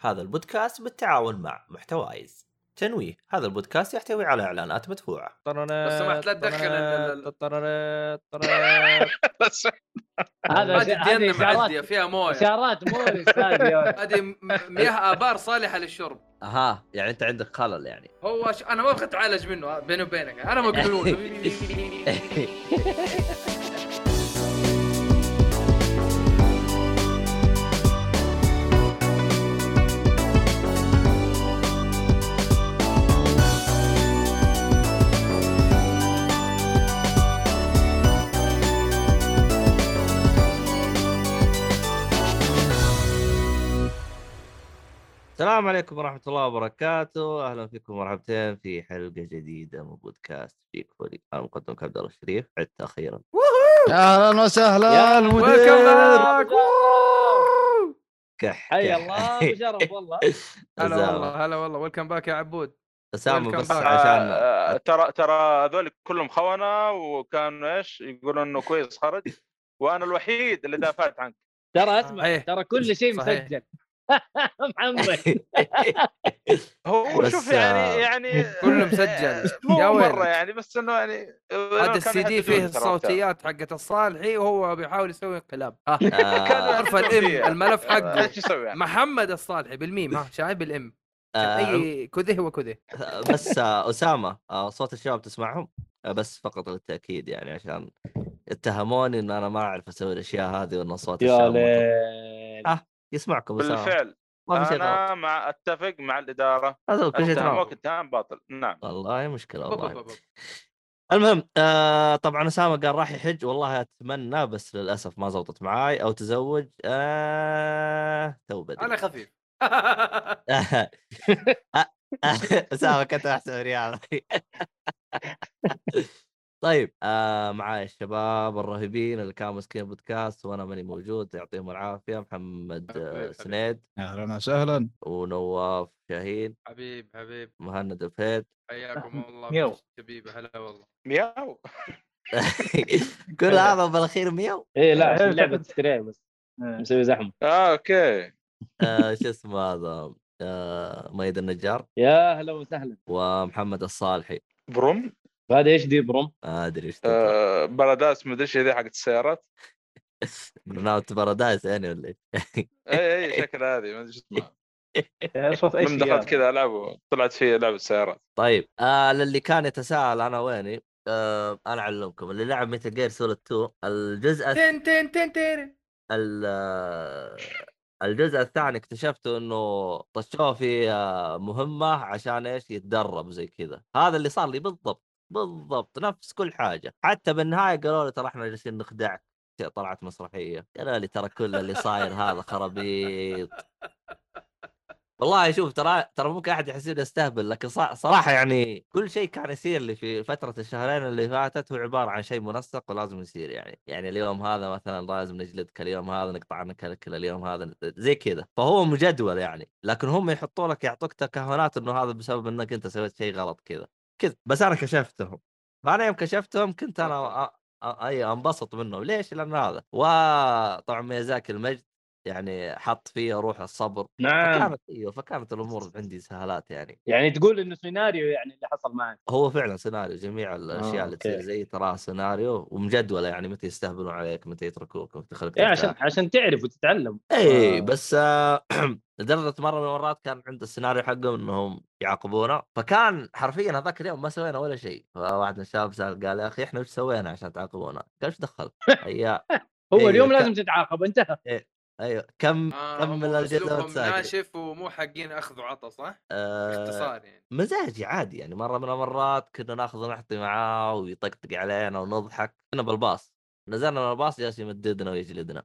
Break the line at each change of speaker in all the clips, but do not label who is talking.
هذا البودكاست بالتعاون مع محتوايز تنويه هذا البودكاست يحتوي على اعلانات مدفوعه
لو سمحت لا تدخل ال-
هذا
هذه
هذه
الدينا معديه
اشارات
فيها مويه
اشارات مو استاذ يا-
هذه م- مياه ابار صالحه للشرب
اها يعني انت عندك خلل يعني
هو ش... انا ما ابغى اتعالج منه بيني وبينك انا مجنون
السلام عليكم ورحمة الله وبركاته، أهلا فيكم ومرحبتين في حلقة جديدة من بودكاست فيك فولي، أنا مقدمك عبد الله الشريف، عدت أخيرا.
اهلا وسهلا
يا
ويلكم
المدير
باك
كح
حي
كح.
الله وشرف والله
هلا
أسامة.
والله هلا والله ويلكم باك يا عبود
أسامة
ويلكم
بس
باك.
عشان
آه، ترى ترى هذول كلهم خونه وكانوا ايش يقولون انه كويس خرج وانا الوحيد اللي دافعت عنك
ترى اسمع
صحيح.
ترى كل شيء
صحيح.
مسجل محمد
هو
بس،
شوف
آه،
يعني يعني
كله مسجل.
مو
يا ويلك.
مره يعني بس انه يعني
هذا السي دي فيه الصوتيات حقت الصالحي وهو بيحاول يسوي انقلاب ها
آه،
عرف الام الملف حقه
ايش يسوي يعني؟
محمد الصالحي بالميم ها شايف بالام
آه،
اي كذه وكذه
بس آه، أسامة آه، صوت الشباب تسمعهم؟ آه، بس فقط للتأكيد يعني عشان اتهموني إن أنا ما أعرف أسوي الأشياء هذه وإن صوت
يا
الشباب مطلوب.
ليل
يسمعكم أسامة
بالفعل
آه، ما في شيء غلط
انا مع اتفق مع الاداره
هذا كل شيء تمام
اتهمك اتهام باطل نعم
والله مشكلة
بب-
والله
بب- بب.
المهم آه طبعا اسامه قال راح يحج والله اتمنى بس للاسف ما زبطت معاي او تزوج آه تو بدري
انا خفيف
اسامه كنت احسن ريال طيب آه معاي الشباب الرهيبين اللي كانوا ماسكين بودكاست وانا ماني موجود يعطيهم العافيه محمد
حبيب،
آه،
حبيب.
سنيد
اهلا وسهلا
ونواف شاهين
حبيب حبيب
مهند الفيد
حياكم الله
يو.
بس حبيبي هلا والله
مياو
كل هذا بالأخير ميو
اي إيه،
إيه،
لا عشان لعبه تشتريها بس مسوي زحمه
اه اوكي
آه، شو اسمه هذا آه، ميد النجار
يا اهلا وسهلا
ومحمد الصالحي
بروم
هذا ايش دي بروم؟
ما ادري ايش تبغى.
آه بارادايس مدري ايش ذي حقت السيارات
برنامج بارادايس يعني ولا ايش؟
اي اي شكلها إيه، هذه ما ادري شو اسمها
صوت
طيب،
ايش
من دخلت كذا العبه طلعت في لعبه سيارات
طيب آه للي كان يتساءل انا ويني آه انا اعلمكم اللي لعب ميتا جير سوليد 2 الجزء الث-
تن تن تن تن
ال- آه، الجزء الثاني اكتشفته انه طشوه في آه، مهمه عشان ايش يتدرب زي كذا هذا اللي صار لي بالضبط بالضبط نفس كل حاجه حتى بالنهايه قالوا لي ترى احنا جالسين نخدعك طلعت مسرحيه قالوا لي ترى كل اللي صاير هذا خرابيط والله شوف ترى ترى ممكن احد يحسبني استهبل لكن صا- صراحه يعني كل شيء كان يصير لي في فتره الشهرين اللي فاتت هو عباره عن شيء منسق ولازم يصير يعني يعني اليوم هذا مثلا لازم نجلدك اليوم هذا نقطع عنك الاكل اليوم هذا ن- زي كذا فهو مجدول يعني لكن هم يحطوا لك يعطوك تكهنات انه هذا بسبب انك انت سويت شيء غلط كذا كذا بس انا كشفتهم فانا يوم كشفتهم كنت انا أ- أ- اي انبسط منهم ليش؟ لان هذا وطبعا ميازاكي المجد يعني حط فيه روح الصبر
نعم
فكانت ايوه فكانت الامور عندي سهالات يعني
يعني تقول انه سيناريو يعني اللي حصل معك
هو فعلا سيناريو جميع الاشياء اللي
آه، أوكي.
تصير زي تراها سيناريو ومجدوله يعني متى يستهبلون عليك متى يتركوك متى يخلوك
إيه، عشان عشان تعرف وتتعلم
اي
آه.
بس آه، لدرجه مره من المرات كان عند السيناريو حقهم انهم يعاقبونا فكان حرفيا هذاك اليوم ما سوينا ولا شيء فواحد من الشباب سال قال يا اخي احنا وش سوينا عشان تعاقبونا؟ قال ايش دخل؟ هيا
هو
إيه،
اليوم
ك-
لازم تتعاقب انتهى
ايوه كم كمل الجدول
اسلوبهم
وتساكت
آه، ناشف ومو حقين اخذ وعطى صح؟
آه،
باختصار يعني
مزاجي عادي يعني مره من المرات كنا ناخذ نحطي معاه ويطقطق علينا ونضحك كنا بالباص نزلنا من الباص جالس يمددنا ويجلدنا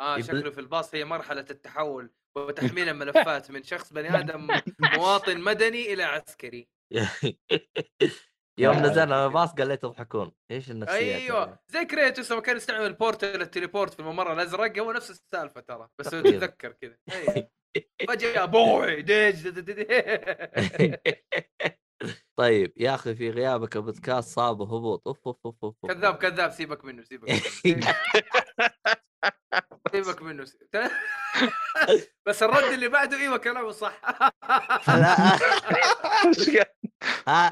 اه
يبل-
شكله في الباص هي مرحله التحول وتحميل الملفات من شخص بني ادم مواطن مدني الى عسكري
يوم
آه.
نزلنا من الباص قال لي تضحكون ايش النفسيه
ايوه زي كريتوس لما كان يستعمل البورتل التليبورت في الممر الازرق هو نفس السالفه ترى بس هو
تقريباً.
تتذكر كذا أي. فجاه بوي ديج دي- دي- دي-
طيب يا اخي في غيابك البودكاست صاب هبوط اوف اوف اوف اوف أوف.
كذاب كذاب سيبك منه سيبك منه سيبك منه بس الرد اللي بعده ايوه كلامه صح
الأ-
ايش قال-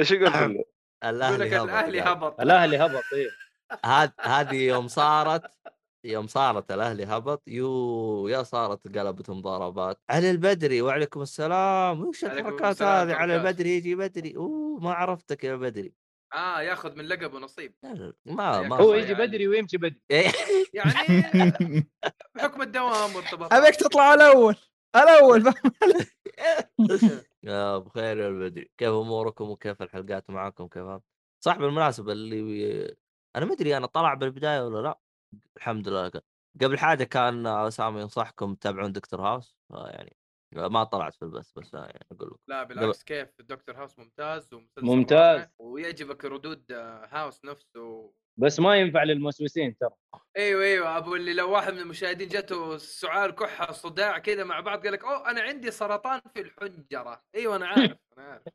ايش يقول لي؟
يقول لك
الاهلي هبط
الاهلي
يعني.
هبط
الاهلي هبط ايه
هاد- هذه يوم صارت يوم صارت الاهلي هبط يو يا صارت قلبت مضاربات علي البدري وعليكم السلام وش
عليكم
الحركات
السلام،
هذه علي
حركات.
البدري يجي بدري اوه ما عرفتك يا بدري
اه ياخذ من لقبه نصيب
لا، لا، ما ما
هو
يعني.
يجي بدري ويمشي بدري
يعني بحكم الدوام والطبخ
ابيك تطلع الاول الاول
يا بخير يا البدري كيف اموركم وكيف الحلقات معاكم كيف هذا؟ صح بالمناسبه اللي بي... انا ما ادري انا طلع بالبدايه ولا لا الحمد لله لك. قبل حاجه كان اسامه ينصحكم تتابعون دكتور هاوس آه يعني ما طلعت في البث بس آه يعني اقول لكم
لا بالعكس كيف الدكتور هاوس ممتاز ومسلسل
ممتاز.
رائع، ويعجبك ردود آه، هاوس نفسه
بس ما ينفع للمسوسين ترى
ايوه ايوه ابو اللي لو واحد من المشاهدين جاته سعال كحه صداع كذا مع بعض قال لك اوه انا عندي سرطان في الحنجره ايوه انا عارف انا عارف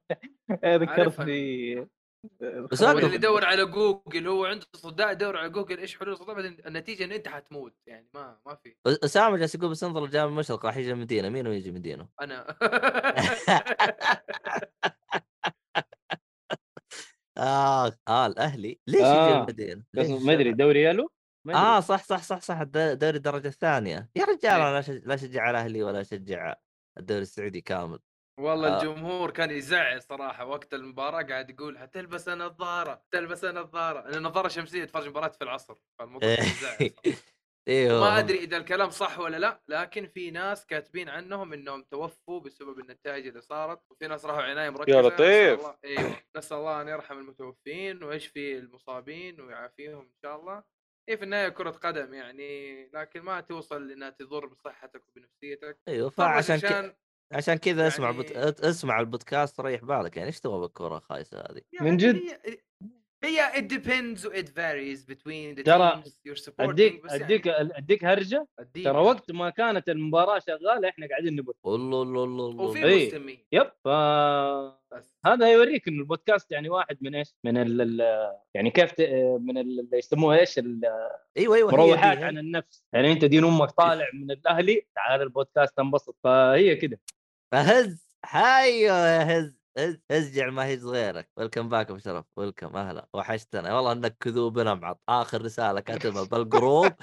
إيه،
عارفها.
ب-
بس
هو
أنا-
اللي يدور على جوجل هو عنده صداع يدور على جوجل ايش حلول الصداع بعدين النتيجه ان انت حتموت يعني ما ما في
أس- اسامه جالس يقول بس انظر الجامع المشرق راح يجي المدينه مين هو يجي المدينه؟
انا
اه اه الاهلي ليش يجي
آه،
المدينه؟ ليش
قصد- ما ادري دوري يلو ما أدري.
اه صح صح صح صح الد- دوري الدرجه الثانيه يا رجال
إيه.
انا لا أشج- لا اشجع الاهلي ولا اشجع الدوري السعودي كامل
والله
آه.
الجمهور كان يزعل صراحه وقت المباراه قاعد يقول هتلبس انا نظاره تلبس انا نظاره انا نظاره شمسيه اتفرج مباراه في العصر فالموضوع كان يزعل صراحة.
ايوه
ما ادري اذا الكلام صح ولا لا لكن في ناس كاتبين عنهم انهم توفوا بسبب النتائج اللي صارت وفي ناس راحوا عنايه مركزه نسأل
لطيف.
الله- ايوه نسال الله ان يرحم المتوفين ويشفي المصابين ويعافيهم ان شاء الله هي في النهايه كره قدم يعني لكن ما توصل انها تضر بصحتك وبنفسيتك
ايوه
طيب،
طبعاً
فعشان ك... عشان كذا يعني... اسمع بت...
يعني-
اسمع البودكاست ريح بالك يعني ايش تبغى بالكره الخايسه هذه؟
يعني
من جد؟
هي- هي it depends it varies between the
ترى
teams you're supporting
اديك
بس يعني
اديك اديك هرجه
إيه.
أديك.
ترى وقت ما كانت المباراه شغاله احنا قاعدين نبث
والله والله والله
وفي
والله.
إيه.
مسلمين
يب آه، فهذا
بس
يوريك انه البودكاست يعني واحد من ايش؟ من ال ال- يعني كيف ت- من ال- اللي يسموها ايش؟ ال-
ايوه ايوه هي
مروحات
دي،
عن النفس يعني انت دين امك طالع من الاهلي تعال البودكاست انبسط فهي كده
فهز هايو يا هز هز هزجع ما هيج غيرك ويلكم باك ابو شرف ويلكم اهلا وحشتنا والله انك كذوب نمعط اخر رساله كاتبها بالجروب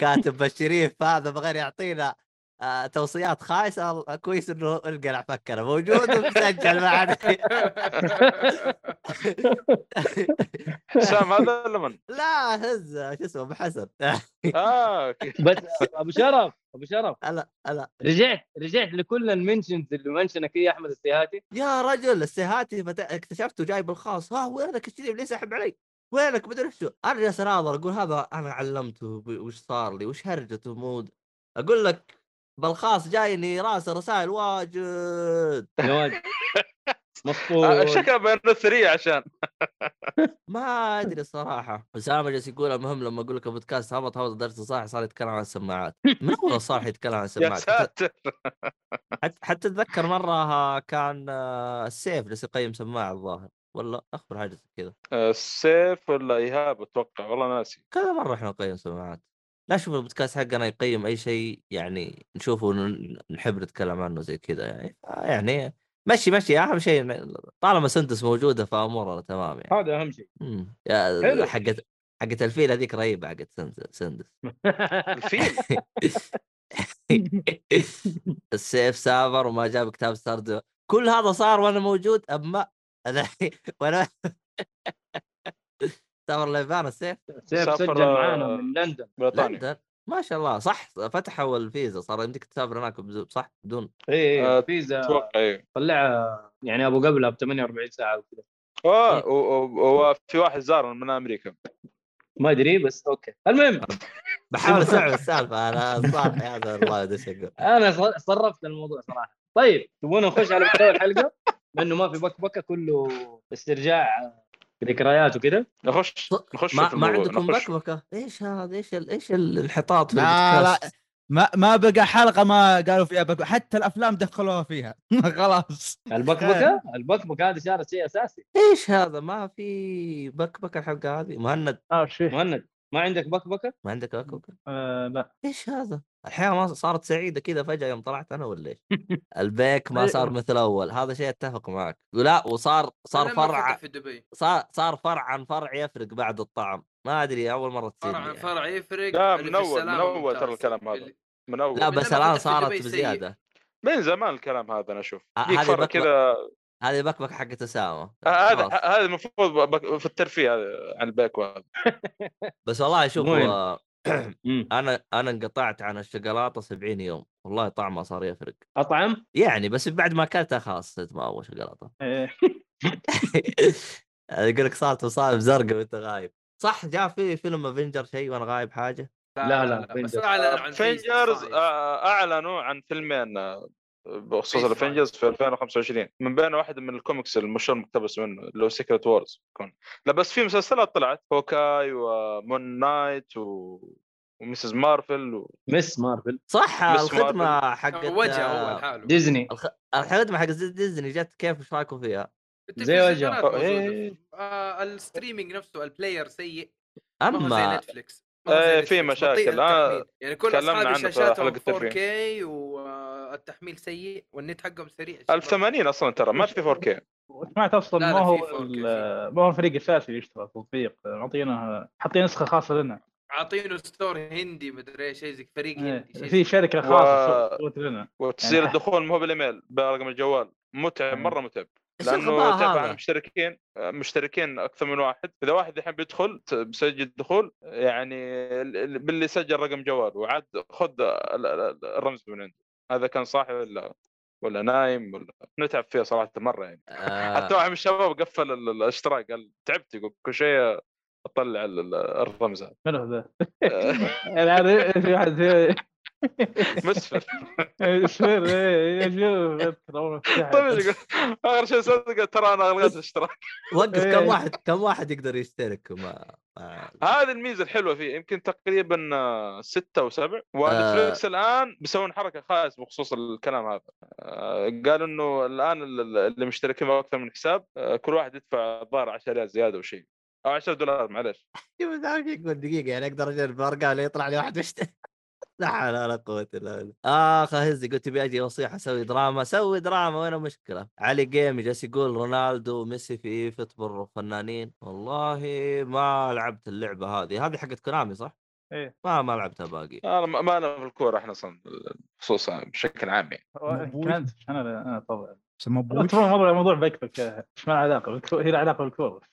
كاتب الشريف هذا بغير يعطينا آه، توصيات خايسه الله- كويس انه القلع فكنا موجود ومسجل معنا
سام هذا ولا من؟
لا هز آه، شو اسمه ابو حسن
اه أوكي.
بس ابو شرف ابو شرف
هلا هلا
رجعت رجعت لكل المنشنز اللي منشنك ايه احمد السيهاتي
يا رجل السيهاتي فت- اكتشفته جايب الخاص ها وينك الشريف ليه ساحب علي؟ وينك مدري شو انا جالس اناظر اقول هذا انا علمته ب- وش صار لي وش هرجته مود اقول لك بالخاص جايني راس رسائل واجد
نواجد
آه،
مصطفى
شكله بينه ثري عشان
ما ادري الصراحه اسامه جالس يقول المهم لما اقول لك البودكاست هبط هبط درس صاحي صار يتكلم عن السماعات من اول صار يتكلم عن
يا
السماعات حتى-
ساتر
حتى, حتى اتذكر مره كان آه، السيف جالس يقيم سماعه الظاهر ولا اخبر حاجه زي كذا
آه، السيف ولا ايهاب اتوقع والله ناسي
كذا مره احنا نقيم سماعات لا شوف البودكاست حقنا يقيم اي شيء يعني نشوفه ون- نحب نتكلم عنه زي كذا يعني آه، يعني مشي مشي اهم شيء إن- طالما سنتس موجوده فامورنا تمام يعني
هذا اهم شيء
مم. يا
حلو.
حقت حقت الفيل هذيك رهيبه حقت سند- سندس
الفيل
السيف سافر وما جاب كتاب ستاردو كل هذا صار وانا موجود اما انا وانا سافر ليفان السيف
سيف
سافر-
سجل معانا من لندن
بريطانيا
لندن ما شاء الله صح فتحوا الفيزا صار يمديك تسافر هناك بدون- صح بدون
ايه
آه،
ايه فيزا
اتوقع ايه
طلعها يعني ابو قبلها ب 48 ساعه وكذا
إيه.
اه و- و- وفي واحد زارنا من امريكا
ما ادري بس اوكي المهم
بحاول استوعب السالفه انا صار يا هذا الله ادري ايش اقول
انا ص- صرفت الموضوع صراحه طيب تبون نخش على محتوى الحلقه لانه ما في بكبكه كله استرجاع ذكريات وكذا
نخش نخش
ما,
في
ما
الموضوع،
عندكم
نخش.
بكبكه ايش هذا ايش ال- ايش ال- الانحطاط في
لا، لا.
البودكاست؟
ما ما بقى حلقه ما قالوا فيها بك... حتى الافلام دخلوها فيها خلاص
البكبكه البكبكه هذه صارت شيء اساسي
ايش هذا ما في بكبكه الحلقه هذه مهند
اه شيء مهند
ما عندك بكبكه؟
ما عندك اكوكا
آه لا
ايش هذا الحياه ما صارت سعيده كذا فجاه يوم طلعت انا ولا ايش البيك ما صار مثل اول هذا شيء اتفق معك لا وصار صار
لما فتح
فرع
في دبي
صار صار فرع عن فرع يفرق بعد الطعم ما ادري اول مره تصير
فرع
لي
عن
يعني.
فرع يفرق
لا،
اللي
من
في
أول-
السلام
من أول
ممتاز.
ترى الكلام هذا.
اللي-
من اول
لا
من لما
بس الان
فتح في
صارت
دبي سيء.
بزياده
من زمان الكلام هذا انا اشوف
آه،
يجيك
هذه
فرق
بكبك-
كذا
هذه بكبك حقت اسامه
آه، هذا
خلاص.
هذا المفروض بك- في الترفيه هذا عن الباك وهذا
بس والله شوف
مو هنا.
آه، انا انا انقطعت عن الشوكولاته 70 يوم والله طعمها صار يفرق
اطعم
يعني بس بعد ما اكلتها خلاص صرت ما ابغى شوكولاته
إيه.
يقول لك صارت مصايب زرقاء وانت غايب صح جاء في فيلم افنجر شيء وانا غايب حاجه
لا، لا،
بس
Avengers.
اعلن عن
فينجرز
Avengers.
اعلنوا آه، عن فيلمين آه، بخصوص
Phase
الافنجرز في 2025 من بين واحد من الكوميكس المشهور مقتبس منه اللي هو سيكرت وورز يكون لا بس في مسلسلات طلعت هوكاي ومون نايت و... ومسز مارفل و...
مس مارفل
صح
Miss
الخدمه حقت
وجهه
آه،
هو لحاله
ديزني
الخدمه حقت ديزني جت كيف ايش رايكم فيها؟
زي وجهه.
التلفزيونات
أوه،
موجودة.
إيه.
آه، الستريمينج نفسه البلاير سيء ما هو زي
اما
نتفلكس ما هو زي
إيه، في
نتفلكس.
مشاكل.
بطيء
أنا
التحميل. يعني كل
تكلمنا
اصحابي
عنه في
شاشاتهم
حلقة الترفيه.
4K والتحميل سيء والنت حقهم سريع
1080 اصلا ترى ما في 4K
وسمعت اصلا
لا،
ما
لا،
هو
في فور كي،
ال- ما هو الفريق الاساسي اللي يشتغل تطبيق معطينا حاطين نسخه خاصه لنا
عاطينه ستور هندي مدري ايش شيء زي فريق هندي شيء
إيه، في
زي-
شركه
و-
خاصه سوت لنا
وتسجيل
يعني-
الدخول ما هو بالايميل برقم الجوال متعب
مم.
مره متعب
إيش
لانه
الغباء
تابع
هذا؟
عن مشتركين مشتركين اكثر من واحد اذا واحد الحين بيدخل ت- بيسجل دخول يعني ال- ال- باللي سجل رقم جوال وعاد خذ ال- ال- الرمز من عنده هذا كان صاحي ولا ولا نايم ولا نتعب فيها صراحه مره يعني
آه،
حتى واحد من الشباب قفل ال- الاشتراك قال تعبت يقول كل شيء اطلع ال- ال- الرمز آه، هذا
من هو ذا؟ انا عارف في واحد في-
مسفر
يصير إيه، يشوف يذكر أول ما فتحت.
طيب يقول اخر شيء سويته قال ترى انا الغيت الاشتراك
وقف كم
إيه.
واحد كم واحد يقدر يشترك وما ما-
هذه الميزه الحلوه فيه يمكن تقريبا آه، ستة او سبع ونتفلكس الان بيسوون حركه خايسه بخصوص الكلام هذا آه، قالوا انه الان ال- ال- اللي مشتركين باكثر من حساب آه، كل واحد يدفع الظاهر 10 ريال زياده او شيء او 10 دولار معلش
شوف إذا عارف يقول دقيقه يعني اقدر اجرب ارقام لا يطلع لي واحد مشترك لا حول ولا قوة الا بالله. اخ هزي قلت تبي اجي وصيح اسوي دراما، سوي دراما وين المشكلة؟ علي جيم جالس يقول رونالدو وميسي في فوتبول فنانين، والله ما لعبت اللعبة هذه، هذه حقت كونامي صح؟
إيه.
ما ما لعبتها باقي.
انا ما ما انا في الكوره احنا اصلا خصوصا بشكل عام يعني
هو- كان انا انا طبعا
سموه بوش
الموضوع موضوع موضوع بكبك ايش ما له علاقه بالكورة- هي له علاقه بالكوره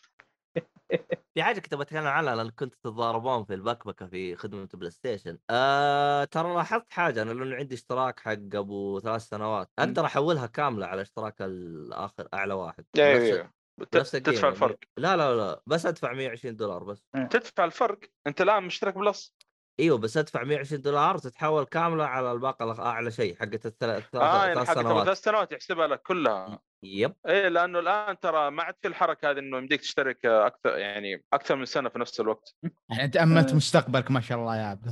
في حاجة كنت بتكلم عنها لان كنت تتضاربون في البكبكة في خدمة بلاي ستيشن. آه ترى لاحظت حاجة انا لانه عندي اشتراك حق ابو ثلاث سنوات، اقدر احولها كاملة على اشتراك الاخر اعلى واحد. نفس-
يعني ت-
نفس الجيم
تدفع
يعني.
الفرق
لا لا لا بس ادفع 120 دولار بس
تدفع الفرق انت الان مشترك بلس
ايوه بس ادفع 120 دولار وتتحول كامله على الباقه الأخ- اعلى شيء حقت الثلاث
اه يعني
ثلاث
حقت أبو
سنوات
ثلاث سنوات يحسبها لك كلها
يب
ايه لانه الان ترى ما عاد في الحركه هذه انه يمديك تشترك اكثر يعني اكثر من سنه في نفس الوقت
يعني انت املت
آه.
مستقبلك ما شاء الله يا عبد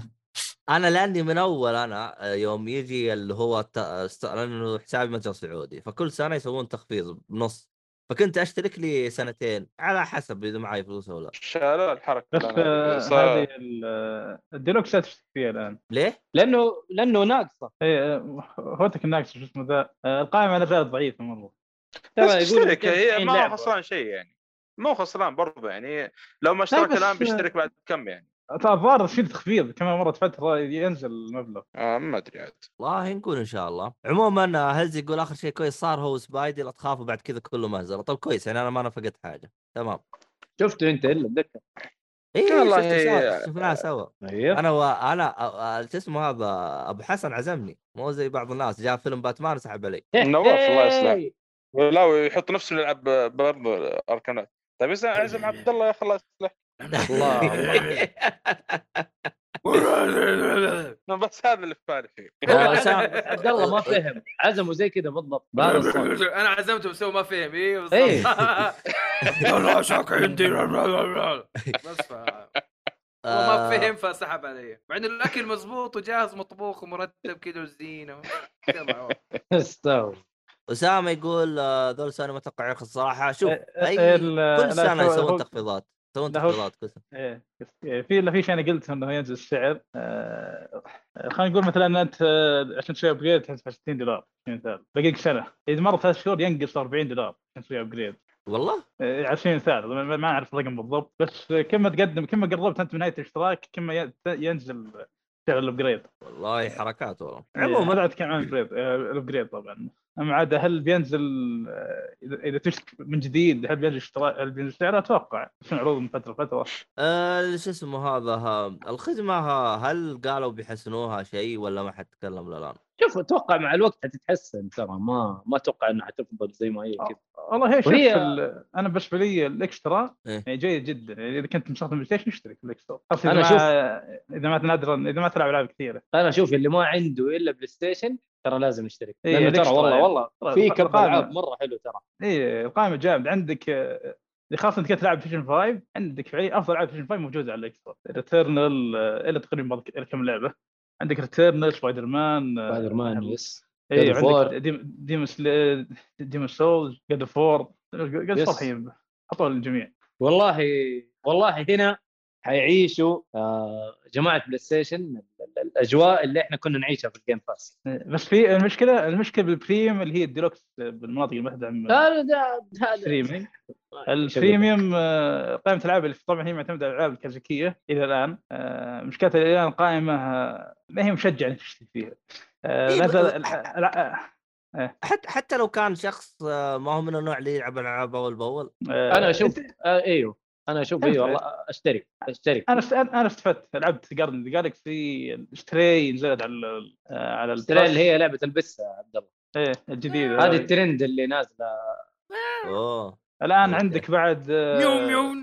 انا لاني من اول انا آه، يوم يجي اللي هو الت... است- لانه حسابي متجر سعودي فكل سنه يسوون تخفيض بنص فكنت اشترك لي سنتين على حسب اذا معي فلوس ولا لا
شالوا الحركه
بس
الآن
آه،
هذه.
هذه
صار-
ال- الديلوكس لا تشترك فيها الان
ليه؟
لانه لانه ناقصه
هي إيه، هوتك الناقص شو اسمه ذا آه، القائمه على زال ضعيفه مره
بس
ترى يقول
تشترك هي
90
ما هو
لعبة.
خسران شيء يعني مو خسران برضه يعني لو ما اشترك
بس-
الان بيشترك بعد كم يعني
ترى الظاهر في تخفيض كمان مرت فتره ينزل المبلغ
آه ما ادري عاد
والله نقول ان شاء الله عموما آه، هز يقول اخر شيء كويس صار هو سبايدي لا تخافوا بعد كذا كله مهزله طب كويس يعني انا ما نفقت حاجه تمام
شفته انت الا اتذكر
ايه
والله
والله
هي-
شفناها سوا
ايوه
انا و... انا أ- أ- شو اسمه هذا ابو حسن عزمني مو زي بعض الناس جاء فيلم باتمان سحب علي
نواف الله يصلح
إيه.
لا ويحط نفسه يلعب برضه اركانات طيب إذا اعزم عبد الله يا اخي الله يصلح لا، نعم، بس هذا اللي في بالي فيه
آه،
هو
سام-
عزم- عبد الله ما فهم عزمه زي كذا بالضبط بهذا الصوت
انا عزمته بس هو ما فهم ايه بالضبط.
إيه.
لا، لا شك عندي لا، لا، لا، لا. بس ف... هو ما
آه،
فهم فسحب علي مع انه الاكل مزبوط وجاهز مطبوخ ومرتب كذا وزينه يلا،
استوى
اسامه يقول آه، ذول سنه ما توقع يرخص صراحه شوف
آه،
أي-
طيب.
ال-
كل
لا،
سنه
هو-
يسوون
هو-
تخفيضات يسوون
لا هو-
تخفيضات كل سنة.
ايه إيه، في الا في شيء انا قلت انه ينزل السعر آه، خلينا نقول مثلا انت آه، عشان تسوي ابجريد تدفع 60 دولار مثال باقي لك سنه اذا مر ثلاث شهور ينقص 40 دولار عشان تسوي ابجريد
والله
آه، على سبيل المثال ما ما اعرف الرقم بالضبط بس كم تقدم كم قربت انت من نهايه الاشتراك كم ي- ينزل سعر الابجريد
والله حركات والله
عموما ما عاد كم عن الابجريد آه، الابجريد طبعا اما عاد هل بينزل آه، اذا إذا تشتري من جديد هل بينزل اشتراك هل بينزل سعره اتوقع عشان عروض من فتره لفتره
آه شو اسمه هذا ها الخدمة ها هل قالوا بيحسنوها شيء ولا ما حد تكلم للآن؟
شوف اتوقع مع الوقت حتتحسن ترى ما ما اتوقع انها حتفضل زي ما هي كذا
والله هي شوف
وهي-
ال- انا بالنسبه لي الاكسترا
إيه.
يعني جيد جدا يعني اذا كنت مستخدم بلاي ستيشن اشترك بالاكسترا خاصه
أنا
اذا
أشوف-
ما اذا ما نادرا اذا ما تلعب العاب كثيره
انا اشوف اللي ما عنده الا بلاي ستيشن ترى لازم يشترك
إيه،
لانه ترى
الإكسترا
والله
يعني.
والله طيب؟ في كم
القائمة-
العاب مره حلو ترى
اي القائمه جامد عندك آه، خاصه انت كنت تلعب فيشن 5 عندك فعليا افضل العاب فيشن 5 موجوده على الاكسترا ريتيرنال الا تقريبا بعض ك- كم لعبه عندك ريتيرنال سبايدر مان آه،
سبايدر مان يس
اي
God of War.
عندك ديمس ديمس سولز جاد اوف وور جاد
Yes.
اوف حطوها للجميع
والله والله هنا حيعيشوا آه، جماعه بلاي ستيشن ال- ال- الاجواء اللي احنا كنا نعيشها في الجيم باس
بس في المشكله المشكله بالبريم اللي هي الديلوكس بالمناطق المحدم
لا لا ده- ده-
ستريمينج
شغل.
البريميوم آه، قائمه الالعاب اللي طبعا هي معتمده على الالعاب الكلاسيكيه الى الان آه، مشكلتها الى الان قائمه آه، ما هي مشجعه انك تشتري فيها آه،
إيه،
لا
بس-
زال- الع- الع-
حتى حتى لو كان شخص آه، ما هو من النوع اللي يلعب العاب اول باول
آه،
انا اشوف آه، ايوه انا اشوف
أنت-
ايوه والله اشترك اشترك
انا است- انا استفدت لعبت جاردن جالكسي ستري نزلت على ال- آه، على
ترى اللي هي لعبه البس يا عبد الله
ايه الجديده
هذه الترند اللي نازله
اوه
الان
أوكي.
عندك بعد آه،
ميو ميو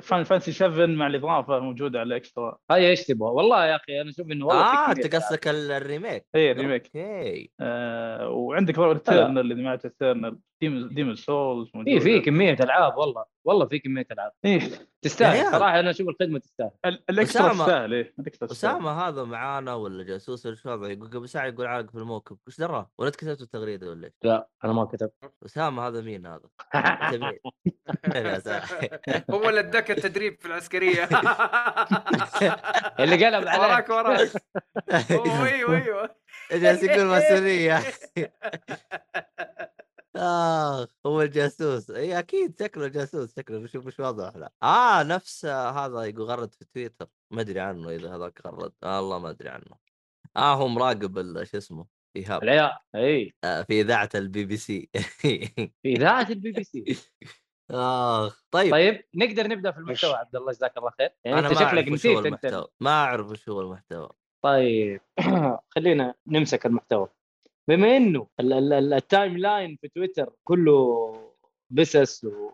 فان فانسي 7 مع الاضافه موجوده على الاكسترا
هاي ايش تبغى والله يا اخي انا اشوف انه والله في
اه
كثير
انت قصدك ال- الريميك
اي إيه، ريميك
اوكي
آه وعندك ريتيرنال اذا ما ريتيرنال
إيه.
ديمون سولز
في في كميه العاب والله والله في كميه العاب
ايه
تستاهل
يعني-
صراحه انا اشوف الخدمه تستاهل
ال- الاكسترا
أسامة.
تستاهل ايه الاكسترا تستاهل
اسامه هذا معانا ولا جاسوس ولا شو وضعه؟ يقول قبل ساعه يقول عالق في الموكب وش دراه؟ ولا أنت كتبت التغريده ولا إيش؟
لا انا ما كتبت
اسامه هذا مين هذا؟ أنت مين؟ مين يا أسامة؟
هو اللي اداك التدريب في العسكريه
اللي قلب عليك
وراك وراك أوه، ايوه ايوه
جالس يقول ماسونيه يا اخي اخ آه، هو الجاسوس اي اكيد شكله جاسوس شكله بشوف مش واضح لا اه نفس آه، هذا يقول غرد في تويتر ما ادري عنه اذا هذاك غرد آه الله ما ادري عنه اه هو مراقب ال- شو اسمه ايهاب
العيال اي
آه في اذاعه البي بي سي
في اذاعه البي بي سي
اخ طيب,
طيب نقدر نبدا في المحتوى عبد الله جزاك الله خير يعني
انا
انت
ما
شكلك
اعرف وش هو
نسيت انت
المحتوى ما اعرف وش هو المحتوى
طيب خلينا نمسك المحتوى بما انه ال- ال- ال- التايم لاين في تويتر كله بسس و-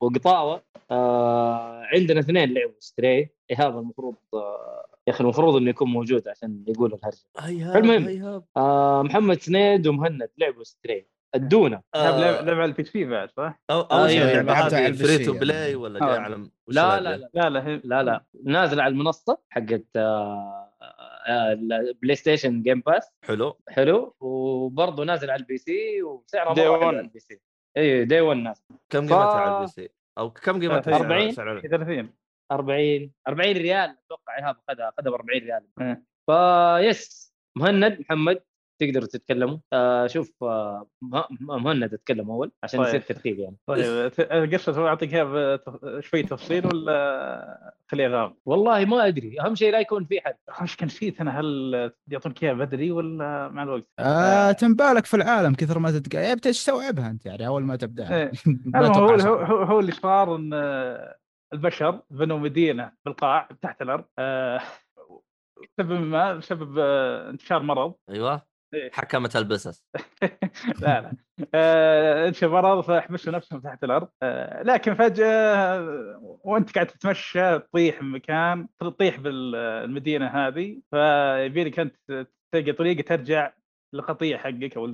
وقطاوه آه عندنا اثنين لعبوا ستري ايهاب المفروض آه يا اخي المفروض انه يكون موجود عشان يقول الهرجه
ايهاب
المهم.
ايهاب
آه محمد سنيد ومهند لعبوا ستري ادونا
لعب-
آه،
لعب لعب على البي سي بعد صح؟
أو- يعني، اول شيء
أيوة،
اللعبه
لعبتها على
هذه
البي
فري
سي
تو
يعني.
بلاي ولا
آه.
جاي على وش
لا
لعبة؟
لا لا
لا لا هي-
لا لا نازل على المنصه حقت آه، بلاي ستيشن جيم باس
حلو
حلو وبرضه نازل على البي سي وسعره
Day
مره
one.
حلو على البي سي اي دي 1 نازل
كم
ف-
قيمتها على البي سي؟ او كم قيمتها
40
سعر
30
40 40 ريال اتوقع ايهاب اخذها اخذها ب 40 ريال
إيه.
فا يس مهند محمد تقدروا تتكلموا آه شوف آه مه- مهند اتكلم اول عشان
طيب.
يصير ترتيب يعني
طيب ت- القصه تبغى اعطيك اياها بتف- شوي تفصيل ولا خليها غام؟
والله ما ادري اهم شيء لا يكون في حد
ايش كان نسيت انا هل يعطونك اياها بدري ولا مع الوقت؟
آه تنبالك في العالم كثر ما تتق... يعني بتستوعبها انت يعني اول ما تبدا
إيه. المهم هو هو هو- هو اللي صار ان آه، البشر بنوا مدينه بالقاع تحت الارض آه، سبب ما بسبب آه، انتشار مرض
ايوه
إيه.
حكمت البسس
لا لا آه، انشا مرض فحبسوا نفسهم تحت الارض آه، لكن فجاه وانت قاعد تتمشى تطيح من مكان تطيح بالمدينه هذه فيبي لك انت تلقى طريقه ترجع للقطيع حقك او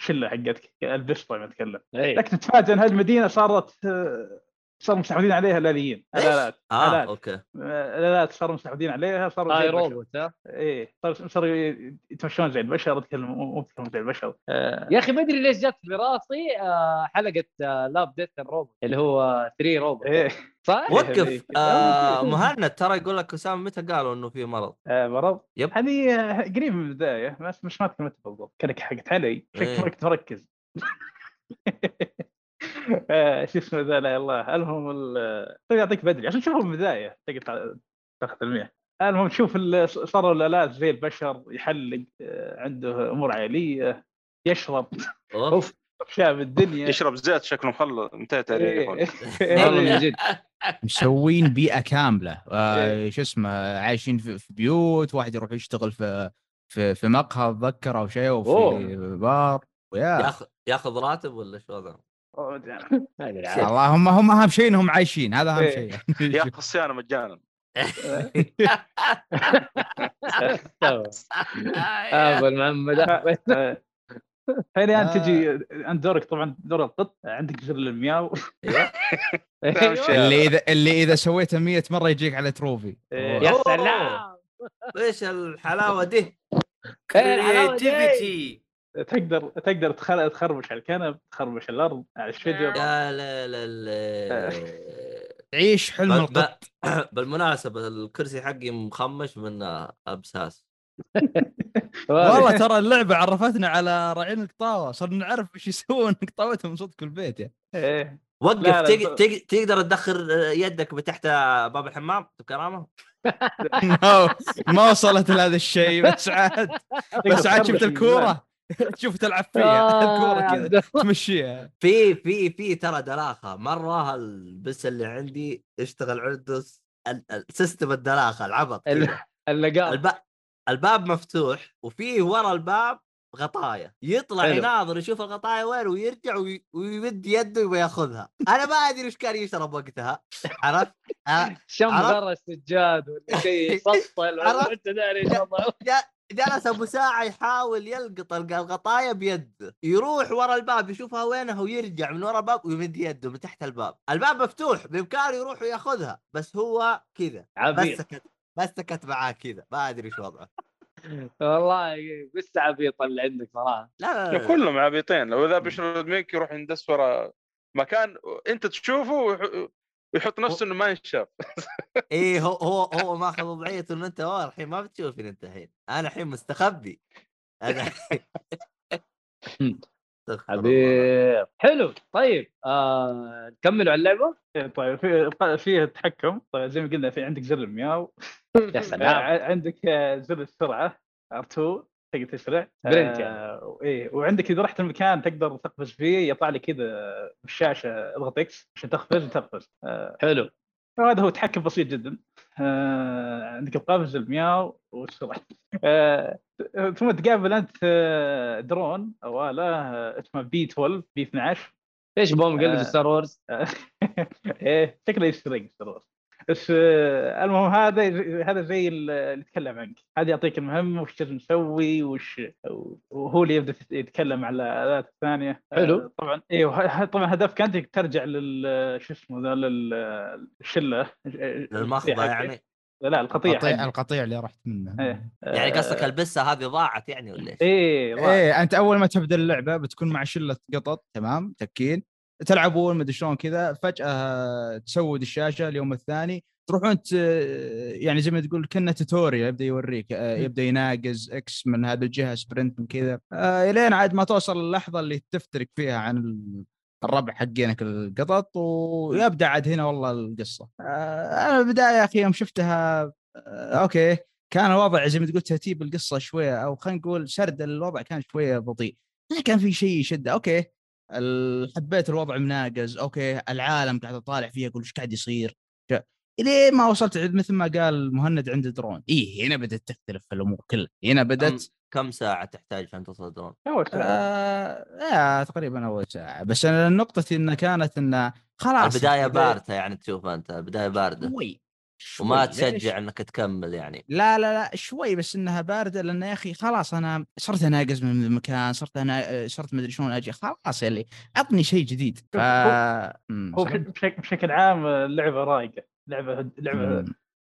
الشله حقتك البسطه ما اتكلم
اي
لكن تتفاجئ ان هالمدينه صارت آه، صاروا مستحوذين عليها الاليين الالات
اه
لا.
إيه،
اوكي
آه، الالات صاروا مستحوذين عليها صاروا زي
هاي
البشر.
روبوت ها
ايه صاروا صاروا يتمشون زي البشر يتكلموا مو يتكلمون زي البشر آه،
يا اخي ما ادري ليش جت في راسي آه، حلقه لاب ديث روبوت اللي هو 3 روبوت
ايه
صح؟
وقف
إيه.
هذيك.
آه مهند ترى يقول لك اسامه متى قالوا انه في مرض؟
آه، مرض
يب.
هذه آه، قريب من البدايه بس مش ما تكلمت بالضبط كانك حقت علي
إيه.
شكلك مركز آه، شو اسمه ذا لا الله المهم ال- طيب يعطيك بدري عشان تشوفه من البدايه تقدر تع- تاخذ المياه المهم تشوف ال- صاروا الالات زي البشر يحلق آه، عنده امور عائليه يشرب
اوف
شاب الدنيا
يشرب زيت شكله مخلص انتهى تاريخه
إيه.
والله
نعم.
من جد
مسوين بيئه كامله
إيه.
آه شو اسمه عايشين في, في بيوت واحد يروح يشتغل في في, في مقهى اتذكر او شيء او في
أوه.
بار ويا
ياخذ ياخذ راتب ولا شو هذا؟
ما أدري عاد.
اللهم هم اهم شيء انهم عايشين هذا اهم
إيه.
شيء
يا خصيانه مجانا
استوى. ابو المعمد أحمد.
آه. هنا
آه.
انت تجي انت دورك طبعا دور القط عندك زر المياو
أيوه.
أهم
أيوه.
شيء هذا.
اللي اذا اللي اذا سويته 100 مره يجيك على تروفي
إيه.
يا
أوه.
سلام
ايش الحلاوه دي؟
إيه الحلاوة دي؟
كريتيفيتي
تقدر تقدر تخل- تخربش على الكنب تخربش الارض على الشجر
يا لا لا
آه.
لا
عيش حلم
بل-
القط
بالمناسبه الكرسي حقي مخمش من آه، ابساس
والله ترى اللعبه عرفتنا على راعين القطاوه صرنا نعرف ايش يسوون قطاوتهم صدق في البيت يعني
إيه.
وقف
لا، لا،
تق-
ب-
تق- تقدر تدخل يدك تحت باب الحمام بكرامه؟
ما- ما وصلت لهذا الشيء بس عاد بس عاد شفت الكوره شوف تلعب
آه،
فيها
آه.
الكوره كذا تمشيها
في في في ترى دلاخه مره البس اللي عندي اشتغل عنده س- ال- ال- سيستم الدلاخه العبط
ال-
كذا.
اللقاء
الب... الباب مفتوح وفيه ورا الباب غطايا يطلع
حلو.
يناظر يشوف الغطايا وين ويرجع وي... ويمد يده وياخذها انا ما ادري ايش كان يشرب وقتها عرفت أ-
شم
عرفت؟
برا السجاد ولا شيء يسطل ولا
عرفت؟
انت داري ان شاء الله
جلس ابو ساعه يحاول يلقط الق- الغطايا بيده يروح ورا الباب يشوفها وينها ويرجع من ورا الباب ويمد يده من تحت الباب الباب مفتوح بامكانه يروح وياخذها بس هو كذا بس
عبيط
سكت بس سكت معاه كذا ما ادري ايش وضعه
والله بس عبيط اللي عندك صراحه
لا لا, لا,
لا،
لا.
كلهم عبيطين لو ذا بيشرد منك يروح يندس ورا مكان انت تشوفه ويح- ويحط نفسه انه ما ينشاف
ايه هو هو هو ماخذ وضعيته انه انت هو الحين ما بتشوفني انت الحين انا الحين مستخبي انا استغفر الله.
عبيط حلو طيب آه، نكملوا على اللعبه
إيه، طيب في فيه تحكم طيب زي ما قلنا في عندك زر المياو
يا
آه،
سلام
ع- عندك آه، زر السرعه ار2 تقدر تسرع
برنت
يعني ايه وعندك اذا رحت المكان تقدر تقفز فيه يطلع لك كذا بالشاشه اضغط اكس عشان تقفز وتقفز آه،
حلو
فهذا هو تحكم بسيط جدا آه، عندك القفز المياو والسرعه آه، ثم تقابل انت آه، درون او اله آه، اسمه بي 12 بي 12
ايش بوم قلب
آه.
ستار وورز
ايه شكله يشتري يشتري بس آه، المهم هذا هذا زي اللي يتكلم عنك هذا يعطيك المهمه وش لازم تسوي وش وهو اللي يبدا يتكلم على الالات الثانيه آه،
حلو.
طبعا ايوه ه- ه- طبعا هدفك انت ترجع لل آه، شو اسمه ذا للشله
للمخضه يعني
لا القطيع
القطيع
حقك.
القطيع اللي رحت منه
إيه.
يعني
آه،
قصدك البسه هذه ضاعت يعني ولا ايش؟
ايه ضاع.
ايه انت اول ما تبدا اللعبه بتكون مع شله قطط تمام تكين تلعبون مدري شلون كذا فجاه تسود الشاشه اليوم الثاني تروحون ت... يعني زي ما تقول كنا توتوريال يبدا يوريك آه، يبدا يناقز اكس من هذه الجهه سبرنت من كذا آه، الين عاد ما توصل اللحظه اللي تفترق فيها عن ال- الربع حقينك القطط ويبدا عاد هنا والله القصه آه، انا البدايه يا اخي يوم شفتها آه، اوكي كان الوضع زي ما تقول ترتيب القصه شويه او خلينا نقول سرد الوضع كان شويه بطيء ما كان في شيء يشد اوكي ال- حبيت الوضع مناقز اوكي العالم قاعد اطالع فيه اقول ايش قاعد يصير جا- الين ما وصلت عند- مثل ما قال مهند عند درون ايه هنا بدات تختلف الامور كلها هنا
كم,
بدات
كم ساعه تحتاج عشان توصل درون؟
أول شيء.
آه آه تقريبا اول ساعه بس انا نقطتي انها كانت انه خلاص
البدايه بارده يعني تشوفها انت البدايه بارده
شوي شوي.
وما
ليش؟
تشجع انك تكمل يعني
لا لا لا شوي بس انها بارده لان يا اخي خلاص انا صرت اناقز من المكان صرت انا صرت مدري شلون اجي خلاص يا اللي عطني شيء جديد ف...
هو-
مم،
هو
صحيح.
بشكل, بشكل عام اللعبه رايقه لعبه لعبه
مم.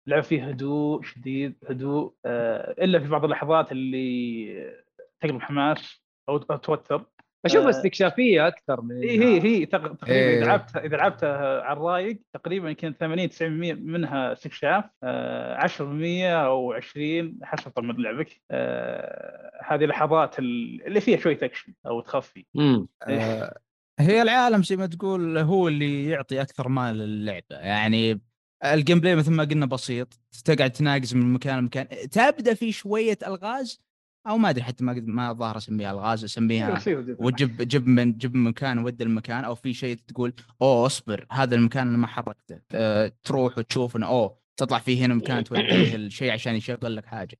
لعب فيه هدوء شديد هدوء آه الا في بعض اللحظات اللي تقلب حماس او أو توتر
اشوف
آه.
استكشافيه اكثر من
هي هي هي تق- تقريبا
نعم. إيه.
اذا لعبتها اذا لعبتها على الرايق تقريبا يمكن 80 90% منها استكشاف آه، 10% او 20 حسب طبعا لعبك آه، هذه اللحظات ال- اللي فيها شويه اكشن او تخفي
مم.
آه، هي العالم زي ما تقول هو اللي يعطي اكثر مال للعبه يعني الجيم بلاي مثل ما قلنا بسيط تقعد تناقز من مكان لمكان تبدا في شويه الغاز او ما ادري حتى ما قد- ما الظاهر اسميها الغاز اسميها
بسيطة جداً.
وتجيب جيب من جيب من مكان ود المكان او في شيء تقول اوه اصبر هذا المكان انا ما حركته أه تروح وتشوف انه اوه تطلع فيه هنا مكان توديه الشيء عشان يشغل لك حاجه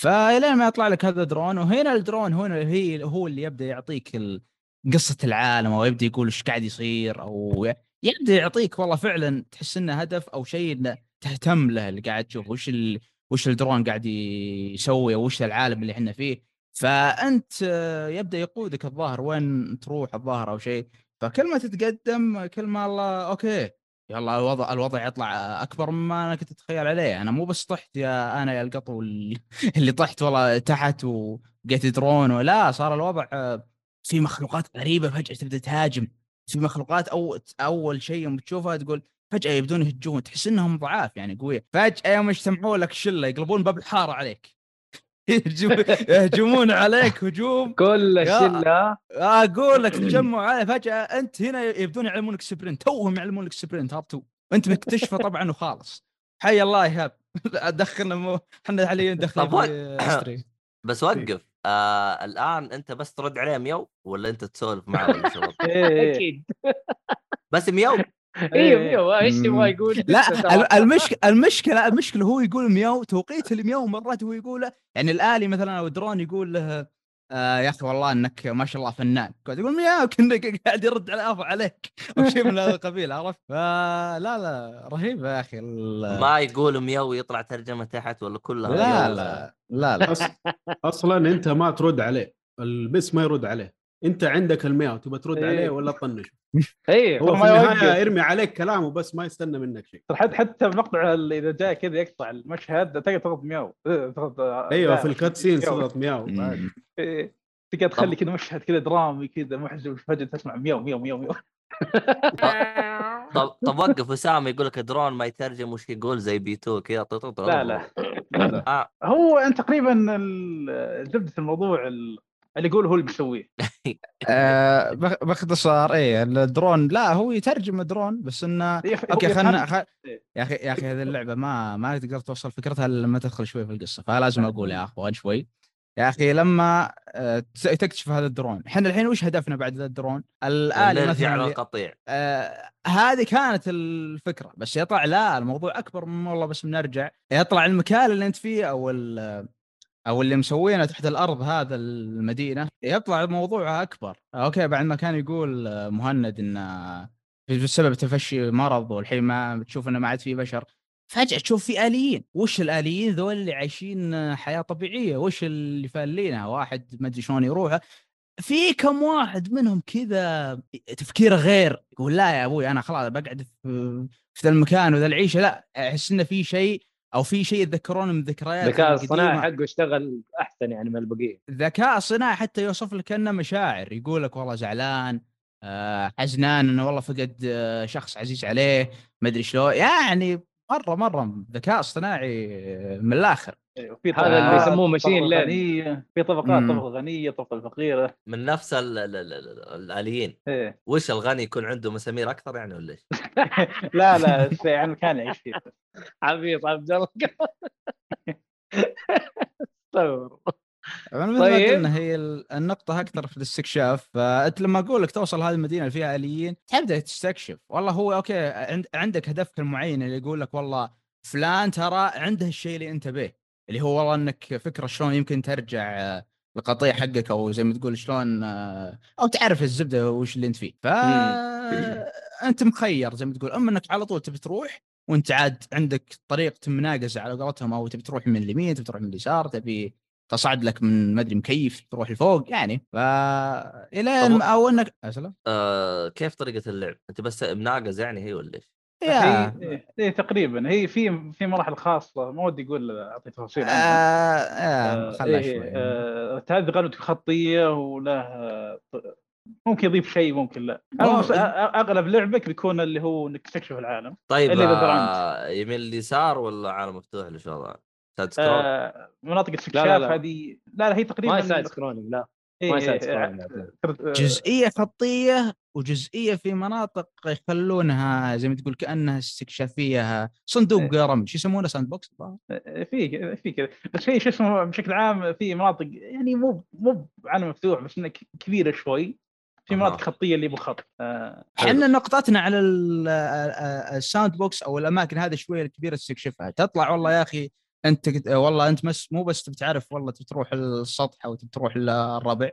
فالين ما يطلع لك هذا درون وهنا الدرون هنا هي هو اللي يبدا يعطيك ال- قصه العالم او يبدا يقول ايش قاعد يصير او ي- يبدا يعطيك والله فعلا تحس انه هدف او شيء إنه تهتم له اللي قاعد تشوف وش ال... وش الدرون قاعد يسوي او وش العالم اللي احنا فيه فانت آه، يبدا يقودك الظاهر وين تروح الظاهر او شيء فكل ما تتقدم كل ما الله اوكي يلا الوضع الوضع يطلع اكبر مما انا كنت اتخيل عليه انا مو بس طحت يا انا يا القطو اللي اللي طحت والله تحت وقيت درون ولا صار الوضع آه، في مخلوقات غريبه فجاه تبدا تهاجم في مخلوقات او اول شيء يوم تشوفها تقول فجاه يبدون يهجون تحس انهم ضعاف يعني قويه فجاه يوم يجتمعوا لك شله يقلبون باب الحاره عليك يهجم- يهجمون عليك هجوم
كل الشله
اقول لك تجمع عليه فجاه انت هنا يبدون يعلمونك سبرنت توهم يعلمونك سبرنت هبطوا انت مكتشفه طبعا وخالص حي الله ايهاب دخلنا مو... احنا حاليا دخلنا
طب وق-
في stream.
بس وقف آه الان انت بس ترد عليه ميو ولا انت تسولف معه ولا شو وضعك؟
إيه، إيه.
اكيد
بس ميو
ايوه ايوه ايش يبغى
مم.
يقول
لا ال- المشك... المشكله المشكله هو يقول مياو توقيت المياو مرات هو يقوله يعني الالي مثلا او درون يقول له آه يا اخي والله انك ما شاء الله فنان قاعد يقول مياو كنا قاعد يرد على افو عليك او شيء من هذا القبيل عرفت فلا لا رهيب يا اخي ال-
ما يقول ميو يطلع ترجمه تحت ولا كلها
لا
ميو؟
لا لا لا
أص- اصلا انت ما ترد عليه البس ما يرد عليه انت عندك المياه تبى ترد
إيه.
عليه ولا تطنش
ايوه
هو في
ما يوقف.
النهايه يرمي عليك كلامه بس ما يستنى منك شيء
ترى حتى حتى مقطع اذا جاء كذا يقطع المشهد تقدر تضغط مياو إيه، تضغط آه،
ايوه
لا،
في الكاتسين
مياو.
صدت مياو عادي.
مم.
إيه، تقدر تخلي كذا مشهد كذا درامي كذا محزن فجاه تسمع مياو مياو مياو مياو
طب طب وقف وسام يقول لك درون ما يترجم وش يقول زي بيتو كذا طو- طو- طو-
لا لا
آه.
هو انت تقريبا ال- زبده الموضوع ال- اللي يقول هو اللي بيسويه
آه بخ- باختصار ايه الدرون لا هو يترجم درون بس انه
يا أخي، هو
اوكي
يفهم-
خلنا خل...
إيه.
يا اخي يا اخي هذه اللعبه ما ما تقدر توصل فكرتها الا لما تدخل شوي في القصه فلازم اقول يا اخوان شوي يا اخي لما آه، تس- تكتشف هذا الدرون احنا الحين وش هدفنا بعد هذا الدرون الالي
نرجع
مثلا اللي-
للقطيع
آه، هذه كانت الفكره بس يطلع لا الموضوع اكبر من والله بس بنرجع يطلع المكان اللي انت فيه او ال- او اللي مسوينه تحت الارض هذا المدينه يطلع موضوعها اكبر اوكي بعد ما كان يقول آه، مهند آه، انه بسبب تفشي مرض والحين ما تشوف انه ما عاد في بشر فجاه تشوف في اليين وش الاليين ذول اللي عايشين حياه طبيعيه وش اللي فالينها واحد ما ادري شلون يروح في كم واحد منهم كذا تفكيره غير يقول لا يا ابوي انا خلاص بقعد في في ذا المكان وذا العيشه لا احس انه في شيء او في شيء يتذكرونه من ذكريات
الذكاء
القديمة.
الصناعي حقه اشتغل احسن يعني من البقيه
ذكاء صناعي حتى يوصف لك انه مشاعر يقول لك والله زعلان آه، حزنان انه والله فقد آه، شخص عزيز عليه ما ادري شلون يعني مره مره ذكاء صناعي آه، من الاخر
في
هذا اللي
إيه، طبقات،
يسموه
طبقة
machine learning.
غنية، في طبقات
مم.
طبقه غنيه طبقه فقيره
من نفس ال- ال- ال- ال- الاليين
إيه.
وش الغني يكون عنده مسامير اكثر يعني ولا ايش؟
لا لا بس يعني كان يعيش فيه
عبيط عبد الله استغفر
انا مثل
طيب.
ما قلنا هي ال- النقطة أكثر في الاستكشاف فأنت لما أقول لك توصل هذه المدينة اللي فيها آليين تبدأ تستكشف والله هو أوكي عند عندك هدفك المعين اللي يقول لك والله فلان ترى عنده الشيء اللي أنت به اللي هو والله أنك فكرة شلون يمكن ترجع آه، القطيع حقك أو زي ما تقول شلون آه، أو تعرف الزبدة وش اللي أنت فيه ف أنت مخير زي ما تقول أما أنك على طول تبي تروح وانت عاد عندك طريقه مناقزه على قولتهم او تبي تروح من اليمين تبي تروح من اليسار تبي تصعد لك من مدري مكيف تروح لفوق يعني ف الين
طب-
او انك اسلم
آه كيف طريقه اللعب؟ انت بس مناقز يعني هي ولا ايش؟
يا
هي- هي تقريبا إيه، هي في في مراحل خاصه ما ودي اقول اعطي تفاصيل
آه
عنها
آه خلها
إيه،
شوي
آه، هذه غالبا تكون خطيه وله آه، ممكن يضيف شيء ممكن لا أنا
ممكن.
أغ- اغلب لعبك بيكون اللي هو انك تكتشف العالم
طيب
اللي بالبراند.
آه يمين اليسار ولا عالم مفتوح ولا شو وضعه؟ سايد سكرول؟
آه، مناطق
لا،
الاستكشاف
لا.
هذه لا لا هي تقريبا
ما يساعد سكرولينج لا
إيه،
ما يساعد
إيه،
سكرولينج
آه،
جزئيه خطيه وجزئيه في مناطق يخلونها زي ما تقول كانها استكشافيه صندوق رمج يسمونه ساند بوكس الظاهر.
في كذا- في كذا بس هي شو اسمه بشكل عام في مناطق يعني مو مو عالم مفتوح بس انك كبيره شوي في
أها.
مناطق خطيه اللي بالخط آه،
احنا نقطتنا على ال- ال- ال- الساوند بوكس او الاماكن هذه شويه الكبيره تستكشفها تطلع والله يا اخي انت كت- آه، والله انت مس مو بس تبي تعرف والله تبي تروح السطح او تبي تروح ال- الربع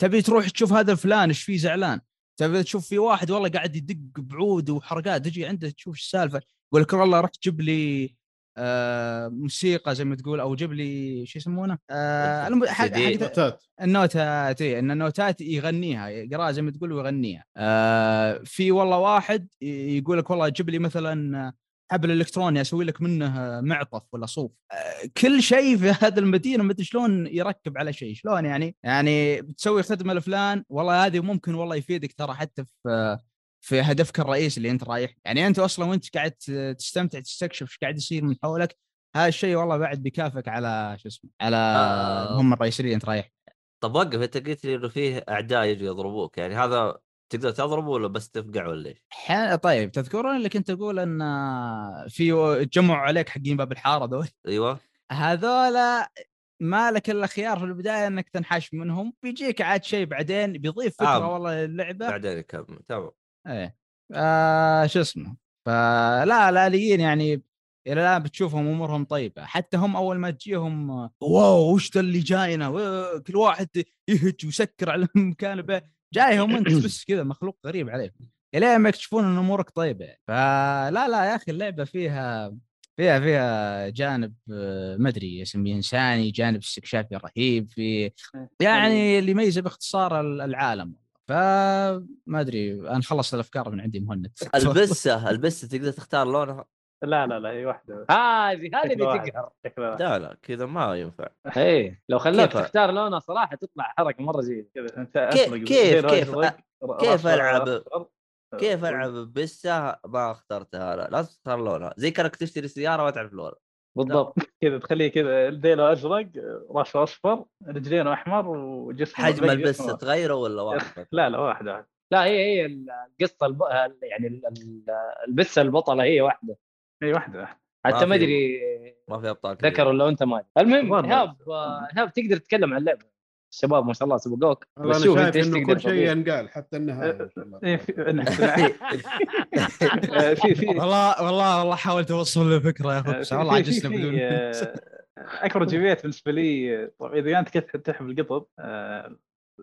تبي تروح تشوف هذا فلان ايش فيه زعلان تبي تشوف في واحد والله قاعد يدق بعود وحركات تجي عنده تشوف ايش السالفه يقول لك والله رحت جيب لي آه موسيقى زي ما تقول او جيب لي شو يسمونه؟ آه الم- حق-
إيه،
CD.
حق-
نوتات
النوتات إيه، ان النوتات يغنيها يقراها زي ما تقول ويغنيها آه في والله واحد ي- يقول لك والله جيب لي مثلا حبل الكتروني اسوي لك منه معطف ولا صوف آه كل شيء في هذا المدينه ما ادري شلون يركب على شيء شلون يعني يعني بتسوي خدمه لفلان والله هذه ممكن والله يفيدك ترى حتى في في هدفك الرئيسي اللي انت رايح يعني انت اصلا وانت قاعد تستمتع تستكشف ايش قاعد يصير من حولك هذا الشيء والله بعد بيكافئك على شو اسمه على
آه.
المهمه الرئيسيه اللي انت رايح
طب وقف انت قلت لي انه فيه اعداء يجوا يضربوك يعني هذا تقدر تضربه ولا بس تفقع ولا ايش؟
حين... طيب تذكرون اللي كنت اقول ان في جمعوا عليك حقين باب الحاره ذول
ايوه
هذولا ما لك الا خيار في البدايه انك تنحاش منهم بيجيك عاد شيء بعدين بيضيف فكره
آه.
والله للعبه
بعدين اكمل تمام
ايه آه شو اسمه فلا الاليين يعني الى الان بتشوفهم امورهم طيبه حتى هم اول ما تجيهم آه، واو وش ذا اللي جاينا واو، كل واحد يهج ويسكر على مكانبه جايهم انت بس كذا مخلوق غريب عليك الين ما يكتشفون ان امورك طيبه يعني. فلا لا يا اخي اللعبه فيها فيها فيها جانب آه، ما ادري اسميه انساني جانب استكشافي رهيب في يعني اللي يميزه باختصار ال- العالم فما ادري انا خلصت الافكار من عندي مهند
البسه البسه تقدر تختار لونها
لا لا لا هي واحده
هذه هذه
شكل
اللي
واحد.
تقهر
شكل واحد.
لا لا كذا ما ينفع
اي إيه. لو خلاك
كيف؟
تختار لونه صراحه تطلع حركه مره جيده
كذا انت
كيف-
أزرق،
كيف-
زي
كيف- أه،
أزرق، ر-
كيف
رأس
ألعب؟
أصفر.
كيف العب بسه ما اخترتها لا لازم تختار لونها زي كانك تشتري سياره ما تعرف لونها
بالضبط
أه، كذا تخليه كذا ديله ازرق راسه اصفر رجلينه احمر وجسمه
حجم
أزرق،
البسه
جسمه-
تغيره ولا واحد
لا لا واحد واحد
لا هي هي القصه الب... ال- يعني ال- ال- البسه البطله هي واحده
اي واحده واحده
حتى
في-
ما ادري
ما في ابطال كثير.
ذكر ولا انت ما أدري. المهم
والله.
ايهاب آه، ايهاب تقدر تتكلم عن اللعبه الشباب ما شاء الله سبقوك
والله
بس
انا
شوف انت
شايف
ايش
انه
تقدر
كل شيء
تضيف.
ينقال حتى النهايه إن شاء الله.
إيه، في- آه، في في
والله والله والله حاولت اوصل الفكره يا اخوي بس والله
في- في-
عجزت
في-
بدون
آه، اكبر جمعيات بالنسبه لي آه، طبعا اذا انت كنت تحمل القطط آه،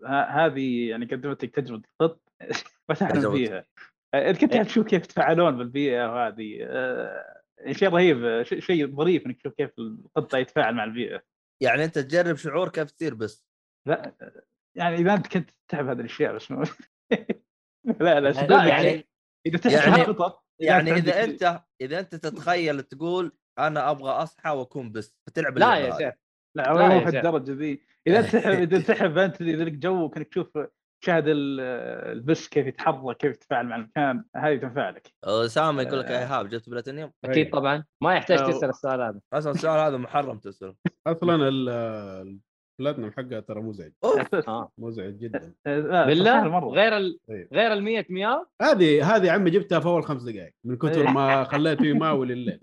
ه- هذه يعني قدمت لك تجربه قط ما تحلم
تجربة.
فيها آه، انت كنت تشوف كيف يتفاعلون بالبيئه وهذه آه، شيء رهيب آه، شيء- شيء ظريف انك تشوف كيف القطه يتفاعل مع البيئه
يعني انت تجرب شعور كيف تصير بس
لا آه، يعني اذا انت كنت تتعب هذه الاشياء بس ما- لا لا
لا
صدقني،
يعني
اذا تحس
يعني-
بالقطط
يعني
عندك-
اذا انت اذا انت تتخيل تقول انا ابغى اصحى واكون بس فتلعب
لا
اللعبة
يا
هذه.
شيخ
لا
لا
مو
يا
في
شيخ.
الدرجه ذي اذا تحب اذا تحب انت اذا لك جو انك تشوف شاهد ال- البس كيف يتحرك كيف يتفاعل مع المكان هذه تنفع لك
اسامه يقول لك يا ايهاب جبت بلاتينيوم
طيب.
اكيد طبعا ما يحتاج
أو-
تسال السؤال هذا
اصلا السؤال هذا محرم تساله
اصلا ال- البلاتنم حقها ترى مزعج
آه.
مزعج جدا
لا، سهل
بالله
مره
غير ال...
طيب.
غير ال 100 مياه
هذه هذه يا عمي جبتها في اول خمس دقائق من كثر ما خليته يماول الليل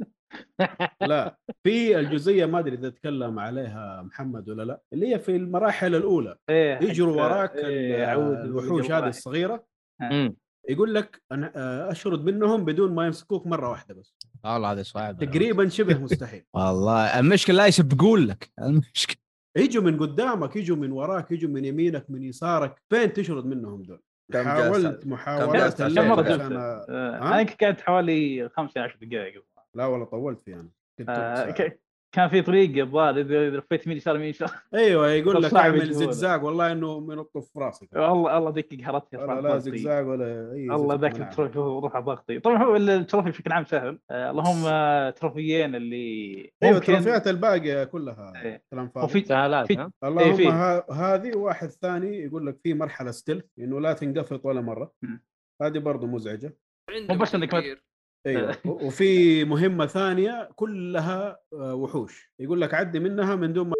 لا في الجزئيه ما ادري اذا تكلم عليها محمد ولا لا اللي هي في المراحل الاولى
إيه، حق-
يجروا وراك ال- آه،
إيه، عود
الوحوش هذه
وراك.
الصغيره
أمم.
يقول لك انا آه، اشرد منهم بدون ما يمسكوك مره واحده بس
والله هذا صعب
آه.
تقريبا شبه مستحيل
والله المشكله لا يسبقون لك المشكله
يجوا من قدامك يجوا من وراك يجوا من يمينك من يسارك فين تشرد منهم دول
كم جلسة؟
حاولت
كم
محاولات
جلسة؟
الليل
كم مرة
عشان
جلسة؟
أ-
آه،
ها؟
انا كنت قاعد حوالي 15 دقائق
لا والله طولت فيه انا كنت
آه،
ثلث ساعة.
ك- كان في طريق الظاهر اذا إذا لفيت يمين يسار يمين يسار
ايوه يقول
طب
لك
صعب
اعمل
يجيبونه.
زجزاج والله انه منطف في راسك
والله الله ذيك قهرتني
ولا لا زجزاج ولا نعم. اي
الله
زجزاج
ذاك
مناعة.
التروفي روح ضغطي طبعا هو التروفي بشكل عام سهل آه، اللهم آه، تروفيين اللي
ايوه
ممكن-
التروفيات الباقيه كلها
إيه.
كلام فاضي
وفي
سهالات
في-
ها
اللهم
فيه.
ها- هذه واحد ثاني يقول لك في مرحله ستيل انه لا تنقفط ولا مره
مم.
هذه برضه مزعجه
عنده
مو بس إنك ما-
كبير.
ايوه و- وفي مهمه ثانيه كلها آه، وحوش يقول لك عدي منها من دون ما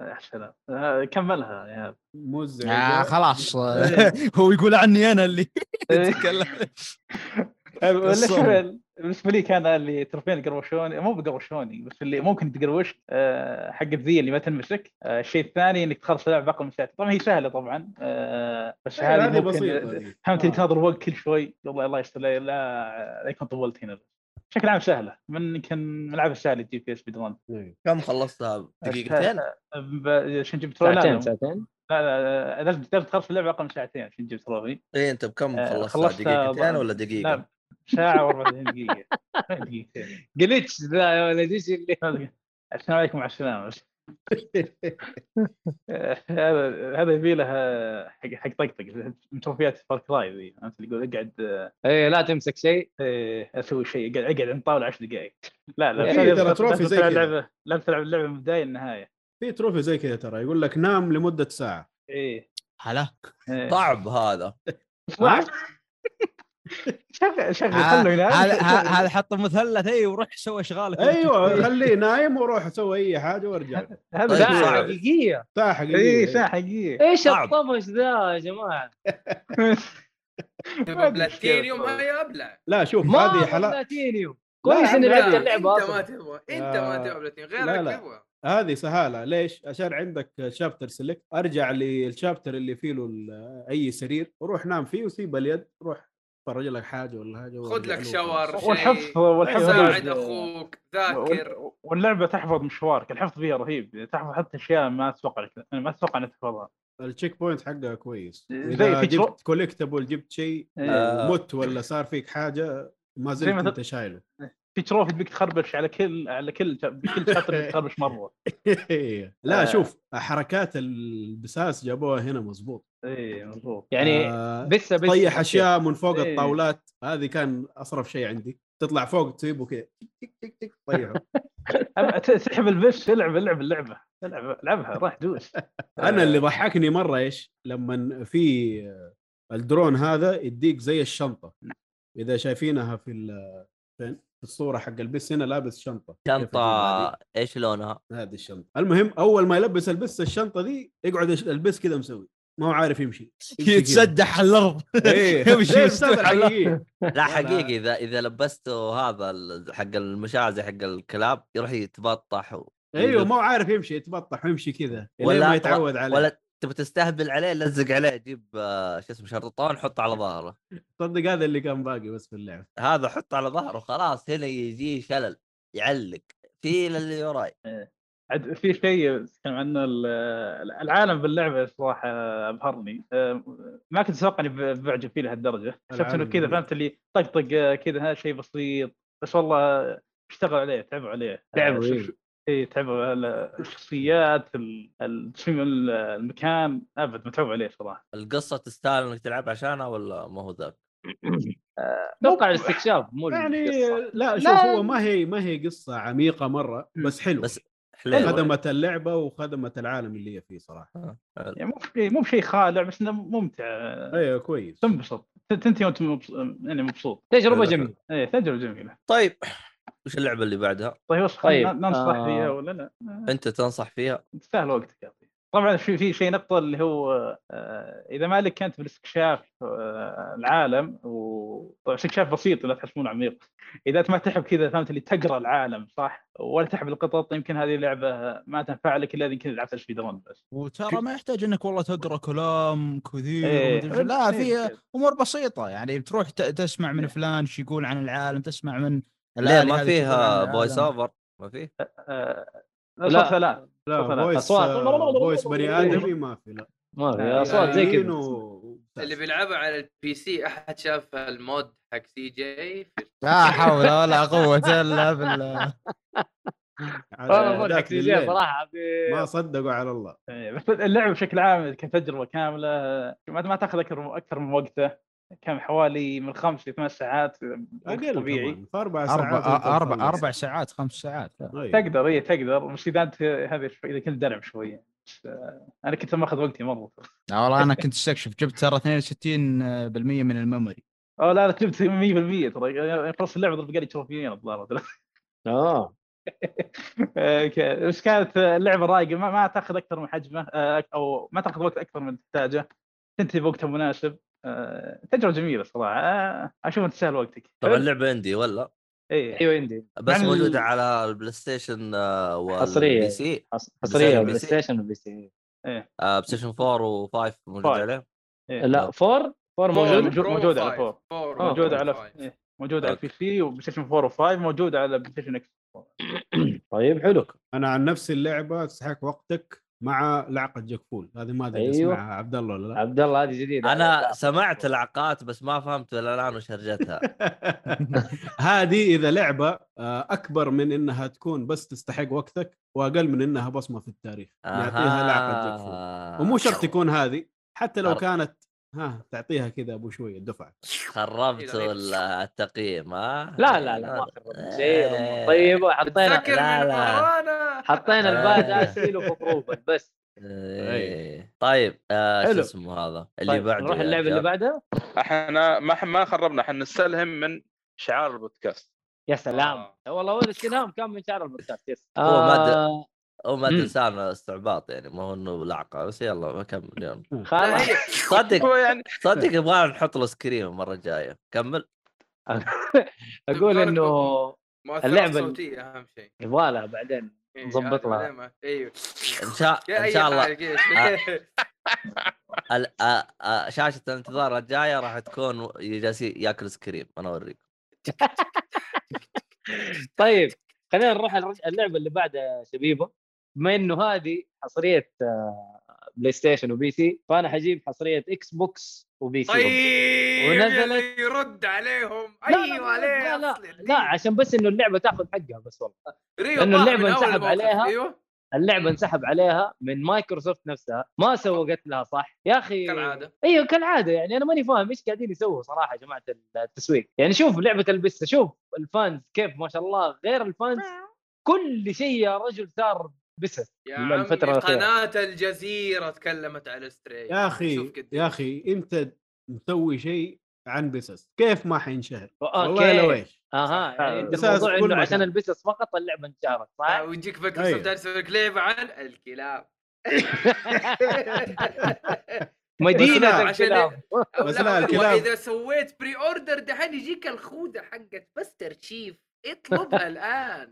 يا سلام آه، كملها يا هذا.
مزعجه
آه خلاص
إيه.
هو يقول عني انا اللي تكلم
آه، ولا شوف،
الصبر.
بالنسبه لي كان اللي تروفين قروشوني مو بقروشوني بس اللي ممكن تقروش آه، حق الذي اللي ما تنمسك آه، الشيء الثاني انك تخلص اللعبه بأقل من ساعتين طبعا هي سهله طبعا آه، بس
إيه،
هذه
هذه
ممكن-
بسيطه
فهمت اللي
آه.
تناظر وقت كل شوي والله الله يستر لا لا لا يكون طولت هنا بشكل عام سهله من يمكن من العاب السهله الجي بي اس بدون
إيه.
كم خلصتها دقيقتين
عشان تجيب تروفي لا
ساعتين
لا
ساعتين
لا، لا، لازم لازم تخلص اللعبه اقل من ساعتين عشان تجيب تروفي
اي انت إيه، بكم خلصتها
آه، خلصتها
دقيقتين
ب-
ولا
لا
دقيقه؟
ساعه و44 دقيقه دقيقتين
جلتش ذا يا ولد ايش اللي
السلام عليكم وعلى السلامه بس آه، هذا هذا يبي لها حق حق طقطقه من تروفيات فار كراي ذي فهمت اللي يقول اقعد آه،
ايه لا تمسك شيء
إيه، اسوي شيء اقعد اقعد عند الطاوله 10 دقائق لا لا
إيه،
بس هذه
ترى
لازم-
تروفي
لازم
زي
تلعب
كذا.
لعبه لازم تلعب اللعبه من البدايه للنهايه
في تروفي زي كذا ترى يقول لك نام لمده ساعه
ايه
هلا
إيه.
صعب هذا
صعب شغل شغل
آه،
هذا
خلوا ينام
هذا- هذا حط مثلث اي وروح سوي اشغالك إيه.
أيوة.
ايوه خليه نايم وروح سوي اي حاجه وارجع
هذا إيه،
طيب،
ساعه
صعب.
صعب
حقيقيه
ساعه حقيقيه
اي ساعه
إيه.
حقيقيه
ايش
صعب.
الطفش ذا يا جماعه
ما أدري إيش كيف
بلاتينيوم هاي ابلع
لا شوف
ما
هذه حلا
بلاتينيوم كويس
لا،
اني
لا،
لعبت
آه، لا،
اللعبه
انت ما
اصلا
تبغى انت ما
آه،
تبغى بلاتينيوم
لا،
غيرك
لا.
يبغى
هذه سهاله ليش؟ عشان عندك شابتر سيلكت ارجع للشابتر اللي فيه له ال- اي سرير روح نام فيه وسيب اليد روح فرج لك حاجه ولا حاجه
خذ
وارجع
لك
له.
شاور
والحفظ
شيء ساعد
والحفظ
اخوك ذاكر
وال- واللعبه تحفظ مشوارك الحفظ فيها رهيب تحفظ حتى اشياء ما اتوقع لك ما اتوقع انك تحفظها
التشيك بوينت حقها كويس
زي
اذا
في ترو-
جبت كوليكتبل جبت شيء
آه،
إيه.
مت ولا صار فيك حاجه ما
زي
زلت
ما
انت شايله
في تروفي تبيك تخربش على كل على كل كل شابتر تبيك تخربش مره
لا
آه.
شوف حركات البساس جابوها هنا مزبوط
اي إيه، مضبوط
يعني
آه،
بس بس
تطيح اشياء من فوق
إيه.
الطاولات هذه كان اصرف شيء عندي تطلع فوق تسيبه كذا تك تك تك طيحه
أما ت- تسحب البش العب العب اللعبه العب العبها راح دوس
انا اللي ضحكني مره ايش لما في الدرون هذا يديك زي الشنطه اذا شايفينها في ال- فين في الصوره حق البس هنا لابس شنطه كيف أجيب هذه؟
شنطه ايش لونها؟
هذه الشنطه المهم اول ما يلبس البس الشنطه دي يقعد يش- البس كذا مسوي ما هو عارف يمشي يمشي كذا.
يتسدح على الارض
إيه.
يمشي مستوي
زي الأستاذ
على الأرض.
الحقيقي
لا
لا، لا.
حقيقي اذا اذا لبسته هذا ال- حق المشاع زي حق الكلاب يروح يتبطح و...
ايوه ما هو عارف يمشي يتبطح ويمشي كذا ولا
ولا-
ما يتعود عليه
ولا تبي تستهبل عليه لزق عليه جيب آه، شو اسمه شرطون حطه على ظهره
تصدق هذا اللي كان باقي بس في اللعب
هذا حطه على ظهره خلاص هنا يجيه شلل يعلق في اللي وراي
عاد في شيء تكلم عنه ال- العالم باللعبه صراحه ابهرني أه، ما كنت اتوقع اني ب- بعجب فيه لهالدرجه حسبت انه
العالم
كذا
جميل.
فهمت اللي طقطق أه، كذا ها شيء بسيط بس والله اشتغلوا عليه تعبوا عليه
تعبوا، إيه.
اي تعبوا على الشخصيات ال- ال- تصميم ال- المكان ابد متعوب عليه صراحه
القصه تستاهل انك تلعب عشانها ولا ما هو ذاك؟
اتوقع الاستكشاف مو
يعني
القصة.
لا شوف
لا.
هو ما هي ما هي قصه عميقه مره بس حلو
بس يعني.
بس
حلو
خدمت اللعبه وخدمت العالم اللي هي فيه صراحه
يعني مو بشيء- مو بشيء خالع بس انه ممتع أه،
ايوه كويس
تنبسط ت- تنتهي وانت مبسوط- يعني مبسوط
تجربه جميله
اي تجربه جميله
طيب وش اللعبه اللي بعدها؟
طيب وش
طيب،
خلينا ننصح
آه.
فيها ولا لا؟
انت تنصح فيها؟
تستاهل وقتك يا أخي. طبعا في في شيء نقطه اللي هو آه، اذا مالك انت بالاستكشاف آه، العالم و طبعاً استكشاف بسيط لا تحسبونه عميق اذا انت ما تحب كذا فهمت اللي تقرا العالم صح ولا تحب القطط يمكن هذه اللعبه ما تنفع لك الا اذا يمكن لعبت سبيد رون بس
وترى ما يحتاج انك والله تقرا كلام كثير
إيه.
ومدري شو. لا في
إيه.
امور بسيطه يعني بتروح ت- تسمع من فلان شو يقول عن العالم تسمع من
لا
الآلي
ما
هذا شو يقول عن
فيها
العالم.
فويس اوفر ما فيه؟
آه،
لا.
صوت ثلاث
لا
تفضل.
فويس
أصوات.
آه، فويس بني ادمي ما في لا
ما في
يعني
اصوات زي
يعني
كذا
إنه
اللي بيلعبها على البي سي احد شاف المود حق سي جي في
لا حول ولا قوه الا بالله
آه،
على
والله
ذاك
مضحك
بالليل.
صراحه عبي-
ما صدقوا على الله
إيه، بس اللعبه بشكل عام كتجربه كامله ما ما تاخذ اكثر اكثر من وقته كان حوالي من خمس لثمان ساعات في وقت طبيعي
اقل طبيعي في اربع
اربع
ساعات أنت
اربع
تخلص.
اربع ساعات خمس ساعات
أيوة.
تقدر اي تقدر مش اذا انت هذه شوي اذا كنت درع شويه بس، آه، انا كنت ماخذ وقتي مره
لا والله انا كنت استكشف جبت ترى 62% من الميموري
اه لا انا جبت 100% ترى يعني خلص اللعبه ضرب لي تروفيين الظاهر
اه
آه، ك- بس كانت اللعبه رايقه ما, ما تاخذ اكثر من حجمه آه، او ما تاخذ وقت اكثر من تحتاجه تنتهي بوقتها مناسب آه، تجربه جميله صراحه آه، اشوف انت تسهل وقتك
طبعا لعبه عندي ولا
ايه
ايوه عندي
بس
نعم.
موجوده على البلاي ستيشن آه، والبي
حصرية.
سي
حص-
بلاي
حصريه
ستيشن.
بلاي ستيشن وبلاي ستيشن
آه، بلاي ستيشن 4 و5 موجود
فايف.
عليه
إيه.
لا فور فور موجود
موجود- موجود على فور.
آه،
موجوده على
فور
إيه، موجوده على
أوكي.
البي سي وبلاي ستيشن 4 و5 موجوده على بلاي ستيشن اكس
طيب حلو
انا عن نفسي اللعبه تستحق وقتك مع لعقه جكفول هذه ما ادري
أيوة.
أيوة. اسمعها عبد الله ولا لا
عبد الله هذه جديده
انا سمعت العقات بس ما فهمت الى الان وش هرجتها
هذه اذا لعبه آه، اكبر من انها تكون بس تستحق وقتك واقل من انها بصمه في التاريخ يعطيها لعقه جكفول
آه.
ومو شرط تكون هذه حتى لو
أر-
كانت ها تعطيها كذا ابو شويه دفعه
خربت ال- التقييم آه؟ إيه، ها
لا لا لا ما
آه.
خربت شيء الأمور طيبه حطينا
تذكر
لا،
من
لا.
ورانا
طيب، حطينا الباد
آه.
اسيل وفطروبة بس
إيه. طيب آه شو
حلو.
اسمه هذا اللي
طيب
بعده
نروح
يا
اللعبه اللي
رجال.
بعدها
احنا ما ما خربنا احنا نستلهم من شعار البودكاست
يا سلام
آه.
والله هو الاستلهام كان من شعر البودكاست يس
هو ما د-
آه،
هو ما
مم.
ادري سامع استعباط يعني ما هو انه لعقه بس يلا بكمل يلا
لا،
خلاص
هي-
صدق
هو يعني
صدق يبغى نحط له سكرين المره الجايه كمل
اقول انه
مؤثرات
اللعبة ال-
صوتيه اهم شيء
يبغى لها بعدين
إيه،
نظبط
هذه
لها.
بعدين ما- ايوه
ان شاء
يا
ان
أي
شاء الله
حاجة
آه.
كذا.
ال- آ- آ- شاشه الانتظار الجايه راح تكون جالس ياكل سكريم انا اوريك
طيب خلينا نروح الرج- اللعبه اللي بعدها يا شبيبه بما انه هذه حصريه آه، بلاي ستيشن وبي سي فانا حجيب حصريه اكس بوكس وبي سي
طيب
ونزلت-
اللي يرد عليهم
لا، لا،
ايوه
لا،
عليه
لا، لا،
أصل الدين.
لا عشان بس انه اللعبه تاخذ حقها بس والله
ريو
لأنه
طاح من
اللعبة
أول
انسحب
الموقف.
عليها.
ايوه
اللعبه انسحب عليها من مايكروسوفت نفسها ما سوقت لها صح يا اخي
كالعاده
ايوه كالعاده يعني انا ماني فاهم ايش قاعدين يسووا صراحه يا جماعه التسويق يعني شوف لعبه البسه شوف الفانز كيف ما شاء الله غير الفانز كل شيء يا رجل صار بسس
يا
من
عمي
الفترة الأخيرة.
قناه الجزيره تكلمت على ستريت
يا اخي
شوف إيه. قديش.
يا اخي انت مسوي شيء عن بسس كيف ما حينشهر والله لو إيه.
اوكي
ايش
اها يعني انت
بساس
الموضوع
كل
انه عشان
مكان.
البسس فقط اللعبه انشهرت
آه،
صح؟
ويجيك مايكروسوفت
أيوه.
تسوي لك لعبه عن الكلاب
مدينه
لا،
عشان
الكلاب
أو
بس
لا،
لا، الكلاب-
واذا سويت بري اوردر دحين يجيك الخوذه حقت مستر تشيف اطلبها الان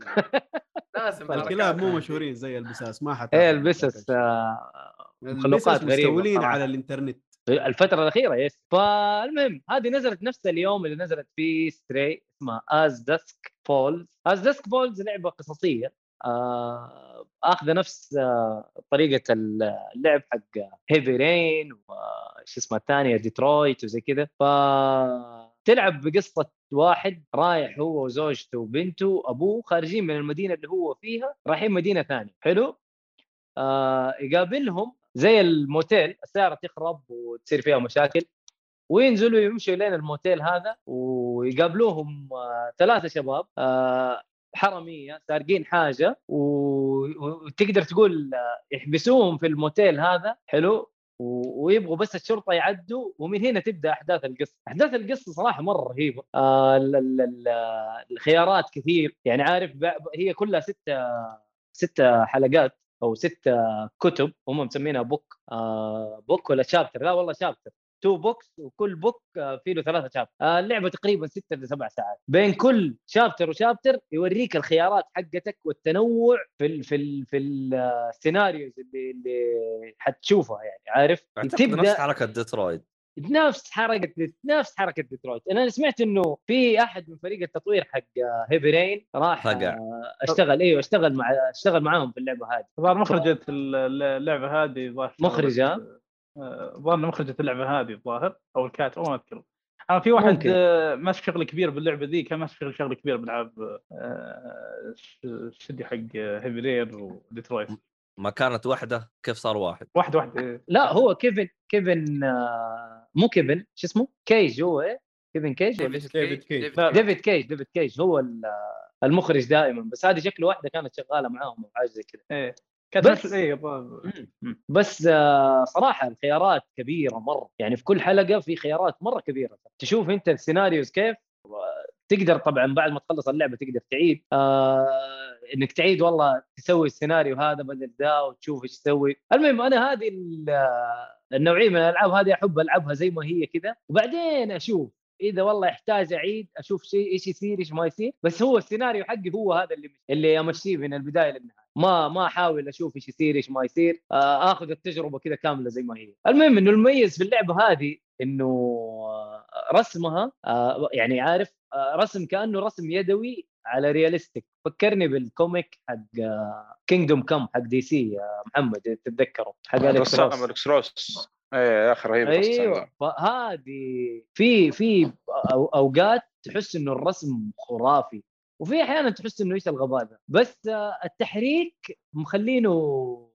لازم
الكلاب مو مشهورين زي البساس ما حتى
ايه البسس آه، مخلوقات غريبه
مستولين
صراحة.
على الانترنت
الفتره الاخيره يس فالمهم هذه نزلت نفس اليوم اللي نزلت فيه ستري اسمها از داسك فولز از داسك فولز لعبه قصصيه آه اخذه نفس آه طريقه اللعب حق هيفي رين وش اسمها الثانيه ديترويت وزي كذا ف تلعب بقصه واحد رايح هو وزوجته وبنته وابوه خارجين من المدينه اللي هو فيها رايحين مدينه ثانيه حلو آه يقابلهم زي الموتيل السياره تخرب وتصير فيها مشاكل وينزلوا يمشوا لين الموتيل هذا ويقابلوهم آه ثلاثه شباب آه حراميه سارقين حاجه و- وتقدر تقول آه، يحبسوهم في الموتيل هذا حلو و- ويبغوا بس الشرطه يعدوا ومن هنا تبدا احداث القصه، احداث القصه صراحه مره رهيبه، آه ال- ال- ال- آه، الخيارات كثير يعني عارف ب- هي كلها ستة ستة حلقات او ستة كتب هم مسمينها بوك آه بوك ولا شابتر لا والله شابتر تو بوكس وكل بوك آه، فيه له ثلاثة شابتر آه اللعبة تقريبا ستة لسبع ساعات بين كل شابتر وشابتر يوريك الخيارات حقتك والتنوع في ال في ال في ال- آه، السيناريوز اللي, اللي حتشوفها يعني عارف
اعتقد نفس حركه ديترويد
نفس حركه نفس حركه ديترويت انا سمعت انه في احد من فريق التطوير حق آه، هيفي رين راح
فقع.
آه، اشتغل ايوه اشتغل مع اشتغل معاهم في اللعبه هذه
الظاهر مخرجه ال- ال- اللعبه هذه ظاهر
مخرجة.
ظن مخرجه اللعبه هذه الظاهر او الكاتب أو ما اذكر انا في واحد
ممكن.
آه، ماسك شغل كبير باللعبه ذي كان ماسك شغل- شغل كبير بالعاب آه، ش- استوديو حق هيفي رير وديترويت
ما كانت واحده كيف صار واحد
واحد واحد إيه.
لا هو كيفن كيفن آه، مو كيفن شو اسمه كيج هو ايه كيفن كيج ولا
ديفيد
شو اسمه؟
كيج-
كيج.
ديفيد
لا،
كيج.
ديفيد كيج ديفيد كيج هو ال- آه، المخرج دائما بس هذه شكله واحده كانت شغاله معاهم او حاجه زي كذا
إيه. كانت
بس-
بس اي الظاهر.
بس آه، صراحه الخيارات كبيره مره يعني في كل حلقه في خيارات مره كبيره تشوف انت السيناريوز كيف و- تقدر طبعا بعد ما تخلص اللعبه تقدر تعيد آه انك تعيد والله تسوي السيناريو هذا بدل ذا وتشوف ايش تسوي المهم انا هذه ال- النوعيه من الالعاب هذه احب العبها زي ما هي كذا وبعدين اشوف اذا والله احتاج اعيد اشوف شيء ايش يصير ايش ما يصير بس هو السيناريو حقي هو هذا اللي اللي امشيه من البدايه للنهايه ما ما احاول اشوف ايش يصير ايش ما يصير آه، اخذ التجربه كذا كامله زي ما هي المهم انه المميز في اللعبه هذه انه آه، رسمها آه، يعني عارف آه، رسم كانه رسم يدوي على رياليستيك فكرني بالكوميك حق كينجدوم كم حق دي سي يا محمد تتذكره حق أليكس
رسام
روس.
الكس روس ايه يا اخي رهيب الرسام
أيوة.
ايوه
ده.
فهذه في في أو- اوقات تحس انه الرسم خرافي وفي احيانا تحس انه ايش الغباء ذا بس آه، التحريك مخلينه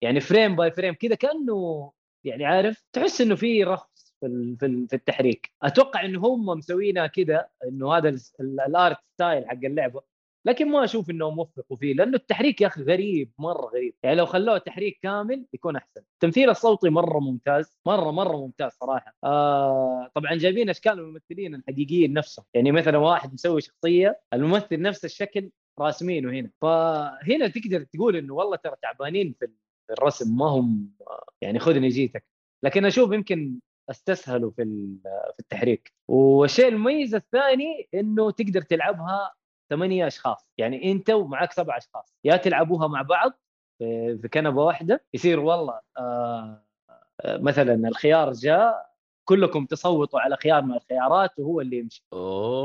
يعني فريم باي فريم كذا كانه يعني عارف تحس انه في رخص في ال- في ال- في التحريك اتوقع انه هم مسوينها كذا انه هذا ال- ال- الارت ستايل حق اللعبه لكن ما اشوف انهم وفقوا فيه لانه التحريك يا اخي غريب مره غريب يعني لو خلوه تحريك كامل يكون احسن التمثيل الصوتي مره ممتاز مره مره ممتاز صراحه آه طبعا جايبين اشكال الممثلين الحقيقيين نفسهم يعني مثلا واحد مسوي شخصيه الممثل نفس الشكل راسمينه هنا فهنا تقدر تقول انه والله ترى تعبانين في في الرسم ما هم آه، يعني خذني جيتك لكن اشوف يمكن استسهلوا في ال- في التحريك والشيء المميز الثاني انه تقدر تلعبها ثمانية اشخاص يعني انت ومعك سبع اشخاص يا تلعبوها مع بعض في في كنبه واحده يصير والله آه آه، مثلا الخيار جاء كلكم تصوتوا على خيار من الخيارات وهو اللي يمشي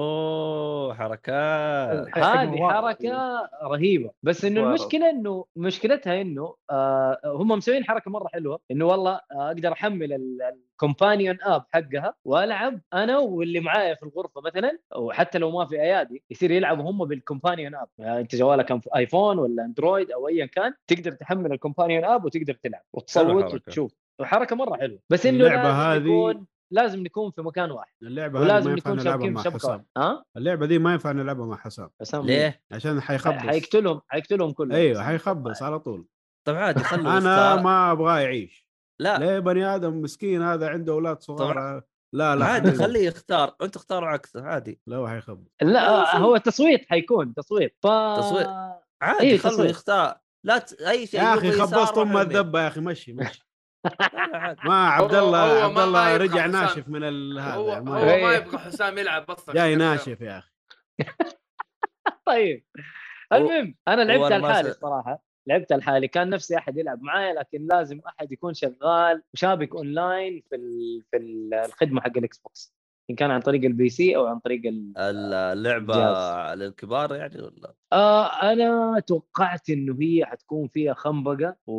اوه حركات
هذه حركه رهيبه بس انه
واو.
المشكله انه مشكلتها انه آه هم مسوين حركه مره حلوه انه والله آه اقدر احمل الكومبانيون اب حقها والعب انا واللي معايا في الغرفه مثلا وحتى لو ما في ايادي يصير يلعبوا هم بالكومبانيون اب يعني انت جوالك أنف- ايفون ولا اندرويد او ايا كان تقدر تحمل الكومبانيون اب وتقدر تلعب وتصوت
الحركة.
وتشوف وحركه مره حلوه بس انه
اللعبة
لازم
هذه-
نكون لازم نكون في مكان واحد
اللعبه هذه
ولازم
ما ينفع
نكون
نلعبها
شابكين في
مع
شبكه
حساب
واحده ها
اللعبه دي ما ينفع نلعبها مع حساب
حسام
ليه؟
عشان حيخبص
حيقتلهم حيقتلهم كلهم
ايوه حيخبص على طول
طب طيب عادي خلوا
انا
الستار.
ما ابغاه يعيش
لا.
ليه بني ادم مسكين هذا عنده اولاد صغار لا لا
عادي
خليه-
خليه يختار انت اختاروا عكسه
إيه،
عادي
لا هو حيخبص
لا هو تصويت حيكون تصويت ف
تصويت. عادي
إيه،
إيه خلوا
تصويت.
يختار لا ت... اي شيء
يا اخي
يبغى يسار
خبصت ام
روح يمين.
الذبه يا اخي مشي مشي
لا، لا، عادي.
ما عبد الله
هو- هو
عبد
ما- ما
الله
يبقى
رجع
حسام.
ناشف من ال-
هو
هذا
هو
ما-
ما يبغى حسام يلعب اصلا
جاي ناشف يا اخي
طيب المهم انا
هو
لعبتها
أنا ما
لحالي
س-
الصراحه لعبتها لحالي كان نفسي احد يلعب معايا لكن لازم احد يكون شغال وشابك اونلاين في ال... في ال- الخدمه حق الاكس بوكس ان كان عن طريق البي سي او عن طريق ال...
اللعبه
آه، جاز.
للكبار يعني ولا
آه انا توقعت انه هي حتكون فيها خنبقه و...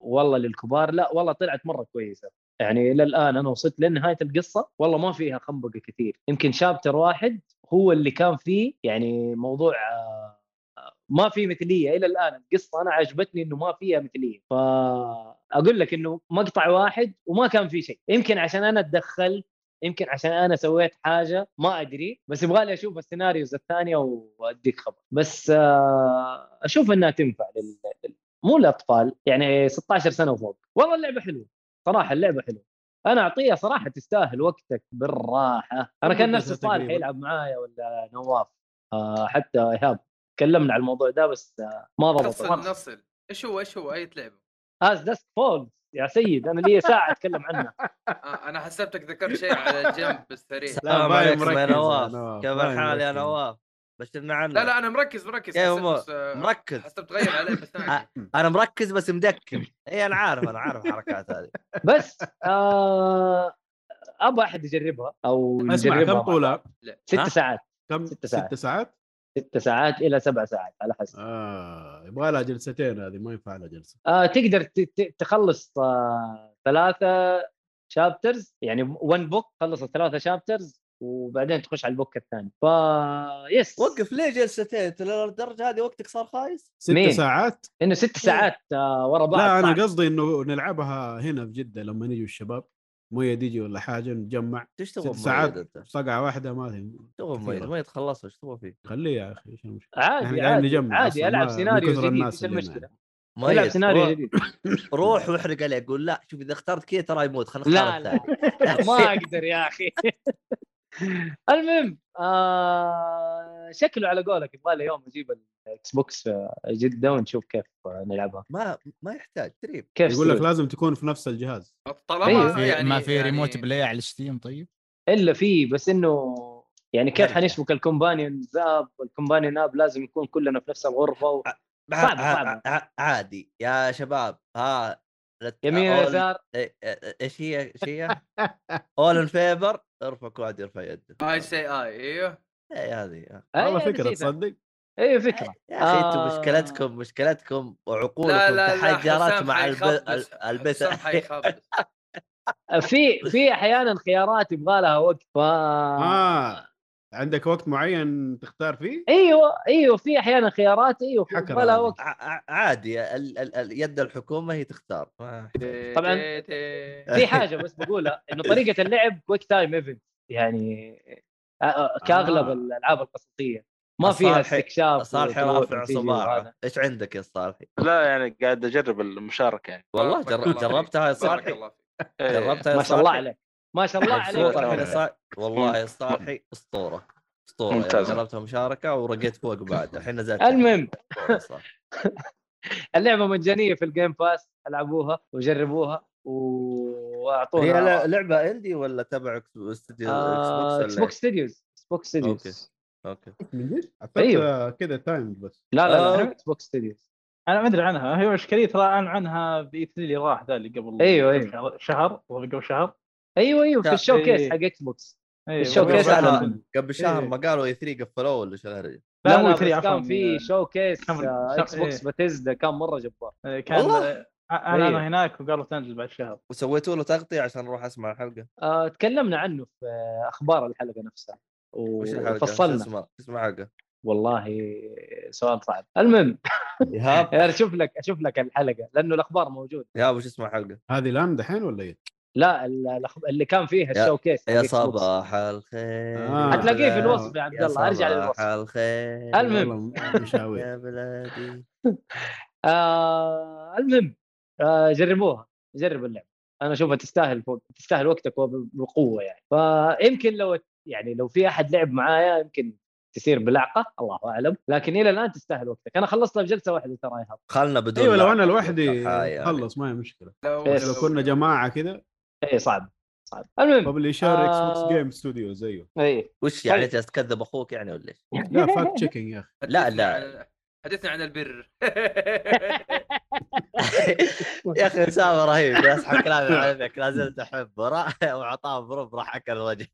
والله للكبار لا والله طلعت مره كويسه يعني الى الان انا وصلت لنهايه القصه والله ما فيها خنبقه كثير يمكن شابتر واحد هو اللي كان فيه يعني موضوع آه آه، ما في مثليه الى الان القصه انا عجبتني انه ما فيها مثليه فاقول لك انه مقطع واحد وما كان في شيء يمكن عشان انا اتدخلت يمكن عشان انا سويت حاجه ما ادري بس يبغى لي اشوف السيناريوز الثانيه واديك خبر بس آه، اشوف انها تنفع لل... لل- مو الاطفال يعني 16 سنه وفوق والله اللعبه حلوه صراحه اللعبه حلوه انا اعطيها صراحه تستاهل وقتك بالراحه انا كان
مدتها
نفسي صالح
تقريباً؟
يلعب معايا ولا نواف آه، حتى ايهاب تكلمنا على الموضوع ده بس آه، ما
نصل
ضبط
نصل ايش هو ايش هو اي لعبه؟
از داسك فولز يا سيد انا لي ساعه اتكلم عنها
آه انا حسبتك ذكرت شيء على جنب
إيه.
السريع
السلام
ما هي
عليكم يا
مركزة يا
نواف
نواف،
كيف
ما هي
الحال يا
مركزة.
نواف بشرنا عنك
لا لا انا مركز مركز
يا آه.
حسبت-
مو-
آه،
مركز
حسبت تغير على لعبه ثانيه
انا مركز بس مدكن اي انا عارف انا عارف الحركات هذه
بس آه ابغى احد يجربها او
اسمع
نجربها
كم
مع-
طولها؟
ست
ها؟
ساعات
كم
ست ساعات.
ست ساعات؟
ست ساعات الى سبع ساعات على حسب
اه يبغى لها جلستين هذه ما ينفع لها جلسه
آه تقدر ت- ت- تخلص آه ثلاثه شابترز يعني 1 بوك خلص الثلاثه شابترز وبعدين تخش على البوك الثاني فا يس
وقف ليه جلستين ترى الدرجه هذه وقتك صار خايس
ست
مين؟
ساعات
انه ست ساعات آه، ورا بعض
إيه. لا
صعب.
انا قصدي انه نلعبها هنا في جده لما نجي الشباب مؤيد يجي ولا حاجه نتجمع
ايش تبغى
ست
مؤيد
ساعات.
انت؟
صقعه واحده ما تهم.
تبغى مؤيد
كثيرة.
ما يتخلصوا ايش تبغى فيه؟
خليه يا اخي ايش المشكله
عادي
احنا قاعدين
عادي,
يعني نجمع
عادي
أصلاً،
العب
ما- من
سيناريو
كثر
جديد
الناس
ايش
اللي هنا.
المشكله؟ العب
مؤيد
سيناريو
روح-
جديد
روح واحرق عليه قول لا شوف اذا اخترت كذا ترى يموت خلينا نختار
لا لا
الثاني
ما اقدر يا اخي المهم آه شكله على قولك يبغى لي يوم اجيب الاكس بوكس آه، جده ونشوف كيف آه، نلعبها
ما ما يحتاج تريب
كيف
يقول لك
سلوك؟
لازم تكون في نفس الجهاز
طالما
في-
يعني
إيه، ما في
يعني
ريموت بلاي على الستيم طيب
الا في بس انه يعني كيف
مرجع.
حنشبك الكومبانيونز اب والكومبانيون اب لازم نكون كلنا في نفس الغرفه و... صعبة، صعبة.
ع- ع- عادي يا شباب ها لت-
يمين
أول-
يسار
إيه، إيه، ايش هي ايش هي؟ اول ان فيفر ارفع كواد يرفع يده
اي سي اي ايوه
اي هذه آه.
والله
أي،
فكره
نسيتها.
تصدق
اي فكره
يا اخي
آه.
انتم مشكلتكم مشكلتكم
لا
وعقولكم
لا لا
تحجرت
حسام
مع الب-
حيخبص.
ال- البس
حسام حيخبص.
في في احيانا خيارات يبغى لها وقت ف
اه عندك وقت معين تختار فيه؟
ايوه ايوه في احيانا خيارات ايوه
حكر
يبغى لها
هذه.
وقت
ع- ع- عادي ال- ال- ال- يد الحكومه هي تختار ما-
إيه، طبعاً.
تي- تي-
آه،
تي.
في حاجه بس بقولها انه طريقه اللعب كويك تايم ايفنت يعني آه، آه، كاغلب
آه.
الالعاب القصصيه ما
الصالحي-
فيها استكشاف
صالحي
وتروح
رافع
وتيجي وهذا.
صباعه ايش عندك يا صالحي؟
لا يعني قاعد اجرب المشاركه يعني
والله
بارك
جر-
الله فيك.
جربتها يا
بارك
صالحي
الله فيك
إيه.
جربتها يا
ما شاء الله
صالحي؟
عليك ما شاء الله عليك
مبسوط
والله.
الحين يا صالح والله يا
مم.
صالحي اسطوره اسطوره يعني
ممتاز.
جربتها مشاركه ورقيت فوق بعد الحين نزلت
المهم.
أسطورة يا صالح.
اللعبه مجانيه في الجيم باس العبوها وجربوها و- واعطوها
هي ل- لعبه اندي ولا تبع إكس- استوديو اكس بوكس
آه،
ولا إيه؟
اكس
إيش؟
بوكس ستوديوز اكس بوكس ستوديوز
اوكي
من جد؟
أيوه.
ايوه كذا تايم بس
لا لا
آه.
لا اكس بوكس ستوديوز
انا ما ادري عنها هي مشكلتي ترى اعلن عنها باي 3 اللي راح ذا اللي قبل
أيوه، أيوه.
شهر- شهر ولا قبل شهر
ايوه ايوه في
لا،
الشو كيس
إيه.
حق اكس بوكس
ايوه
الشو كيس
والله.
اعلن عنه
قبل شهر
إيه.
ما قالوا اي 3 قفلوه ولا شهر
لا
لا
مو
لا
E3
بس
عفواً.
كان في آه. شو كيس
كم-
اكس
شهر-
بوكس
إيه.
باتيزدا كان مره جبار
آه، كان
والله؟
آه، انا
أيوه.
انا هناك وقالوا تنزل بعد شهر
وسويتوا له تغطيه عشان اروح اسمع الحلقه
آه، تكلمنا عنه في آه، اخبار الحلقه نفسها و-
وش الحلقه؟ شو
وفصلنا
اسمها؟ شو اسمها الحلقه؟
والله سؤال صعب المهم
ايهاب
اشوف لك اشوف لك الحلقه لانه الاخبار موجوده
ايهاب وش اسمها الحلقه؟
هذه الان دحين ولا ايه؟
لا ال- الأخب- اللي كان فيها الشوكيس
يا صباح الخير
آه.
هتلاقيه في الوصف يا عبد
يا
الله ارجع
صباح
للوصف
الخير
المهم.
والله مشاوير
يا بلادي
آه المهم آه جربوها جرب اللعبه انا اشوفها تستاهل فوق تستاهل وقتك وب- بقوه يعني فيمكن لو يعني لو في احد لعب معايا يمكن تصير بلعقه الله اعلم لكن الى الان تستاهل وقتك انا خلصتها بجلسه واحده ترى يا هاب
خلنا بدون
ايوه لو
لعب.
انا لوحدي
آه،
ضحايا يعني.
خلص ما هي مشكله
لو
بس.
لو كنا جماعه كذا
اي صعب صعب المهم
ببلشر اكس بوكس
آه.
جيم ستوديو زيه
اي
وش يعني
طيب.
جالس تكذب اخوك يعني ولا ايش؟
لا فاكت تشيكينج يا اخي
لا،
حدثنا
لا.
عن- حدثنا عن البر
يا اخي اسامه رهيب اسحب كلامي عليك لا زلت احبه راح وعطاه بروب راح اكل وجه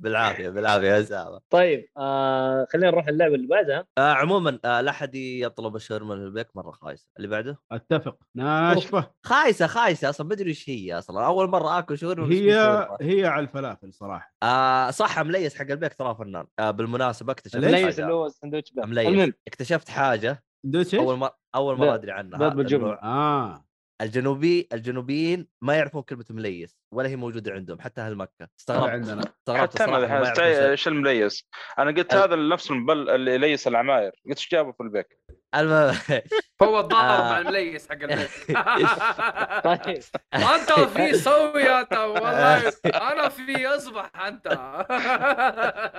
بالعافيه بالعافيه يا اسامه
طيب آه خلينا نروح اللعبه اللي بعدها
آه عموما آه لا احد يطلب الشاورما من البيك مره خايسه اللي بعده
اتفق ناشفه
خايسه خايسه اصلا ما ادري ايش هي اصلا اول مره اكل شاورما باسم
هي
شاورما.
هي على الفلافل صراحه
آه صح مليس حق البيك ترى فنان آه بالمناسبه اكتشفت
مليس
حاجة.
اللي هو السندوتش بقى
مليس
المهم
اكتشفت حاجه
دوتش
اول مره اول مره
بيض.
ادري عنها
بيض بالجبن.
إنه
اه
الجنوبي الجنوبيين ما يعرفون كلمه مليس ولا هي موجوده عندهم حتى اهل مكه
طلع
استغربت
عندنا
استغربت
حتى انا
صراحة إنه ما
الحين
يعرفون شيء.
ايش المليس؟ انا قلت
ال-
هذا نفس المبل اللي يليس العماير قلت ايش جابه في البيك؟
المهم
هو الضارب
آه.
مع المليس حق البيت
طيب
انت في سوي انت والله انا في اصبح انت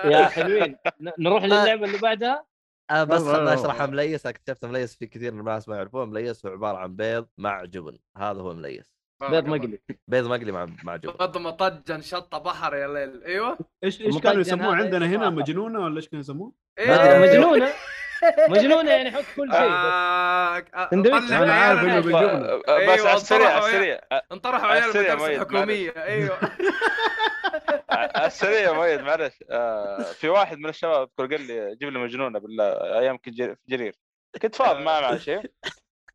يا حلوين ن- نروح للعبه اللي بعدها
آه، بس
والله
خلنا
والله.
اشرح عن مليس اكتشفت مليس في كثير من الناس ما يعرفون مليس هو عباره عن بيض مع جبن هذا هو مليس
آه،
بيض مقلي
بيض مقلي مع مع جبن
بيض مطجن شطه بحر يا ليل ايوه
ايش ايش
المطجن
كانوا يسموه
هذا
عندنا هنا
صراحة.
مجنونه ولا ايش كانوا يسموه؟
ما أدري،
إيه.
مجنونه مجنونه يعني حط كل شيء بس
آه، آه،
سندويتش.
طلع
انا عارف
عيالنا.
انه بالجبنه
بس
أيوة،
على السريع على
انطرحوا يا-
السريع على
انطرحوا عيال
السريع
المدارس
مؤيد،
الحكوميه ايوه
على آه، السريع يا مؤيد معلش آه، في واحد من الشباب اذكر قال لي جيب لي مجنونه بالله طيب ايام كنت جري- في جرير كنت فاضي ما معي شيء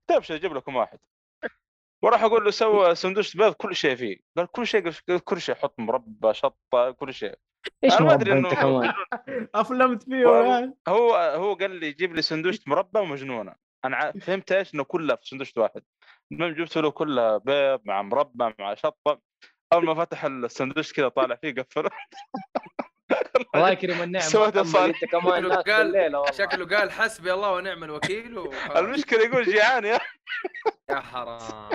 تبشر اجيب لكم واحد وراح اقول له سوى سندوتش بيض كل شيء فيه قال كل شيء قال كل شيء حط مربى شطه كل شيء
ايش
أنا ما أدري
مربى انت
إنه-
كمان
افلمت فيه
والله.
والآن.
هو هو قال لي جيب لي سندوتش مربى ومجنونه انا ع- فهمت ايش انه كلها في سندوتش واحد المهم جبت له كلها بيض مع مربى مع شطه اول ما فتح السندوتش كذا طالع فيه قفله
الله يكرم النعمه
سويت
محمد،
صالح.
انت كمان
شكله
ناس
قال-
الليله والله
شكله قال حسبي الله ونعم الوكيل وخلاص.
المشكله يقول جيعان يا أخي.
يا حرام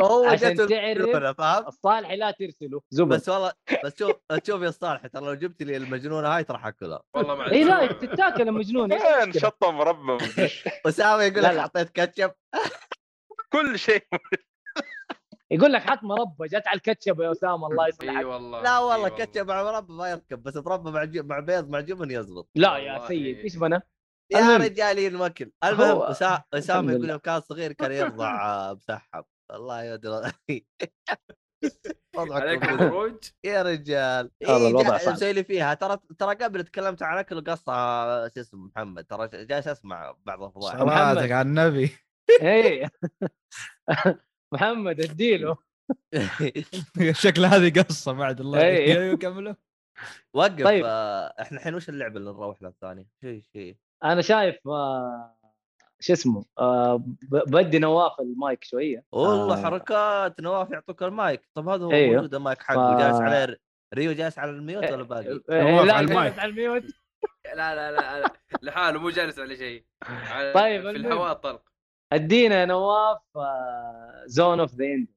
هو
عشان
جت
تعرف.
المجنونة، فاهم
الصالحي لا ترسله زبد
بس والله بس شوف شوف يا صالح ترى لو جبت لي المجنونه هاي ترى حاكلها
والله ما
اي إيه، لا تتاكل المجنون إيش
وين
المشكلة؟
شطه مربى ومدري.
اسامه يقول
لا،
لك
لا.
حطيت كاتشب
كل شيء
يقول لك حط مربى جت على الكاتشب يا اسامه الله
اي
يصلحك
والله
لا
إي
والله كاتشب مع مربى ما يركب بس مربى مع جب... مع بيض مع جبن يزبط
لا يا
والله.
سيد ايش بنا؟
يا
المهم.
رجالين وكل المهم
هو-
أسا- اسامه
الحمد
يقول
لله.
يوم كان صغير كان يرضع آه، مسحب الله يدري وضعك
عليك
مبروك.
مبروج
يا رجال
هذا
اي
الوضع
جا-
صعب.
مسوي لي فيها ترى ترى قبل تكلمت عن اكل قصه شو اسمه محمد ترى جالس اسمع بعض الفضائح
صلاتك على النبي
اي إيه. محمد اديله
شكل هذه قصه بعد الله
إيه.
يعينك. كمله
وقف
طيب.
آه، احنا الحين وش اللعبه اللي نروح لها الثانيه؟ شيء شيء
انا شايف آه، شو اسمه آه، ب- بدي نواف المايك شويه
والله
آه.
حركات نواف يعطوك المايك طب هذا هو
أيوه.
موجود المايك حقه
ف-
جالس عليه ر- ريو جالس على الميوت ولا باقي؟
إيه، لا
على المايك.
جالس على الميوت
لا لا لا لا لحاله مو جالس على شيء على-
طيب،
في
المهم.
الهواء طلق
ادينا يا نواف آه، زون اوف ذا اند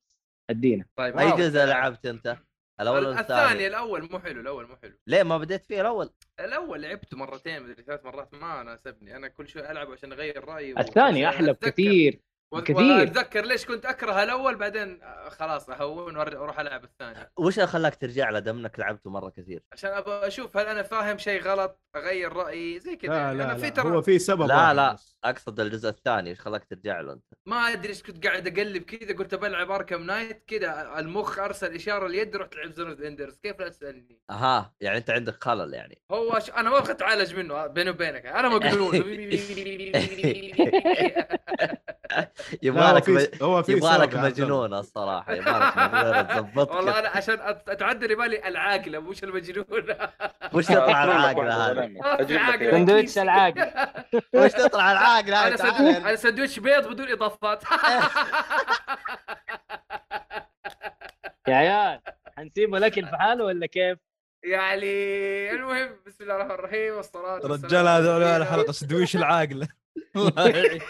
ادينا
طيب
اي
واو.
جزء لعبت انت؟ الاول ولا
الثاني
الثاني؟
الاول مو حلو الاول مو حلو
ليه ما بديت فيه الاول؟
الاول لعبته مرتين مدري ثلاث مرات ما ناسبني انا كل شوي العب عشان اغير رايي و-
الثاني
عشان
احلى
أتذكر.
بكثير
و-
بكثير.
واتذكر ليش كنت اكره الاول بعدين آه، خلاص اهون وأر- واروح العب الثاني
وش اللي خلاك ترجع له دام انك لعبته مره كثير؟
عشان ابغى اشوف هل انا فاهم شيء غلط اغير رايي زي كذا
لا
يعني.
لا,
انا في
لا.
ترى
هو في سبب
لا،
واحد
لا.
بس.
اقصد الجزء الثاني ايش خلاك ترجع له انت؟
ما ادري ايش كنت قاعد اقلب كذا قلت بلعب اركم نايت كذا المخ ارسل اشاره اليد رحت لعب زون اندرز كيف لا تسالني
اها يعني انت عندك خلل يعني
هو ش... انا ما ابغى اتعالج منه بيني وبينك انا مجنون
لا
يبغى
هو
لك
في
م-
هو في
يبغى
سبب
لك
يا عبد الله.
مجنون الصراحه يبغى لك مجنون
والله
تظبطك
انا عشان أت- اتعدل يبالي العاقله مش المجنون
وش تطلع
أقول لك
العاقله
واحدة
هذه؟
ونعمة.
ما في
أجيب لك
عاقلة.
إياها.
سندويتش العاقل
وش تطلع العاقله هذه؟
انا
تعال
سندويش
يعني.
انا سندويش بيض بدون اضافات
يا عيال حنسيبه الاكل في حاله ولا كيف؟
يعني المهم بسم الله الرحمن الرحيم والصلاه والسلام
الرجال
على
هذول
نبينا
على حلقه سندويش العاقله الله يعين.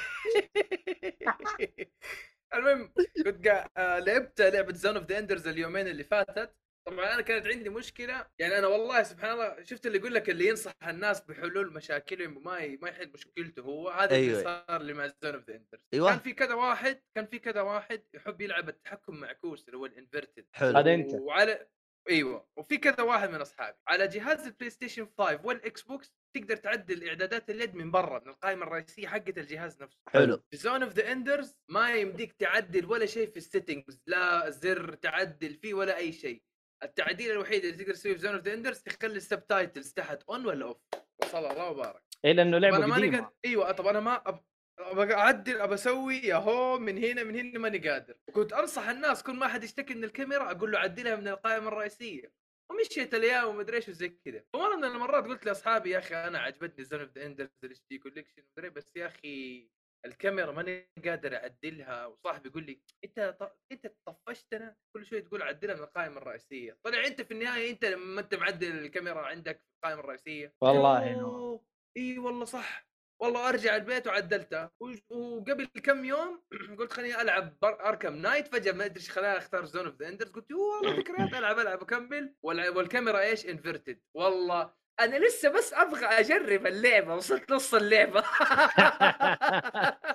المهم كنت قاعد آه، لعبت لعبه زون اوف ذا اندرز اليومين اللي فاتت طبعا انا كانت عندي مشكله يعني انا والله سبحان الله شفت اللي يقول لك اللي ينصح الناس بحلول مشاكلهم وما ي- ما يحل مشكلته هو هذا
أيوة.
اللي صار لي مع زون اوف ذا اندرز كان
أيوة.
ايوه
في كذا واحد كان في كذا واحد يحب يلعب التحكم معكوس اللي هو الانفرتد
حلو
هذا انت
وعلى ايوه وفي كذا واحد من اصحابي على جهاز البلاي ستيشن 5 والاكس بوكس تقدر تعدل اعدادات اليد من برا من القائمه الرئيسيه حقت الجهاز نفسه
حلو
في زون اوف ذا اندرز ما يمديك تعدل ولا شيء في السيتنجز لا زر تعدل فيه ولا اي شيء التعديل الوحيد اللي تقدر تسويه في زون اوف ذا اندرز تخلي السبتايتلز تحت اون ولا اوف وصلى الله وبارك
الا انه
طب
لعبه
انا ماني قادر
قديمه
ايوه طب انا ما أب... ابغى اعدل ابى اسوي يا هو من هنا من هنا ماني قادر كنت انصح الناس كل ما احد يشتكي من الكاميرا اقول له عدلها من القائمه الرئيسيه ومشيت الايام ومدري ايش وزي كذا فمره من المرات قلت لاصحابي يا اخي انا عجبتني زون اوف ذا اندرز الاتش دي كوليكشن مدري بس يا اخي الكاميرا ماني قادر اعدلها وصاحبي يقول لي انت ط... انت طفشتنا كل شويه تقول عدلها من القائمه الرئيسيه طلع انت في النهايه انت لما انت معدل الكاميرا عندك في القائمه الرئيسيه قلت له،
والله إنه-
"أوه، اي والله صح والله ارجع البيت وعدلتها وج- وقبل كم يوم قلت خليني العب بر... اركم نايت فجاه ما ادري ايش خلاني اختار زون اوف ذا اندرز قلت "يو والله ذكريات العب العب اكمل والع- والكاميرا ايش انفرتد والله انا لسه بس ابغى اجرب اللعبه وصلت نص اللعبه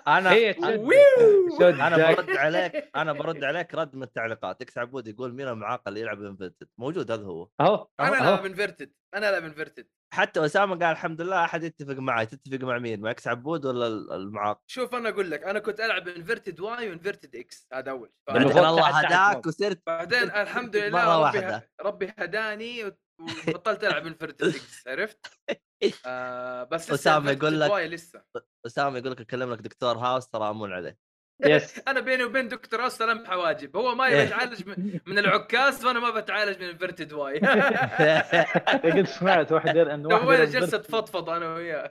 انا
هي تشد
ويو!
شد
انا
جاك.
برد عليك انا برد عليك رد من التعليقات اكس عبود يقول مين المعاق اللي يلعب انفنتد موجود هذا هو
اهو
انا
أهو.
العب انفرتد انا العب انفرتد
حتى اسامه قال الحمد لله احد يتفق معي تتفق مع مين مع اكس عبود ولا ال- المعاق
شوف انا اقول لك انا كنت العب انفرتد واي وانفرتد اكس هذا اول ف-
بعدين
بعدين
فوق
الله
تحت تحت
هداك
فوق.
وصرت
بعدين الحمد
مرة
لله ربي, ه...
واحدة.
ربي هداني و- وبطلت العب انفرتد اكس عرفت؟ آه بس لسه
أسامة يقول
Inverted
لك-
واي لسه
اسامه يقول لك اكلم لك دكتور هاوس ترى امون عليه
يس
انا بيني وبين دكتور اسلم حواجب هو ما
إيه.
يبي يتعالج من- من العكاز وانا ما بتعالج من انفرتد واي
قد إيه، سمعت واحد يلعب- ان واحد
سوينا
يلعب
جلسه فضفض انا وياه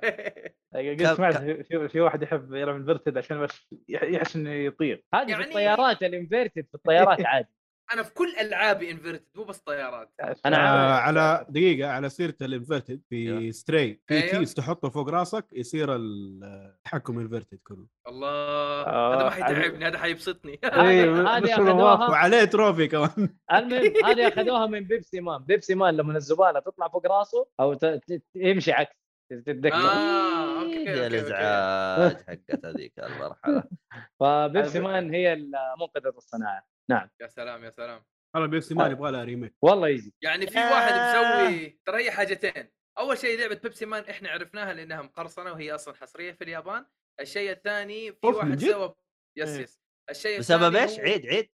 قد سمعت في- في- في واحد يحب يلعب انفرتد عشان بس يح- يحس انه يطير
هذه
يعني-
في الطيارات الانفيرتد في الطيارات عادي
انا في كل العابي انفرتد مو بس طيارات
يعني
أنا
آه
عارف.
على دقيقه على سيره الانفرتد في ستري في
أيوه.
كيس تحطه فوق راسك يصير التحكم انفرتد كله
الله
آه،
هذا ما
عجيب.
حيتعبني هذا حيبسطني
إيه،
هذه
بس
اخذوها
وعليه تروفي كمان
المهم هذه اخذوها من بيبسي مان بيبسي مان لما الزباله تطلع فوق راسه او ت- ت- يمشي عكس تتذكر
اه اوكي
يا
اوكي, أوكي.
الازعاج حقت هذيك الله يرحمها
فبيبسي مان هي منقذه الصناعه
يا سلام يا سلام
والله بيبسي
طيب.
ما يبغى لها ريميك
والله يجي
يعني
آه.
في واحد مسوي ترى هي حاجتين اول شيء لعبه بيبسي مان احنا عرفناها لانها مقرصنه وهي اصلا حصريه في اليابان الشيء الثاني في
أوف، من
واحد
جد؟
سوى يس
إيه.
يس الشيء
بسبب
الثاني
ايش؟
هو
عيد عيد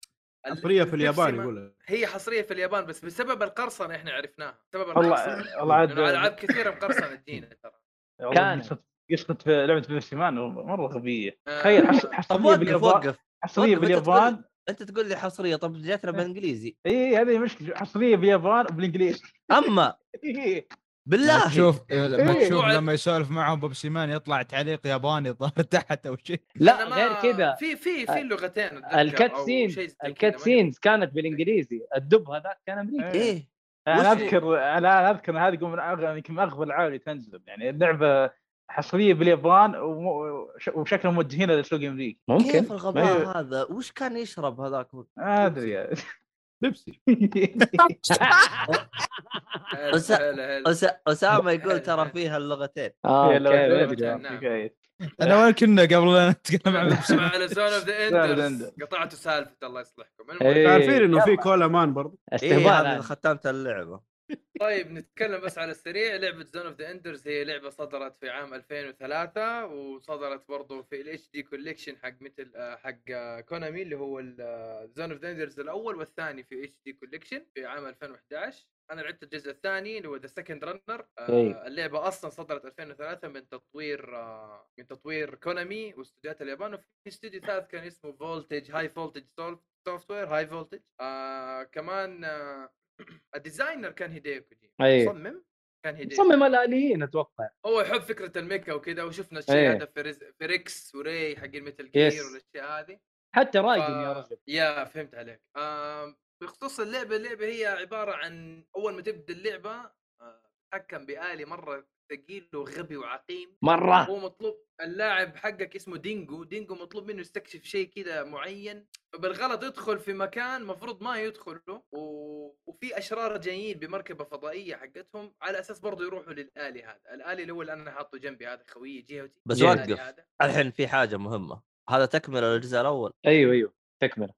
ال-
حصريه في
البيبسي
اليابان
مان-
إيه،
يقول
هي حصريه في اليابان بس بسبب القرصنه احنا عرفناها بسبب القرصنه
والله والله
لانه
عاد
العاب كثيره مقرصنه تجينا ترى
والله
كان.
قصة- قصه لعبه بيبسي مان مره غبيه
آه.
تخيل حص-
طب
حصريه
وقف
باليابان
وقف
حصريه
وقف، أنت تقول-
باليابان
انت تقول لي حصريه طب جاتنا
إيه.
بالانجليزي
اي هذه مشكله حصريه باليابان وبالانجليزي
اما
إيه.
بالله
تشوف ما
إيه.
تشوف لما يسولف معهم بيبسي مان يطلع تعليق ياباني ظهر تحت او شيء
لا
أنا ما-
غير كذا
في في في لغتين أتذكر،
الكات
أو
سين
شيء زي كذا،
الكات
ماني-
سينز كانت بالانجليزي الدب هذاك كان امريكي
ايه
انا
وش-
اذكر انا اذكر هذه يقول من أغ- يعني يمكن من اغبى الالعاب اللي تنزل يعني اللعبه حصريه باليابان وم- وش- وشكلهم موجهينها للسوق الامريكي
ممكن إيه.
كيف الغباء
أيوه.
هذا؟ وش كان يشرب هذاك؟
ما يعني. ادري
بيبسي
هلا،
أس-
هلا، هلا.
أس... اسامه
إيه.
يقول ترى فيها اللغتين إيه،
آه،
اه
يلا،
أوكي،
يلا،
ما أدري.
يلا،
نعم.
كويس.
انا وين كنا قبل لا نتكلم عن بيبسي مان؟
على زون اوف ذا
Zone of the
اندرز
Enders.
قطعتوا سالفه الله يصلحكم المهم
إيه،
عارفين انه في كولا مان برضه
ايه
إيه،
استهبال يعني.
هذا
هذا.
ختمت اللعبه
طيب نتكلم بس على السريع لعبة زون اوف ذا اندرز هي لعبة صدرت في عام 2003 وصدرت برضو في الاتش دي كوليكشن حق مثل آه، حق آه، كونامي اللي هو آه، زون اوف ذا اندرز الاول والثاني في اتش دي كوليكشن في عام 2011 انا لعبت الجزء الثاني اللي هو ذا سكند رنر
إيه.
آه، اللعبة اصلا صدرت 2003 من تطوير آه، من تطوير كونامي واستوديوهات اليابان وفي استوديو ثالث كان اسمه فولتج هاي فولتج سوفت وير هاي فولتج كمان آه، الديزاينر كان هيديو كوجيما
أي.
مصمم كان هيديو
أيوه. مصمم الاليين اتوقع
هو يحب فكره الميكا وكذا وشفنا
أي.
الشيء هذا في, رز... في ريكس وري حق الميتال
أيوه. يس.
جير والاشياء هذه
حتى رايجن
آه.
يا رجل
يا فهمت عليك آم، بخصوص اللعبه اللعبه هي عباره عن اول ما تبدا اللعبه آه، تتحكم بالي مره ثقيل وغبي وعقيم
مره
هو مطلوب اللاعب حقك اسمه دينجو دينجو مطلوب منه يستكشف شيء كذا معين بالغلط يدخل في مكان مفروض ما يدخله و... وفي اشرار جايين بمركبه فضائيه حقتهم على اساس برضه يروحوا للالي هذا الالي اللي هو اللي انا حاطه جنبي هذا خويي جهتي
بس
الآلي
وقف.
هذا.
الحين في حاجه مهمه هذا تكمل الجزء الاول
ايوه ايوه تكمله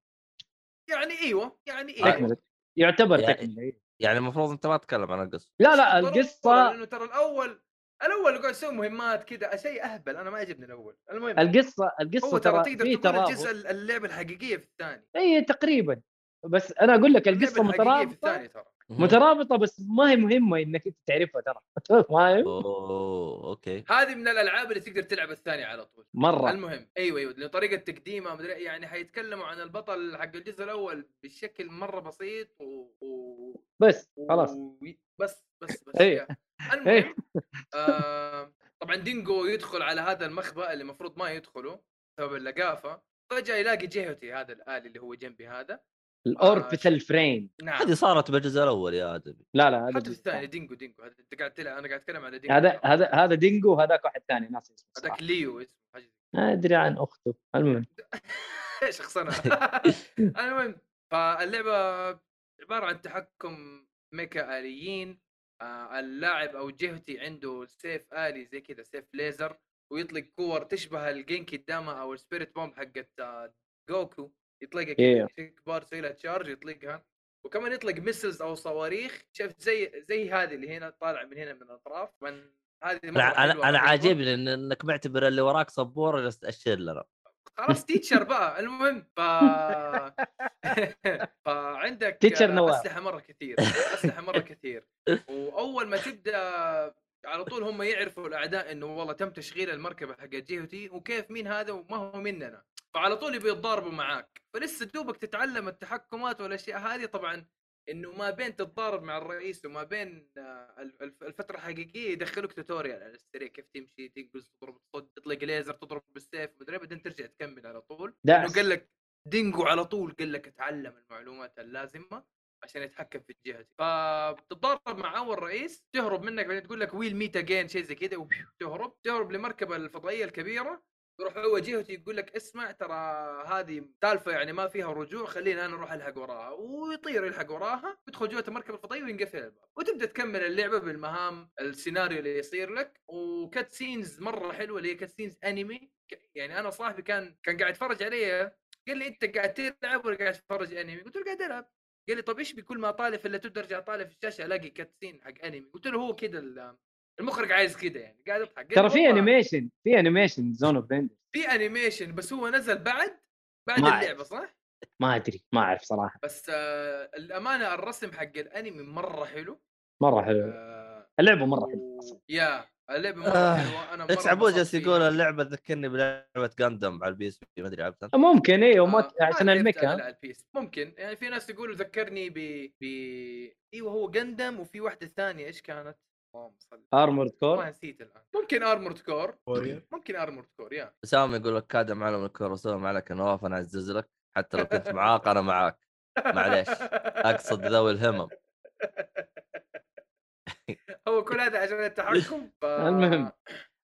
يعني ايوه يعني ايوه
تكمله يعتبر
يعني-
تكمله أيوه.
يعني المفروض انت ما تتكلم عن القصه
لا لا
ضرورة،
القصه
لانه ترى الاول الاول اللي قاعد يسوي مهمات كذا شيء اهبل انا ما يعجبني الاول المهم
القصه
هو
القصه
ترى
ترى
تقدر
في
تقول
ترابط
الجزء اللعبه الحقيقيه في الثاني
اي تقريبا بس انا اقول لك القصه
اللعبة الحقيقية
مترابطه
في الثاني ترى
مترابطه بس ما هي مهمه انك انت تعرفها ترى فاهم
اوه اوكي
هذه من الالعاب اللي تقدر تلعب الثاني على طول
مره
المهم ايوه ايوه لأن طريقه تقديمها مدري إيه، يعني حيتكلموا عن البطل حق الجزء الاول بشكل مره بسيط و, و...
بس
و...
خلاص
بس بس بس
إيه.
يا. المهم آه... طبعا دينجو يدخل على هذا المخبأ اللي المفروض ما يدخله بسبب اللقافه فجاه يلاقي جهتي هذا الالي اللي هو جنبي هذا
الاوربيتال فريم
نعم
هذه صارت بالجزء الاول يا ادمي
لا لا هذا
حتى في
الجزء
الثاني
الثاني.
دينجو دينجو هذا انت قاعد تلعب انا قاعد اتكلم على دينجو
هذا هذا هذا دينجو هذاك واحد ثاني ناس اسمه
هذاك
صراحة.
ليو اسمه حاجة
ما ادري عن اخته المهم
شخصنة المهم فاللعبة عبارة عن تحكم ميكا آليين آه، اللاعب أو جهتي عنده سيف آلي زي كذا سيف ليزر ويطلق كور تشبه الجينكي داما أو السبيريت بومب حقت آه، جوكو يطلقها كذا
إيه.
Yeah.
كبار يسوي لها تشارج يطلقها وكمان يطلق ميسلز أو صواريخ شفت زي زي هذه اللي هنا طالعة من هنا من الأطراف من هذه مرة
انا
حلوة،
انا, أنا
مرة حلوة.
عاجبني إن- انك معتبر اللي وراك سبوره جالس تاشر لنا
خلاص تيتشر بقى المهم ف فعندك
تيتشر نواف.
اسلحه مره كثير اسلحه مره كثير واول ما تبدا على طول هم يعرفوا الاعداء انه والله تم تشغيل المركبه حق جيوتي وكيف مين هذا وما هو مننا فعلى طول يبي يتضاربوا معاك فلسه دوبك تتعلم التحكمات والاشياء هذه طبعا انه ما بين تتضارب مع الرئيس وما بين آه، الف- الف- الفتره الحقيقيه يدخلوك توتوريال على السريع كيف تمشي تنقز تضرب الصد تطلق ليزر تضرب بالسيف مدري إيه، بعدين ترجع تكمل على طول
دعس.
انه قال لك دينجو على طول قال لك اتعلم المعلومات اللازمه عشان يتحكم في جهتي فبتتضارب مع اول رئيس تهرب منك بعدين تقول لك ويل ميت اجين شيء زي كذا وبيو، تهرب تهرب لمركبه الفضائيه الكبيره يروح هو جهته يقول لك اسمع ترى هذه سالفه يعني ما فيها رجوع خليني انا اروح الحق وراها ويطير يلحق وراها يدخل جوه المركبه الفضائيه وينقفل الباب وتبدا تكمل اللعبه بالمهام السيناريو اللي يصير لك وكات سينز مره حلوه اللي هي كات سينز انمي ك- يعني انا صاحبي كان كان قاعد يتفرج علي قال لي انت قاعد تلعب ولا قاعد تتفرج انمي؟ قلت له قاعد العب قال لي طب ايش بكل ما اطالع في اللاتود ارجع اطالع في الشاشه الاقي كاتسين حق انمي قلت له هو كذا ال- المخرج عايز كذا يعني قاعد اضحك قال لي
ترى في
والله.
انيميشن في انيميشن زون اوف بيندر
في انيميشن بس هو نزل بعد بعد
ما
اللعبه صح؟
ما ادري ما اعرف صراحه
بس آه الامانه الرسم حق الانمي مره حلو
مره حلو
آه
اللعبه مره حلوه
و... يا اللعبه مره
آه،
حلوه انا مره
اتس عبوجس
انبسطت فيها.
يقول اللعبه تذكرني بلعبه جاندم على البي اس بي ما ادري لعبتها
ممكن ايوه ما
آه،
عشان
ما لعبت
الميكا
أنا
ها؟
على البيس ممكن يعني في ناس يقولوا ذكرني ب ب ايوه هو جندم وفي واحده ثانيه ايش كانت؟ اللهم صل.
ارمورد
ما
كور
نسيت الان ممكن ارمورد كور ممكن ارمورد كور يا
اسامه يقول لك كادم معلم الكروسوما ما عليك نواف انا اعزز لك حتى لو كنت معاق انا معاك معليش، اقصد ذوي الهمم
هو كل هذا عشان التحكم ف...
المهم.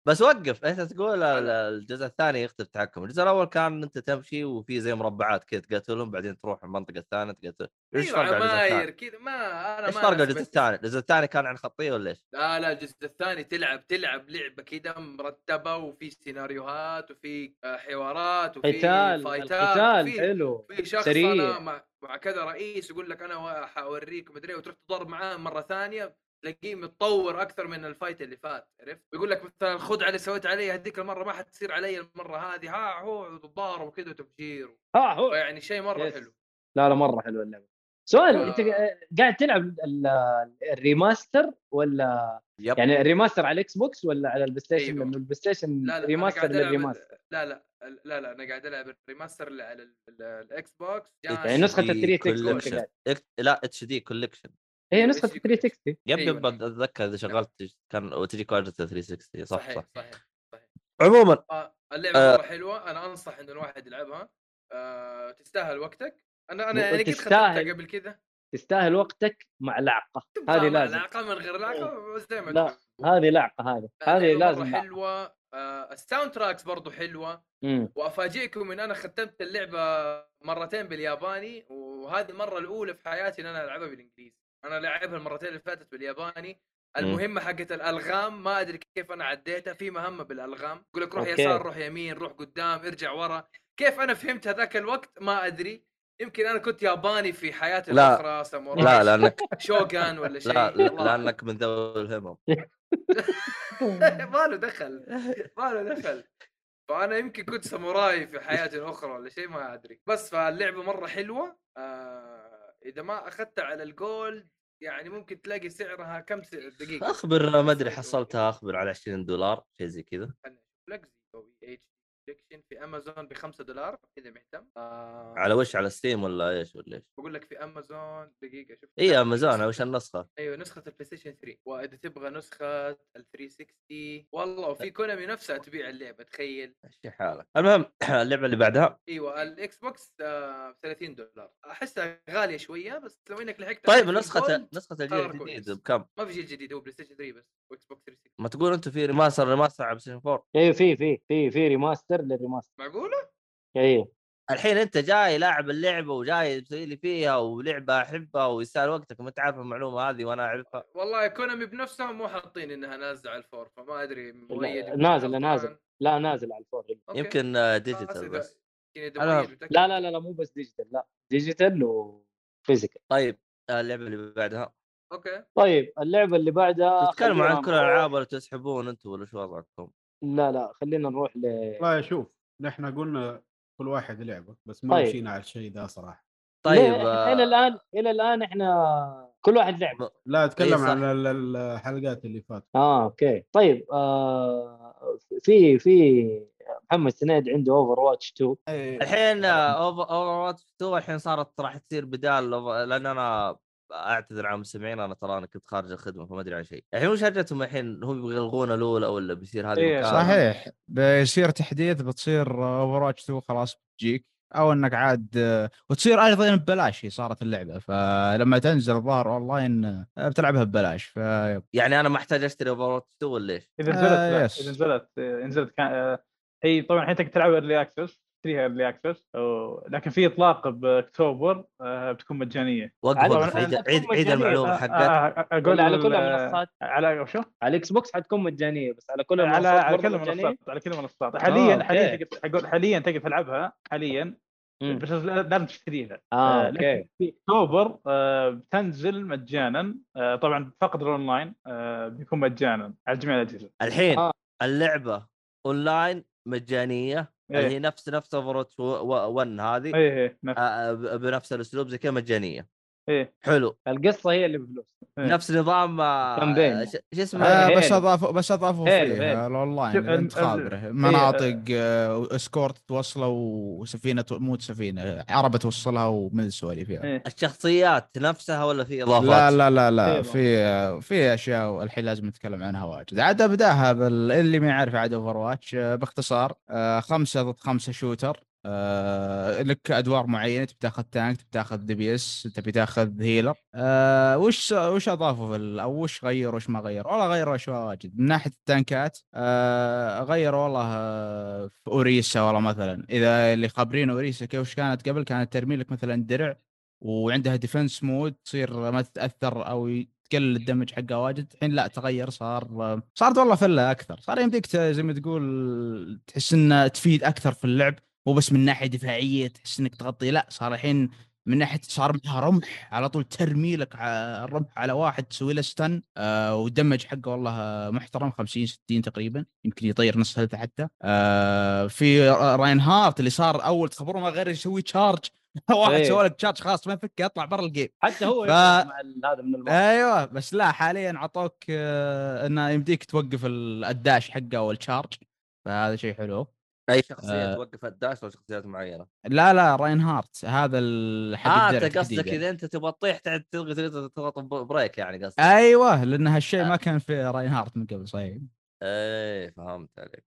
بس وقف انت تقول ال- الجزء الثاني يختلف التحكم الجزء الاول كان انت تمشي وفي زي مربعات كذا تقاتلهم بعدين تروح المنطقه الثانيه تقاتل ايش
ايوه
فرق عن الجزء
عماير
الثاني؟
كذا ما انا
ايش
ما
فرق عن
ناسي
الجزء
بس-
الثاني؟ الجزء الثاني كان عن خطيه ولا ايش؟
لا لا الجزء الثاني تلعب تلعب لعبه كذا مرتبه وفي سيناريوهات وفي آه، حوارات وفي
قتال
فايتات
القتال
وفي
حلو
في شخص
سريع.
انا مع, مع كذا رئيس يقول لك انا حاوريك مدري إيه، وتروح تضرب معاه مره ثانيه تلاقيه متطور اكثر من الفايت اللي فات عرفت؟ يقول لك مثلا الخدعه اللي سويت علي هذيك المره ما حتصير علي المره هذه ها هو تضارب وكذا وتفجير
ها آه، هو
يعني شيء مره
يس.
حلو
لا لا مره حلوه اللعبه سؤال
آه.
انت قاعد تلعب ال- ال- الريماستر ولا
يب
يعني الريماستر على الاكس بوكس ولا على البلاي ستيشن
أيوه.
لانه البلاي ستيشن
لا لا أنا
ريماستر
قاعد ألعب-
للريماستر
لا لا لا لا انا قاعد العب الريماستر اللي على ال- ال- الاكس بوكس
يعني نسخه
HD
3 اكس انت
collection.
قاعد
إك- لا اتش دي كوليكشن
هي
أيوه،
نسخه
HD collection.
360
يب
أيوة،
يب
نعم.
اتذكر اذا شغلت كان تجي كوادرة 360 صح
صحيح
صح
صحيح
عموما
آه، اللعبه
آه.
مره حلوه انا انصح ان الواحد يلعبها آه، تستاهل وقتك انا
مو-
انا يعني قد
تستاهل.
ختمتها قبل كذا
تستاهل وقتك مع لعقه هذه لازم إيه.
لعقه من غير لعقه زي ما
لا،
تقول.
هذه لعقه هذه هذه
اللعبة مرة
لازم لعقة.
حلوه آه، الساوند تراكس برضو حلوه
مم.
وافاجئكم ان انا ختمت اللعبه مرتين بالياباني وهذه المره الاولى في حياتي ان انا العبها بالانجليزي انا لعبها المرتين اللي فاتت بالياباني المهمه حقت الالغام ما ادري كيف انا عديتها في مهمه بالالغام يقول لك روح
أوكي.
يسار روح يمين روح قدام ارجع ورا كيف انا فهمت هذاك الوقت ما ادري يمكن انا كنت ياباني في حياتي
لا.
الاخرى ساموراي
لا لانك
شوغان ولا شيء
لا
الله أعلم.
لانك من ذوي الهمم
ما له دخل ما له دخل فانا يمكن كنت ساموراي في حياتي الاخرى ولا شيء ما ادري بس فاللعبه مره حلوه آه اذا ما اخذتها على الجولد يعني ممكن تلاقي سعرها كم سعر دقيقه
اخبر ما ادري حصلتها اخبر على 20 دولار شيء زي كذا
فلكسي او اي اتش كوليكشن في امازون ب 5 دولار اذا مهتم آه
على وش على ستيم ولا ايش ولا ايش؟
بقول لك في امازون دقيقه شوف
اي امازون على وش النسخه؟
ايوه نسخه البلاي ستيشن 3 واذا تبغى نسخه ال 360 والله وفي كونامي نفسها تبيع اللعبه تخيل
مشي حالك المهم اللعبه اللي بعدها
ايوه الاكس بوكس آه، 30 دولار احسها غاليه شويه بس لو انك لحقت
طيب
على
نسخه
الجولد،
نسخه الجيل
قرار
الجديد
كويس.
بكم؟
ما في جيل جديد هو بلاي ستيشن 3 بس واكس بوكس 360
ما تقول انتم في ريماستر ريماستر على بلاي 4
ايوه في في في في ريماستر للريماستر
معقوله؟
ايوه
الحين انت جاي لاعب اللعبه وجاي تسوي لي فيها ولعبه احبها ويستاهل وقتك ما انت عارف المعلومه هذه وانا اعرفها
والله كونامي بنفسهم مو حاطين انها نازله على الفور فما ادري مؤيد يمكن
نازلة،
غلطان.
نازلة. لا نازل على الفور
أوكي.
يمكن
خلاص
ديجيتال
إذا-
بس
يمكن إذا
أنا-
مؤيد متأكد.
لا لا لا لا مو بس ديجيتال لا ديجيتال وفيزيكال
طيب اللعبه اللي بعدها
اوكي
طيب اللعبه اللي بعدها
آه،
تتكلموا
خلينا
عن كل الالعاب ولا تسحبون انتم ولا شو وضعكم؟
لا لا خلينا نروح ل
لا شوف نحن قلنا كل واحد لعبه بس ما
طيب.
مشينا على الشيء ذا صراحه
طيب
ليه؟
آه،
الى الان الى الان احنا كل واحد لعب
لا
إيه،
اتكلم
صح.
عن ال- ال-
آه،
الحلقات اللي فاتت
اه اوكي طيب آه في في محمد سنيد عنده اوفر واتش 2
إيه.
الحين
آه.
آه،
اوفر واتش 2 الحين صارت راح تصير بدال لأوفر- لان انا اعتذر عن المستمعين انا ترى انا كنت خارج الخدمه فما ادري عن شيء الحين وش هرجتهم الحين هم يبغوا يلغون الاولى ولا بيصير هذه
إيه،
مكان؟
صحيح بيصير تحديث بتصير اوفر واتش 2 خلاص بتجيك او انك عاد وتصير ايضا ببلاش هي صارت اللعبه فلما تنزل الظاهر اونلاين بتلعبها ببلاش ف
يعني انا ما احتاج اشتري اوفر واتش 2 ولا ايش؟
اذا
آه،
نزلت لا،
يس.
اذا نزلت آه، نزلت كان آه، هي طبعا الحين تقدر تلعب ايرلي اكسس تشتريها ايرلي اكسس لكن في اطلاق باكتوبر آه، بتكون مجانيه
وقف
على-
وقف عيد
على-
عيد, عيد
مجانية.
المعلومه
آه،
حقتك
آه، آه، اقول
ولا على كل
آه،
المنصات
على شو؟
على الاكس بوكس حتكون مجانيه بس على كل
على
المنصات
على
برضه
كل
مجانيه
المنصات على كل المنصات
أوكي.
حاليا حاليا تقدر- اقول حاليا تقدر تلعبها حاليا
مم.
بس لا- لازم تشتريها
اه
آه،
اوكي
في اكتوبر آه، بتنزل مجانا آه، طبعا فقط الاونلاين آه، بيكون مجانا على جميع الاجهزه
الحين
آه.
اللعبه اونلاين مجانيه اللي هي
ايه
نفس نفس اوفر 1 هذه
ايه إيه،
آه،
نفس
آه، ب- بنفس الاسلوب زي كذا مجانيه
ايه
حلو
القصه هي اللي بفلوس
إيه.
نفس نظام آه،
كامبين.
ش- شو اسمه
آه،
هيل.
بس اضافوا بس اضافوا
هيل،
فيه
هيل.
الاونلاين
شوف،
اللي انت
ال- إيه، ال-
خابره مناطق آه، اسكورت توصله وسفينه مو سفينه عربه توصلها ومن السواليف يعني
ايه
الشخصيات نفسها ولا في اضافات؟
لا لا لا لا
إيه
في في اشياء الحين لازم نتكلم عنها واجد عاد ابداها بال... اللي ما يعرف عاد اوفر واتش آه، باختصار آه، خمسه ضد خمسه شوتر آه، لك ادوار معينه تبي تاخذ تانك تبي تاخذ دي بي اس تبي تاخذ هيلر آه، وش وش اضافوا في ال- او وش غيروا وش ما غيروا والله غيروا اشياء واجد من ناحيه التانكات آه، غيروا والله آه، في اوريسا والله مثلا اذا اللي خابرين اوريسا كيف وش كانت قبل كانت ترمي لك مثلا درع وعندها ديفنس مود تصير ما تتاثر او ي- تقلل الدمج حقها واجد الحين لا تغير صار صارت والله فله اكثر صار يمديك ت- زي ما تقول تحس انها تفيد اكثر في اللعب مو بس من ناحيه دفاعيه تحس انك تغطي لا صار الحين من ناحيه صار معها رمح على طول ترمي لك ع- الرمح على واحد تسوي له ستن آه والدمج حقه والله آه، محترم 50 60 تقريبا يمكن يطير نص هيلث حتى آه في را- راين هارت اللي صار اول تخبره ما غير يسوي تشارج واحد
إيه.
سوى لك تشارج خلاص ما يفك اطلع برا الجيم
حتى هو
ف-
يخرج مع ال- هذا من الموقع
ايوه بس لا حاليا عطوك آه، انه يمديك توقف ال- الداش حقه او الشارج فهذا شيء حلو
اي شخصيه
آه.
توقف الداش ولا شخصيات معينه؟
لا لا راين هارت هذا ال- حق
اه
الدرع
انت قصدك
تحديداً.
اذا انت تبغى تطيح تعد تلغي تلغي- تضغط ب- بريك يعني قصدك
ايوه لان
آه.
هالشيء ما كان في راين هارت من قبل صحيح
ايه فهمت عليك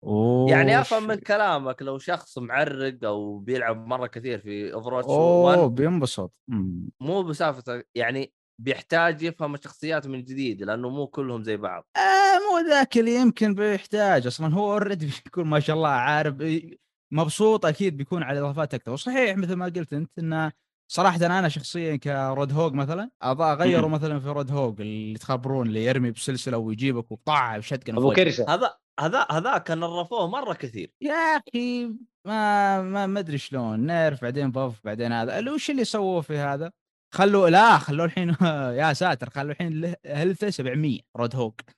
يعني افهم من كلامك لو شخص معرق او بيلعب مره كثير في اوفر
اوه
1
بينبسط مم.
مو بسالفه يعني بيحتاج يفهم الشخصيات من جديد لانه مو كلهم زي بعض
آه مو ذاك اللي يمكن بيحتاج اصلا هو اوريدي بيكون ما شاء الله عارف إي- مبسوط اكيد بيكون على اضافات اكثر وصحيح مثل ما قلت انت انه صراحة انا شخصيا كرود هوج مثلا ابغى اغيره مثلا في رود هوج اللي تخبرون اللي يرمي بسلسلة ويجيبك وطع بشتقن
ابو كرشه
هذا هذا هذاك نرفوه مره كثير
يا اخي ما ما ما ادري شلون نيرف بعدين بف بعدين هذا ال- وش اللي سووه في هذا؟ خلوا لا خلوا الحين يا ساتر خلوا الحين له- هلثه 700 رود هوك
كم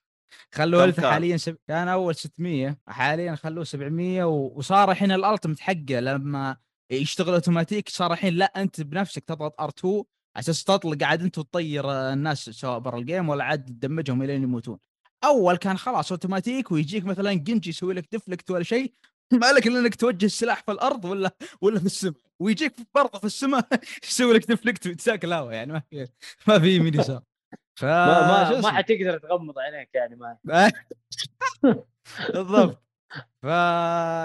خلوا هلثه
كان؟
حاليا سب... كان اول 600 حاليا خلوه 700 و... وصار الحين الالتمت حقه لما يشتغل اوتوماتيك صار الحين لا انت بنفسك تضغط ار2 على اساس تطلق عاد انت وتطير آه، الناس سواء برا الجيم ولا عاد تدمجهم الين يموتون اول كان خلاص اوتوماتيك ويجيك مثلا جنجي يسوي لك دفلكت ولا شيء ما لك الا انك توجه السلاح في الارض ولا ولا في السماء ويجيك برضه في السماء يسوي لك ديفلكت وتساك الهواء يعني ما في ما في يمين يسار ف
ما
آه، شو
ما ما
اسمه؟
حتقدر تغمض عينيك يعني ما
بالضبط فا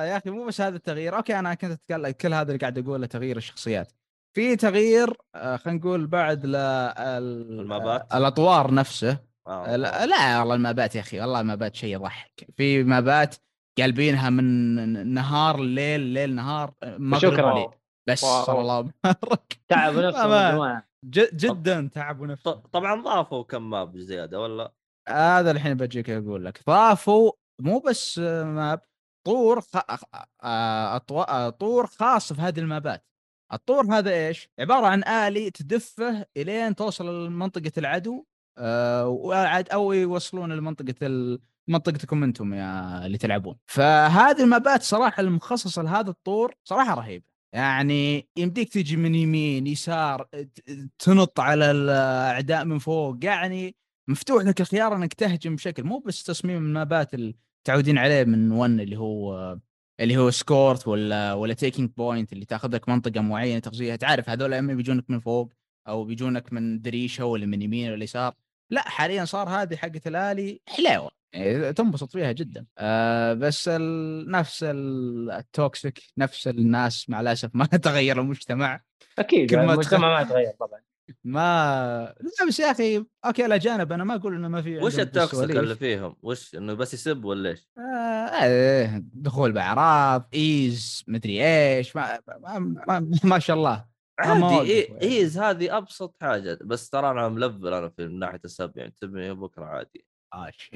يا اخي مو بس هذا التغيير اوكي انا كنت اتكلم كل هذا اللي قاعد اقوله تغيير الشخصيات في تغيير آه، خلينا نقول بعد ل... ال-
المابات؟
آه، الاطوار نفسه
آه.
لا, لا والله المابات يا اخي والله المابات شيء يضحك في مابات قلبينها من نهار ليل ليل نهار مغرب
شكراً.
ليل بس
واو.
صلى الله وبارك
تعب نفسه يا
ما-
جماعه
ج- جدا تعب ونفسه
ط- طبعا ضافوا كم ماب زياده ولا
هذا الحين بجيك اقول لك ضافوا مو بس آه، ماب طور خ... آه، آه، أطو... آه، طور خاص في هذه المابات الطور هذا ايش؟ عباره عن الي تدفه الين توصل لمنطقه العدو آه، وعاد او يوصلون لمنطقه ال... منطقتكم انتم يا اللي تلعبون فهذه المابات صراحه المخصصه لهذا الطور صراحه رهيبه يعني يمديك تجي من يمين يسار ت- تنط على الاعداء من فوق يعني مفتوح لك الخيار انك تهجم بشكل مو بس تصميم المابات اللي متعودين عليه من ون اللي هو اللي هو سكورت ولا ولا تيكينج بوينت اللي تاخذ لك منطقه معينه تغذيه تعرف هذول اما بيجونك من فوق او بيجونك من دريشه ولا من يمين ولا يسار لا حاليا صار هذه حقت الالي حلاوه يعني تنبسط فيها جدا آه بس ال... نفس ال- التوكسيك نفس الناس مع الاسف ما تغير المجتمع
اكيد
كل ما
يعني المجتمع ما يتغير طبعا
ما لا بس يا اخي اوكي الاجانب انا ما اقول انه ما في عندهم
وش التوكسيك
بالسواليف.
اللي فيهم؟ وش انه بس يسب ولا ايش؟
آه إيه، دخول باعراض ايز مدري ايش ما ما, ما, ما شاء الله
عادي
ما أوقف
إيه
يعني.
ايز هذه ابسط حاجه بس ترى انا ملفل انا في من ناحيه السب يعني تبني بكره عادي
عاش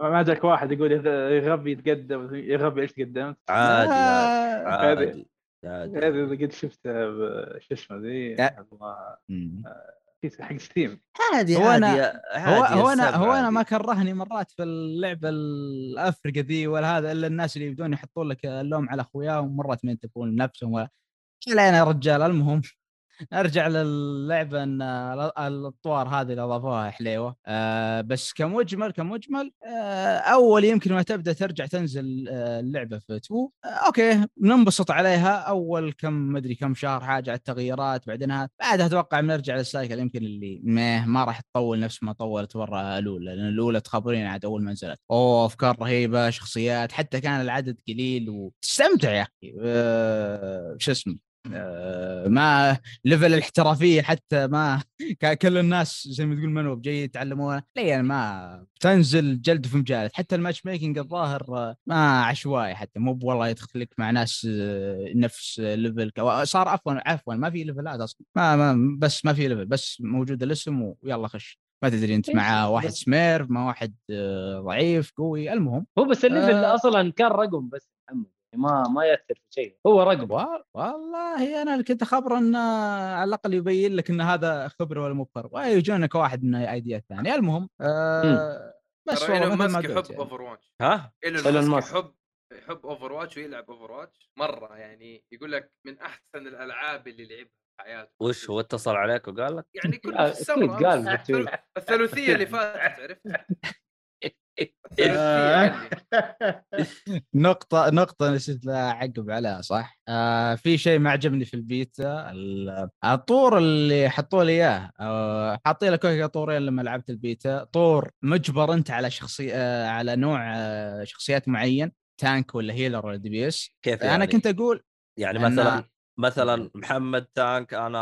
ما جاك واحد يقول إذا يغبي يتقدم يغبي ايش تقدمت
عادي عادي
آه،
عادي, عادي.
هذه اللي قد شفتها ب- شو اسمه ذي
لا.
الله،
مم.
في- حق ستيم
عادي
هو
عادي
أنا-
عادي
هو هو انا
السب
هو انا
عادي.
ما كرهني مرات في اللعبه الافرقه ذي ولا هذا الا الناس اللي يبدون يحطون لك اللوم على اخوياهم مرات ما ينتبهون لنفسهم ولا علينا يا رجال المهم ارجع للعبه ان ال- الاطوار هذه اللي اضافوها حليوه أه بس كمجمل كمجمل أه اول يمكن ما تبدا ترجع تنزل آه، اللعبه في 2 آه، اوكي ننبسط عليها اول كم مدري كم شهر حاجه على التغييرات بعدين بعدها اتوقع بنرجع للسايكل يمكن اللي ما, ما راح تطول نفس ما طولت مره الاولى لان الاولى تخبرين عاد اول ما نزلت اوه افكار رهيبه شخصيات حتى كان العدد قليل وتستمتع يا اخي أه شو اسمه آه، ما ليفل الاحترافيه حتى ما ك- كل الناس زي ما تقول منو جاي يتعلمونه لا يعني ما تنزل جلد في مجالد حتى الماتش ميكنج الظاهر آه، ما عشوائي حتى مو والله يدخلك مع ناس آه، نفس ليفل صار عفوا عفوا ما في ليفلات اصلا ما, ما بس ما في ليفل بس موجود الاسم ويلا خش ما تدري انت مع واحد سمير مع واحد آه، ضعيف قوي المهم
هو بس الليفل
آه.
اصلا كان رقم بس محمد ما ما ياثر في شيء هو رقم
وال- والله انا اللي كنت خبر انه على الاقل يبين لك ان هذا خبره ولا مو خبره ويجونك واحد من ايديات ثانيه المهم آه بس
ترى
والله
ايلون
مثل ما
ماسك يحب
قلت يعني.
اوفر واتش
ها
ايلون
إيلون
ماسك
ماسك.
يحب يحب اوفر واتش ويلعب اوفر واتش مره يعني يقول لك من احسن الالعاب اللي لعبها في حياته
وش هو اتصل عليك وقال لك؟
يعني كل
آه،
في السمرة
أكيد قال
أمس
بالتويت.
الثلو- الثلاثيه اللي فاتت عرفت يعني.
آه.
الثلاثيه اللي-
نقطة نقطة نسيت اعقب عليها صح؟ آه في شيء ما عجبني في البيتا ال- الطور اللي حطوا لي اياه آه حاطين لك هيك طورين لما لعبت البيتا طور مجبر انت على شخصية آه على نوع آه شخصيات معين تانك ولا هيلر ولا دي بي اس
كيف يعني؟
انا كنت اقول
يعني
أنا-
مثلا مثلا محمد تانك انا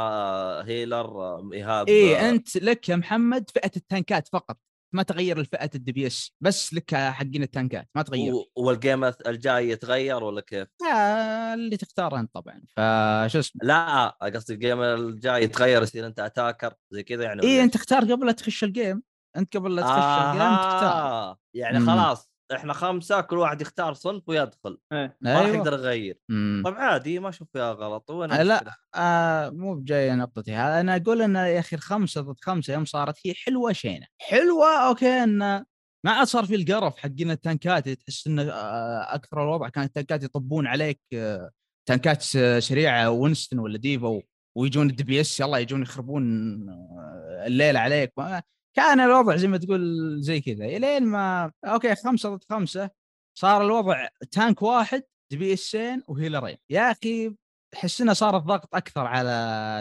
هيلر ايهاب
ايه انت لك يا محمد فئه التانكات فقط ما تغير الفئه الدي بي اس بس لك حقين التانكات ما تغير
و- والجيم الجاي يتغير ولا كيف؟
آه، اللي تختاره انت طبعا فشو اسمه
لا قصدي الجيم الجاي يتغير يصير انت اتاكر زي كذا يعني ولا
ايه انت
إيش؟
اختار قبل لا تخش الجيم انت قبل لا تخش الجيم تختار
آه، يعني
مم.
خلاص احنا خمسه كل واحد يختار صنف ويدخل ما راح
أيوة.
يقدر يغير
مم.
طب عادي ما اشوف فيها غلط
آه،
وانا
لا. آه مو بجاي نقطتي هذا انا اقول ان يا اخي الخمسه ضد خمسه يوم صارت هي حلوه شينه حلوه اوكي انه ما عاد صار في القرف حقين التانكات تحس انه آه، اكثر الوضع كان التانكات يطبون عليك آه، تانكات س- سريعه وينستون ولا ديفا و- ويجون الدي بي اس يلا يجون يخربون آه، الليل عليك ما- كان الوضع زي ما تقول زي كذا الين ما اوكي خمسه ضد خمسه صار الوضع تانك واحد دي بي اسين وهيلرين يا اخي تحس انه صار الضغط اكثر على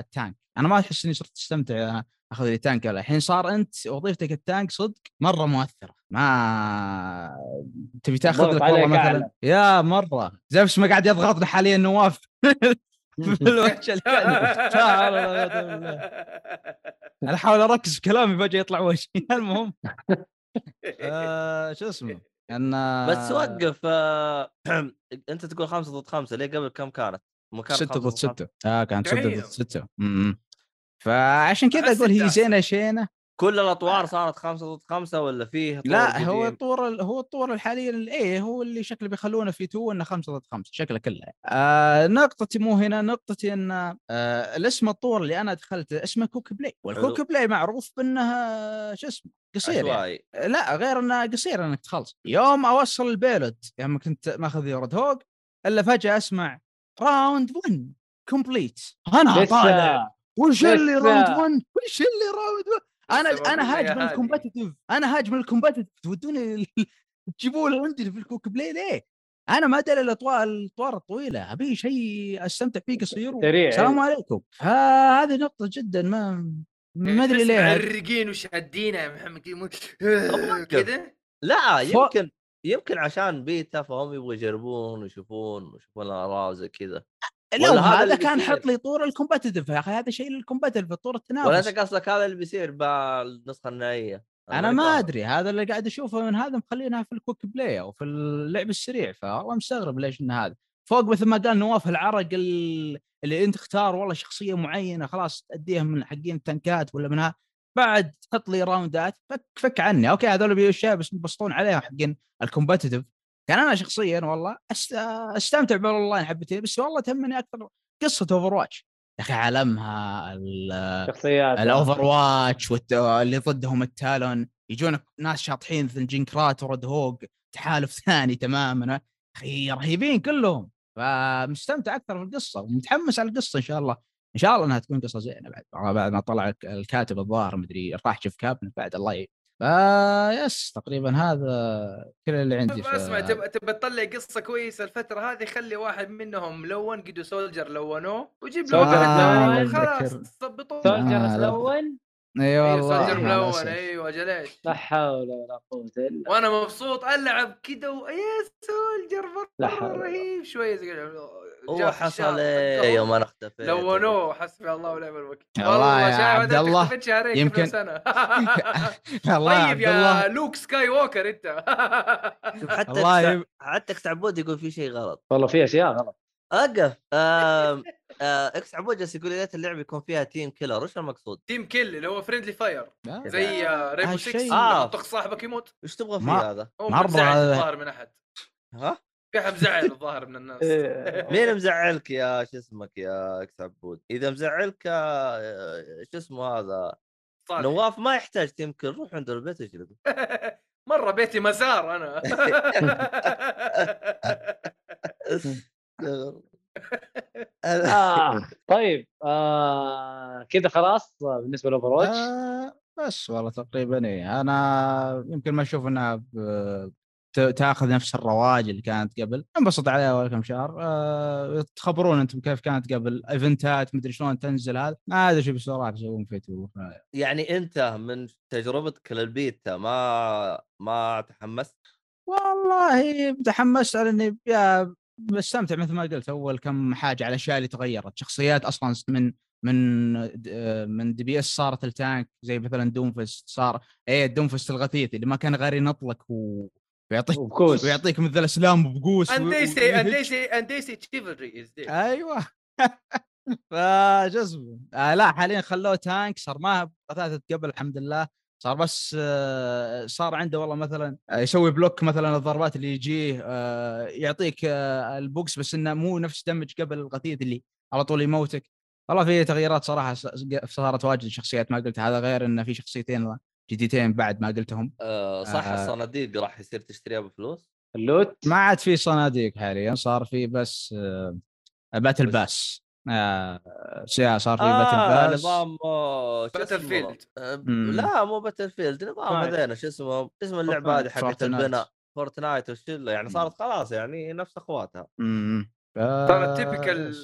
التانك انا ما احس اني صرت استمتع اخذ لي تانك ولا الحين صار انت وظيفتك التانك صدق مره مؤثره ما تبي تاخذ
ضغط
لك
عليك
والله مثلا
أعلى.
يا مره زفش ما قاعد يضغطنا حاليا نواف في الوحشه اللي كان- لا حول ولا قوة إلا بالله. انا احاول اركز في كلامي فجاه يطلع وجهي المهم آه، شو اسمه آه، ان
بس وقف آه، انت تقول خمسه ضد خمسه ليه قبل كم كانت؟ مو كانت خمسة
ستة ضد
خمسة؟
ستة اه كانت ستة ضد
Damn.
ستة أمم. فعشان كذا
أحس
اقول هي
ستة
زينه شينه
كل الاطوار صارت خمسه ضد خمسه ولا فيه طور
آه. لا هو
قديم؟
الطور ال- هو الطور الحالي ال- ايه هو اللي شكله بيخلونه في 2 انه 5 ضد 5 شكله كله آه نقطتي مو هنا نقطتي ان آه الاسم الطور اللي انا دخلت اسمه كوك بلاي والكوك
حلو.
بلاي معروف بانها شو اسمه قصير يعني.
عشوائي
لا غير انه قصير انك تخلص يوم اوصل البيلوت يوم يعني كنت ماخذ يورد هوك الا فجاه اسمع راوند 1 كومبليت
آه،
انا طالع
لسه
وش اللي
لسه.
راوند 1 وش اللي راوند 1
لسه
انا
ما
انا
قلنا يا
هاجم
هادي.
الكومبتتف انا هاجم الكومبتتف تودوني ال- تجيبوه عندي في الكوك بلاي ليه انا ما ادري الاطوار الاطوار الطويله ابي شيء استمتع فيه قصير و-
سريع
السلام عليكم فهذه نقطه جدا ما
إيه،
ما ادري ليه
معرقين وشادينا يا محمد كذا مو- كذا
لا
فوق.
يمكن يمكن عشان بيتا فهم يبغوا يجربون ويشوفون ويشوفون الاراء وزي كذا
لو
ولا هذا
هذا
اللي
كان
بيصير؟
حط لي طور الكومبتتف يا اخي هذا شيء للكومبتتف طور التنافس
ولا انت قصدك هذا اللي بيصير بالنسخه النهائيه
انا ما ادري هذا اللي قاعد اشوفه من هذا مخلينها في الكويك بلاي او في اللعب السريع فوالله مستغرب ليش ان هذا فوق مثل ما قال نواف العرق ال- اللي انت اختار والله شخصيه معينه خلاص تاديها من حقين التنكات ولا من ها بعد تحط لي راوندات فك فك عني اوكي هذول بيشياء بس بيبسطون عليها حقين الكومبتتف كان انا شخصيا والله أست... استمتع بالاونلاين حبتين بس والله تهمني اكثر قصه اوفر واتش يا اخي عالمها ال-
شخصيات
الاوفر واتش والت- اللي ضدهم التالون يجونك ناس شاطحين مثل جنكرات ورد هوج تحالف ثاني تماما اخي رهيبين كلهم فمستمتع اكثر بالقصه ومتحمس على القصه ان شاء الله ان شاء الله انها تكون قصه زينه بعد والله بعد ما طلع الك- الكاتب الظاهر مدري راح شوف كابن بعد الله ي... فا يس تقريبا هذا كل اللي عندي
شوف
في-
اسمع تبى تبى تطلع قصه كويسه الفتره هذه خلي واحد منهم لون قدو سولجر لونوه وجيب له
سولجر
واحد ثاني
لون.
خلاص
آه، أتذكر.
ظبطوه
سولجر
آه، لا.
الاول
اي
أيوة،
والله
سولجر
مع
ملون
الأسف.
ايوه جليش
لا حول ولا قوه الا
وانا مبسوط العب كذا و... يا سولجر
لا حول
مره
ولا
رهيب شويه زي كذا.
هو
جاء
حصل
الشاطئ
إيه
حقهم،
يوم انا اختفيت
لونوه حسبي الله ونعم الوكيل
والله يا
شايف
عبد
هذا
الله،
اختفيت شهرين كيف
يمكن-
لو سنه
الله يا
طيب
عبد الله
يا لوك سكاي ووكر انت
شوف حتى
الله
كس-
يب-
حتى اكس عبود يقول في شيء غلط
والله في اشياء غلط
اقف آم، آه، اكس عبود جالس يقول يا ليت اللعبه يكون فيها تيم كيلر وش المقصود؟
تيم كل اللي هو فريندلي فاير
لا.
زي ريبو 6
هالشيء.
آه.
يطخ صاحبك يموت
وش تبغى
ما-
فيه هذا؟
هو
مرة
مزعل
هذا-
الظاهر من احد
ها؟
في احد مزعل الظاهر من الناس
مين مزعلك يا شو اسمك يا اكس عبود؟ اذا مزعلك آه، شو اسمه هذا؟
صالح.
نواف ما يحتاج تيم كيلر روح عند البيت اجلد
مره بيتي مزار انا
آه. طيب آه كذا خلاص آه، بالنسبه لاوفر واتش
آه، بس والله تقريبا ايه انا يمكن ما اشوف انها ب- ت- تاخذ نفس الرواج اللي كانت قبل انبسط عليها اول كم شهر أه تخبرون انتم كيف كانت قبل ايفنتات مدري شلون تنزل هذا ما ادري شو بصراحه يسوون في يوتيوب
يعني انت من تجربتك للبيتا ما ما تحمست
والله تحمست على اني يا بستمتع مثل ما قلت اول كم حاجه على الاشياء اللي تغيرت شخصيات اصلا من من آه، من دي بي اس صارت التانك زي مثلا دومفست صار ايه دومفست الغثيث اللي ما كان غير ينطلك و... ويعطيك
وبكوس
ويعطيك مثل الاسلام بقوس
and
و-
they say and
ويهج.
they say and they say chivalry is dead
Ah.
ايوه فجو اسمه آه لا حاليا خلوه تانك صار ما قتالة قبل الحمد لله صار بس آه، صار عنده والله مثلا آه، يسوي بلوك مثلا الضربات اللي يجيه آه، يعطيك آه، البوكس بس انه مو نفس دمج قبل الغثيث اللي على طول يموتك والله في تغييرات صراحه ص- صارت واجد شخصيات ما قلت هذا غير انه في شخصيتين جديدتين بعد ما قلتهم
آه، صح
آه.
الصناديق راح يصير تشتريها بفلوس
اللوت
ما عاد في صناديق حاليا صار في بس آه، باتل
بس-
باس آه، صار في باتل
آه
باس
نظام آه، شو
باتل
اسمه؟
فيلد.
آه،
مم.
لا مو باتل فيلد نظام
فاير.
هذين شو اسمه اسم اللعبه
فورتنايت.
هذه حقت
فورتنايت.
البناء فورتنايت والشله يعني
مم.
صارت خلاص يعني نفس اخواتها
امم
ترى تيبكال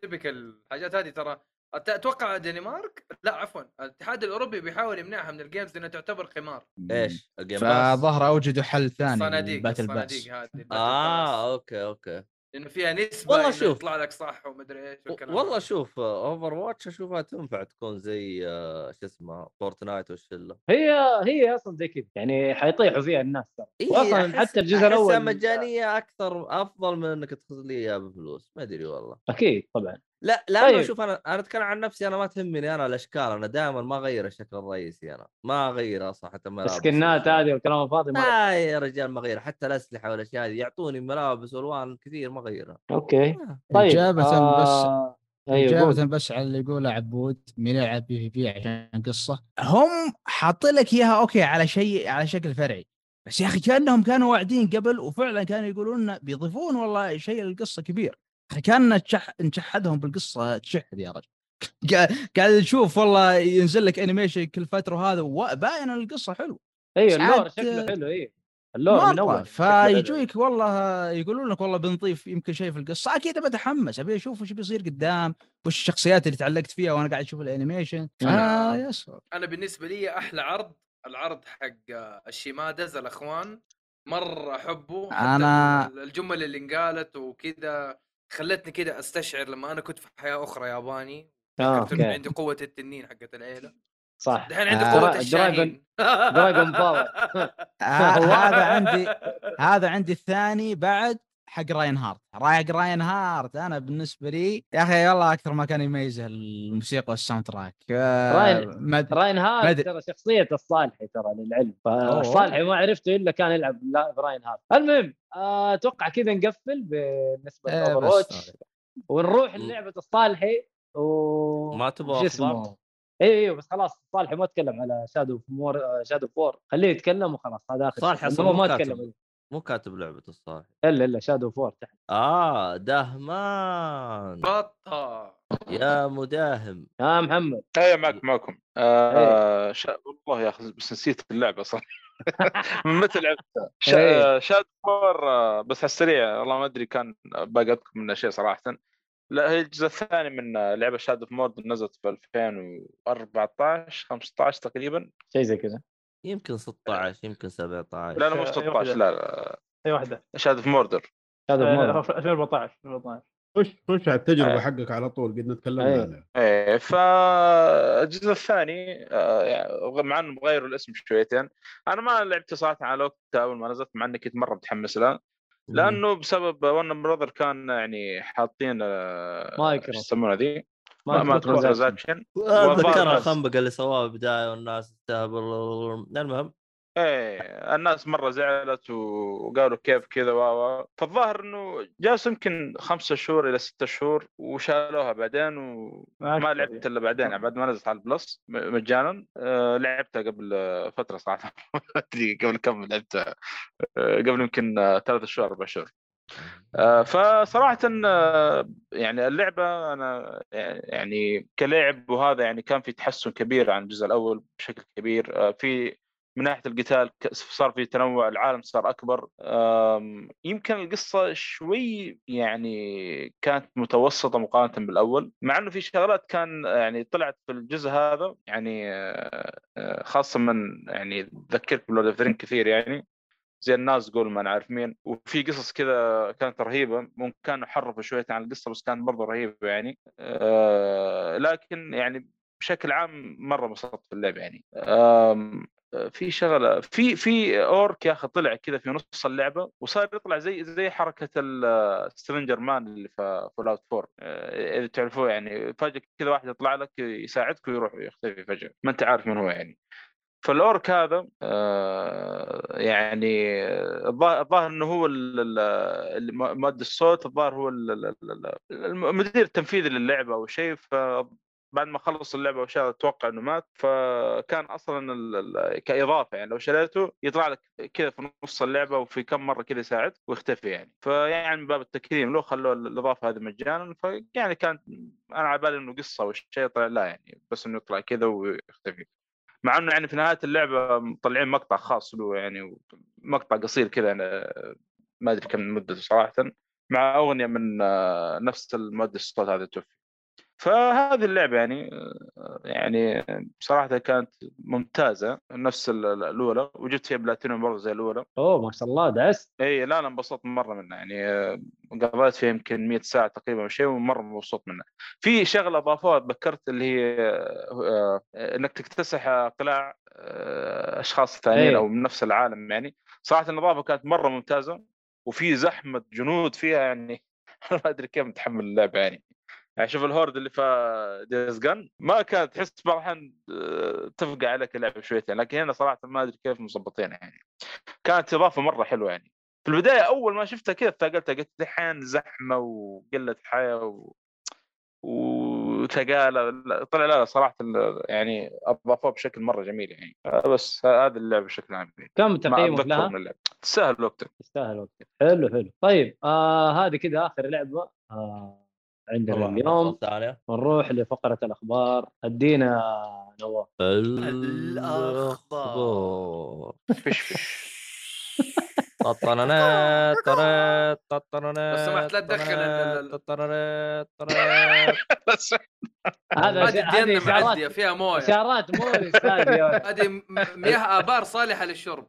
تيبكال الحاجات هذه ترى أت- اتوقع الدنمارك لا عفوا الاتحاد الاوروبي بيحاول يمنعها من الجيمز لانها تعتبر قمار
ايش؟ الجيم باس؟
فظهر اوجدوا حل ثاني
الصناديق
الباتل باس
الصناديق هذه الباتل باس.
اه اوكي اوكي
لانه فيها نسبه
والله
إنه
شوف.
يطلع لك صح ومدري ايش والكلام
والله
هذا.
شوف اوفر واتش اشوفها تنفع تكون زي آه، شو اسمه فورتنايت والشله
هي هي اصلا زي كذا يعني حيطيحوا فيها الناس ترى
إيه،
واصلا
أحس-
حتى الجزء
أحسها
الاول
مجانيه اكثر افضل من انك تخليها بفلوس ما ادري والله
اكيد طبعا
آه،
لا لا طيب.
طيب.
شوف انا انا اتكلم عن نفسي انا ما تهمني انا الاشكال انا دائما ما اغير الشكل الرئيسي انا ما اغير اصلا حتى ملابس
السكنات هذه
آه.
والكلام الفاضي ما
لا يا رجال ما اغير حتى الاسلحه والاشياء هذه يعطوني ملابس والوان كثير ما اغيرها
اوكي
آه.
طيب
إجابة بس
آه... ايوه
إجابة
قول.
بس على اللي يقوله عبود مين يلعب بي في بي عشان قصة هم حاطين لك إياها أوكي على شيء على شكل فرعي بس يا أخي كأنهم كانوا واعدين قبل وفعلا كانوا يقولون إنه بيضيفون والله شيء للقصة كبير أخي كان نشحدهم بالقصة تشحد يا رجل قا- قاعد نشوف والله ينزل لك انيميشن كل فتره وهذا وباين إن القصه حلوه
ايوه اللور
ساعات-
شكله حلو ايوه اللون من
آه. مرة.
اول
فيجوك والله يقولون لك والله بنضيف يمكن شيء في القصه اكيد بتحمس ابي اشوف وش بيصير قدام وش الشخصيات اللي تعلقت فيها وانا قاعد اشوف الانيميشن
نعم.
اه يسر
انا بالنسبه لي احلى عرض العرض حق آه، الشيمادز الاخوان مره احبه حتى
أنا-
الجمل اللي انقالت وكذا خلتني كذا استشعر لما انا كنت في حياه اخرى ياباني
اه
كنت
اوكي
عندي قوه التنين حقت العيله
صح
دحين عندي
آه،
قوه
درا-
الشاهين
دراجون باور
آه، هذا عندي هذا عندي الثاني بعد حق راين هارت رايق راين هارت انا بالنسبه لي يا اخي والله اكثر ما كان يميزه الموسيقى والساوند تراك آه،
راين-
ما أدري.
راين هارت
مدري.
ترى شخصية الصالحي ترى للعلم
أوه.
فالصالحي ما عرفته الا كان يلعب بلا- براين هارت المهم آه، اتوقع كذا نقفل بالنسبة
إيه، بس
لأوفرواتش
هذا.
ونروح للعبة الصالحي و
ما تبغى
شو
اخبار
اسمه ايوه ايوه بس خلاص صالحي ما تكلم على شادو مور شادو فور خليه يتكلم وخلاص هذا اخر
صالحي
شيء.
أصلاً
هو
مو
ما
كاتب.
تكلم
مو كاتب لعبه الصالح
الا الا شادو فور تحت
اه دهمان
بطه
يا مداهم
يا محمد
اي إيه، معك معكم آه شا... والله يا اخي بس نسيت اللعبه صح من متى لعبتها شا...
إيه.
شاد فور آه، بس على السريع والله ما ادري كان باقي اذكر منها شيء صراحه لا هي الجزء الثاني من آه، لعبه شاد اوف مورد نزلت في 2014 15 تقريبا
شيء زي كذا
يمكن 16 يمكن 17
لا لا مو
شا-
16 لا لا
اي واحده
شاد اوف موردر
شادو
إيه،
آه،
مور
2014 2014
خش خش على التجربه
آه.
أي.
حقك على طول قد
أي.
نتكلمنا عنها
ايه فالجزء الثاني آه، يعني مع انهم غيروا الاسم شويتين انا ما لعبت صراحه على وقتها اول ما نزلت مع اني كنت مره متحمس لها لانه بسبب ون براذر كان يعني حاطين آه،
مايكرو.
شو يسمونها ذي ما- ما ترانزاكشن
اتذكر
وفاضل.
الخنبقه اللي سواها بالبدايه والناس تهبل- المهم
ايه الناس مره زعلت وقالوا كيف كذا و و. فالظاهر انه جالس يمكن خمسة شهور الى ستة شهور وشالوها بعدين و... ما لعبت الا بعدين يعني بعد ما نزلت على البلس م- مجانا آه، لعبتها قبل آه، فتره صراحه ما ادري قبل كم لعبتها آه، قبل يمكن آه، ثلاث شهور اربع شهور آه، فصراحه آه، يعني اللعبه انا يعني كلعب وهذا يعني كان في تحسن كبير عن الجزء الاول بشكل كبير آه، في من ناحيه القتال ك- صار في تنوع العالم صار آه، اكبر آم، آمم، يمكن القصه شوي يعني كانت متوسطه مقارنه بالاول مع انه في شغلات كان يعني طلعت في الجزء هذا يعني آه، آه، خاصه من يعني تذكرك بلورد اوف كثير يعني زي الناس قول ما نعرف مين وفي قصص كذا كانت رهيبه ممكن كانوا حرفوا شويه عن القصه بس كانت برضه رهيبه يعني آه، لكن يعني بشكل عام مره انبسطت في اللعبه يعني آم، في شغله في في اورك يا اخي طلع كذا في نص اللعبه وصار يطلع زي زي حركه السترينجر مان اللي في فول اوت 4 آه، اذا تعرفوه يعني فجاه كذا واحد يطلع لك يساعدك ويروح يختفي فجاه ما انت عارف من هو يعني فالاورك هذا آه، يعني آه، الظاهر الظاهر انه هو ال- ال- اللي ما- ماد الصوت الظاهر هو ال- ال- ال- ال- المدير التنفيذي للعبه او شيء ف بعد ما خلص اللعبه وشال اتوقع انه مات فكان اصلا ال- ال- كاضافه يعني لو شريته يطلع لك كذا في نص اللعبه وفي كم مره كذا يساعد ويختفي يعني فيعني من باب التكريم لو خلوا ال- الاضافه هذه مجانا فيعني كانت انا على بالي انه قصه والشيء طلع لا يعني بس انه يطلع كذا ويختفي مع انه يعني في نهايه اللعبه مطلعين مقطع خاص له يعني مقطع قصير كذا يعني ما ادري كم مدته صراحه مع اغنيه من آه، نفس المؤدي الصوت هذا توفي فهذه اللعبه يعني يعني بصراحه كانت ممتازه نفس ال- ال- الاولى وجبت فيها بلاتينيوم برضه زي الاولى
اوه ما شاء الله دعست
اي إيه، لا انا انبسطت مره منها يعني آه، قضيت فيها يمكن 100 ساعه تقريبا او شيء ومره مبسوط منها في شغله اضافوها تذكرت اللي هي آه، آه، انك تكتسح قلاع آه، اشخاص ثانيين
إيه.
او من نفس العالم يعني صراحه الاضافه كانت مره ممتازه وفي زحمه جنود فيها يعني ما ادري كيف متحمل اللعبه يعني يعني شوف الهورد اللي في ديز جن ما كانت تحس بعض الاحيان آه، تفقع عليك اللعبه شويتين لكن هنا صراحه ما ادري كيف مظبطينها يعني كانت اضافه مره حلوه يعني في البدايه اول ما شفتها كذا ثقلتها قلت دحين زحمه وقله حياه و... وتقالة لا- طلع لا لا، صراحه ال- يعني اضافوه بشكل مره جميل يعني آه، بس ه- هذه اللعبه بشكل عام يعني.
كم
ما
تقييمك
اتذكر
لها؟
من اللعبه تستاهل وقتك
تستاهل وقتك حلو حلو طيب آه هذه كذا اخر لعبه آه عندنا اليوم
ثانيه
ونروح لفقره الاخبار ادينا نواف
الاخبار
فش فش
ططرنا طرا
لو
ططرنا
سمحت لا تدخل ال- ال-
ططرنا طرا
هذا
هذه
هذه
ديالنا معديه
اشارات
فيها مويه
اشارات مورس هذه يا ولد.
هذه م- مياه ابار صالحه للشرب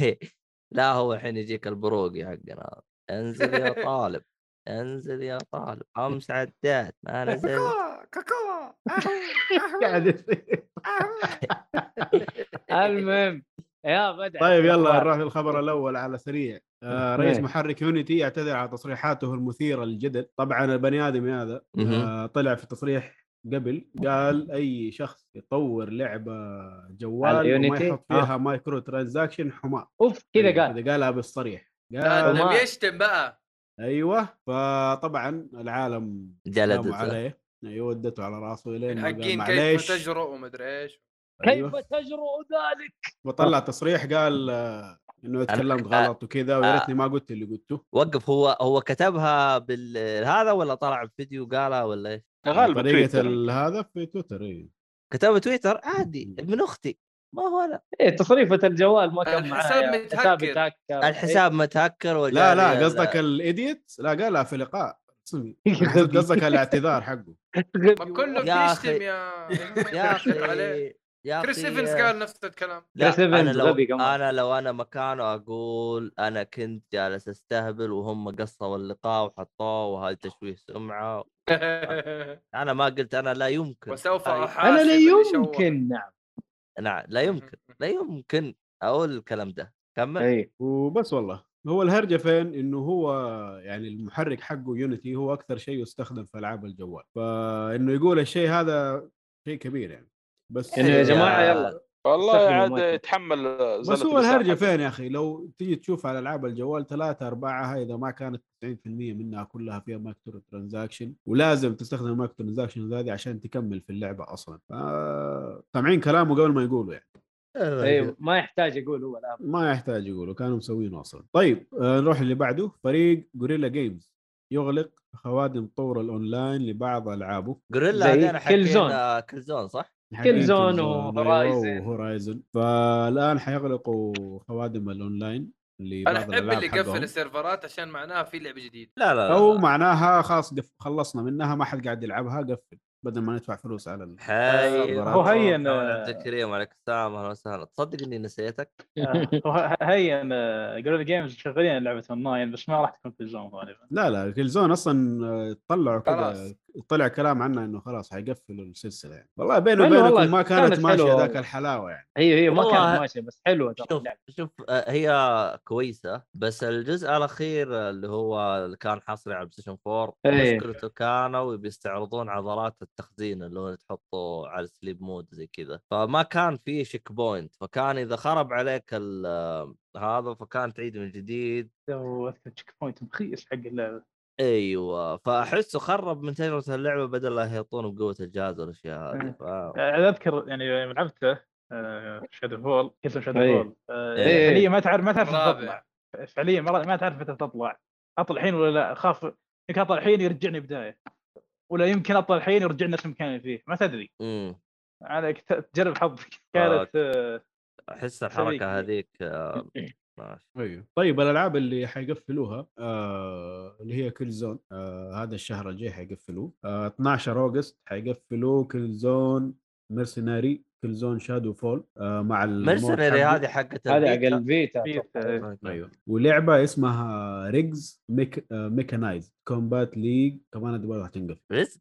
لا هو الحين يجيك البروقي حقنا انزل يا طالب انزل يا طالب امس عدات ما نزل
كاكاو
قاعد يصير.
المهم يا بدع
طيب يلا نروح للخبر الاول على سريع آه، رئيس
إيه.
محرك يونيتي يعتذر على تصريحاته المثيره للجدل طبعا البني ادم هذا
مهم.
آه، طلع في تصريح قبل قال اي شخص يطور لعبه
على
جوال وما
يونيتي؟
يحط فيها مايكرو ترانزاكشن حمار
اوف آه. كذا قال
اذا أيوه، قالها بالصريح
لا
قال
ده
وما-
بيشتم بقى
ايوه فطبعا العالم قاموا
جلدته
عليه ايوه ودته على راسه
من
الين ما قال
حقين كيف
معليش
تجرؤ ومدري ايش
كيف
أيوة.
تجرؤ ذلك؟
وطلع تصريح قال آه، انه تكلمت غلط وكذا ويا ريتني ما قلت اللي قلته
وقف هو هو كتبها بال هذا ولا طلع بفيديو قالها ولا ايش؟
غالبا
طريقه
آه، تويتر.
يعني ال- هذا في تويتر إيه. اي
كتبها تويتر عادي من اختي ما هو انا
ايه تصريفة الجوال ما كان
الحساب
معايا
متهكر.
حساب متهكر
الحساب متهكر
لا
وجاري
لا
ال-
قصدك الايديت لا قالها في لقاء اسمي أنا
إيه،
حسبت قصدك الاعتذار حقه
ما كله
يا أخي.
بيشتم يا
يا
عليه.
اخي يا
كريس
أخي،
ايفنز قال نفس الكلام
لا
كريس إيفنز
انا لو
غبي كمان.
انا لو انا مكانه اقول انا كنت جالس استهبل وهم قصوا اللقاء وحطوه وهذا تشويه سمعه انا ما قلت انا لا يمكن
وسوف
أي-
احاسب
انا لا
اللي شوه.
يمكن نعم
نعم لا يمكن لا يمكن اقول الكلام ده كمل
اي
وبس والله هو الهرجه فين انه هو يعني المحرك حقه يونيتي هو اكثر شيء يستخدم في العاب الجوال فانه يقول الشيء هذا شيء كبير يعني بس
إيه،
انه يا جماعه
يا-
يلا
والله
استخدموا
عاد
مايكرو.
يتحمل زلة
بس هو
الإساءة
الهرجه
حقه.
فين يا اخي لو تيجي تشوف على العاب الجوال ثلاثة ارباعها اذا ما كانت 90% منها كلها فيها مايكرو ترانزاكشن ولازم تستخدم المايكرو ترانزاكشن هذه عشان تكمل في اللعبه اصلا ف- سامعين كلامه قبل ما يقولوا يعني
اي ما يحتاج يقول هو الان
ما يحتاج يقولوا كانوا مسوينه اصلا طيب آه، نروح اللي بعده فريق غوريلا جيمز يغلق خوادم طور الاونلاين لبعض العابه
جوريلا
زي
هذين
كيلزون.
حقين كلزون صح؟
حقين
زون
كيلزون، أيوة،
وهورايزن.
وهورايزن فالان حيغلقوا خوادم الاونلاين لبعض
انا احب
الألعاب
اللي يقفل
حقهم.
السيرفرات عشان معناها في لعبه جديده
لا لا
او
لا
معناها خلاص قف... خلصنا منها ما حد قاعد يلعبها قفل بدل ما ندفع فلوس على ال...
حي
هو
هين،
الكريم وعليك السلام اهلا وسهلا تصدق اني نسيتك؟
آه،
آه، هيا جريل جيمز شغالين لعبه اونلاين بس ما راح تكون في الزون غالبا
لا لا كيلزون اصلا آه، طلعوا كذا
خلاص.
طلع كلام عنه انه خلاص حيقفلوا السلسله يعني والله بيني
حلو والله،
وبينكم ما كانت
كانت
ماشيه
حلوة
ذاك
والله.
الحلاوه يعني
هي هي ما
والله-
كانت ماشيه بس حلوه ترى
شوف
اللعبة.
شوف آه، هي كويسه بس الجزء الاخير اللي هو اللي كان حصري على بلايستيشن 4
إيه.
مشكلته كانوا بيستعرضون عضلات التخزين اللي هو تحطه على سليب مود زي كذا فما كان في شيك بوينت فكان اذا خرب عليك ال- آه، هذا فكان تعيد من جديد
واذكر تشيك بوينت مخيس حق اللعبه
ايوه فاحسه خرب من تجربه اللعبه بدل لا يحيطون بقوه الجهاز والاشياء هذه
إيه.
ف...
انا اذكر يعني يوم آه، لعبته شادو فول كيف شادو
إيه.
فول
إيه.
فعليا آه، ما تعرف ما تعرف متى
رابع.
تطلع فعليا ما ما تعرف متى تطلع اطلع الحين ولا لا اخاف يمكن اطلع الحين يرجعني بدايه ولا يمكن اطلع الحين يرجعني نفس مكاني فيه ما تدري
مم.
عليك ت- تجرب حظك كانت آه،
احس الحركه هذيك آه، ماشي.
ايوه طيب الالعاب اللي حيقفلوها آه اللي هي كل زون آه هذا الشهر الجاي حيقفلوه آه 12 اوغست حيقفلوه كل زون مرسيناري كل زون شادو فول آه مع
مرسنري هذه حقت
هذا
البيتا.
اقل فيتا
في- آه،
أوكي.
ايوه ولعبه اسمها ريجز ميك... آه ميكانايز كومبات ليج كمان هذه برضه حتنقفل
رزق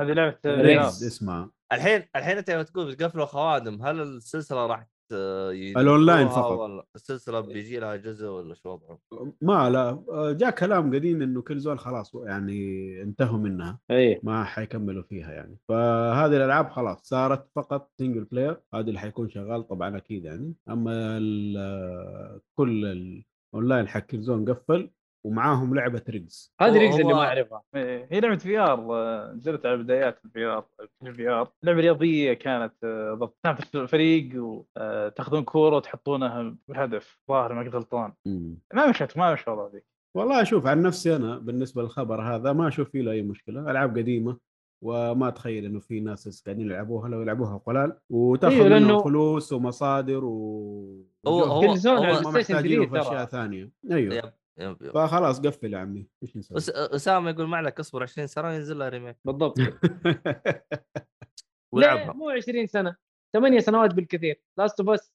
هذه لعبه آه،
ريجز
رياض.
اسمها
الحين الحين انت لما تقول بتقفلوا خوادم هل السلسله راح ت- يدخلوها
الأونلاين فقط.
ولا السلسله بيجي لها جزء ولا شو وضعه؟
ما لا آه، جاء كلام قديم انه كل زون خلاص يعني انتهوا منها
اي
ما حيكملوا فيها يعني فهذه الالعاب خلاص صارت فقط سنجل بلاير هذا اللي حيكون شغال طبعا اكيد يعني اما ال- كل الاونلاين حق زون قفل ومعاهم لعبه ريجز
هذه
هو-
ريجز اللي
هو-
ما اعرفها
إيه، هي لعبه في ار آه، نزلت على بدايات الفي ار الفي ار لعبه رياضيه كانت آه، ضبط تنافس الفريق وتاخذون كوره وتحطونها بالهدف ظاهر ما كنت غلطان ما مشت ما مشت والله ذيك
والله اشوف عن نفسي انا بالنسبه للخبر هذا ما اشوف فيه له اي مشكله العاب قديمه وما اتخيل انه في ناس قاعدين يلعبوها لو يلعبوها
إيه،
قلال وتاخذ
أيوة،
منهم
لأنه-
فلوس ومصادر و
هو هو
كل زون على
هو
ما
البلاي ستيشن
محتاجينه
3
في اشياء
ترى
ثانيه ايوه
يب يب يب
فخلاص قفل يا عمي ايش نسوي؟
أس- اسامه يقول ما عليك اصبر 20 سنه ينزل لها ريميك
بالضبط لا
ويلعبها
مو 20 سنه ثمانية سنوات بالكثير لاست اوف اس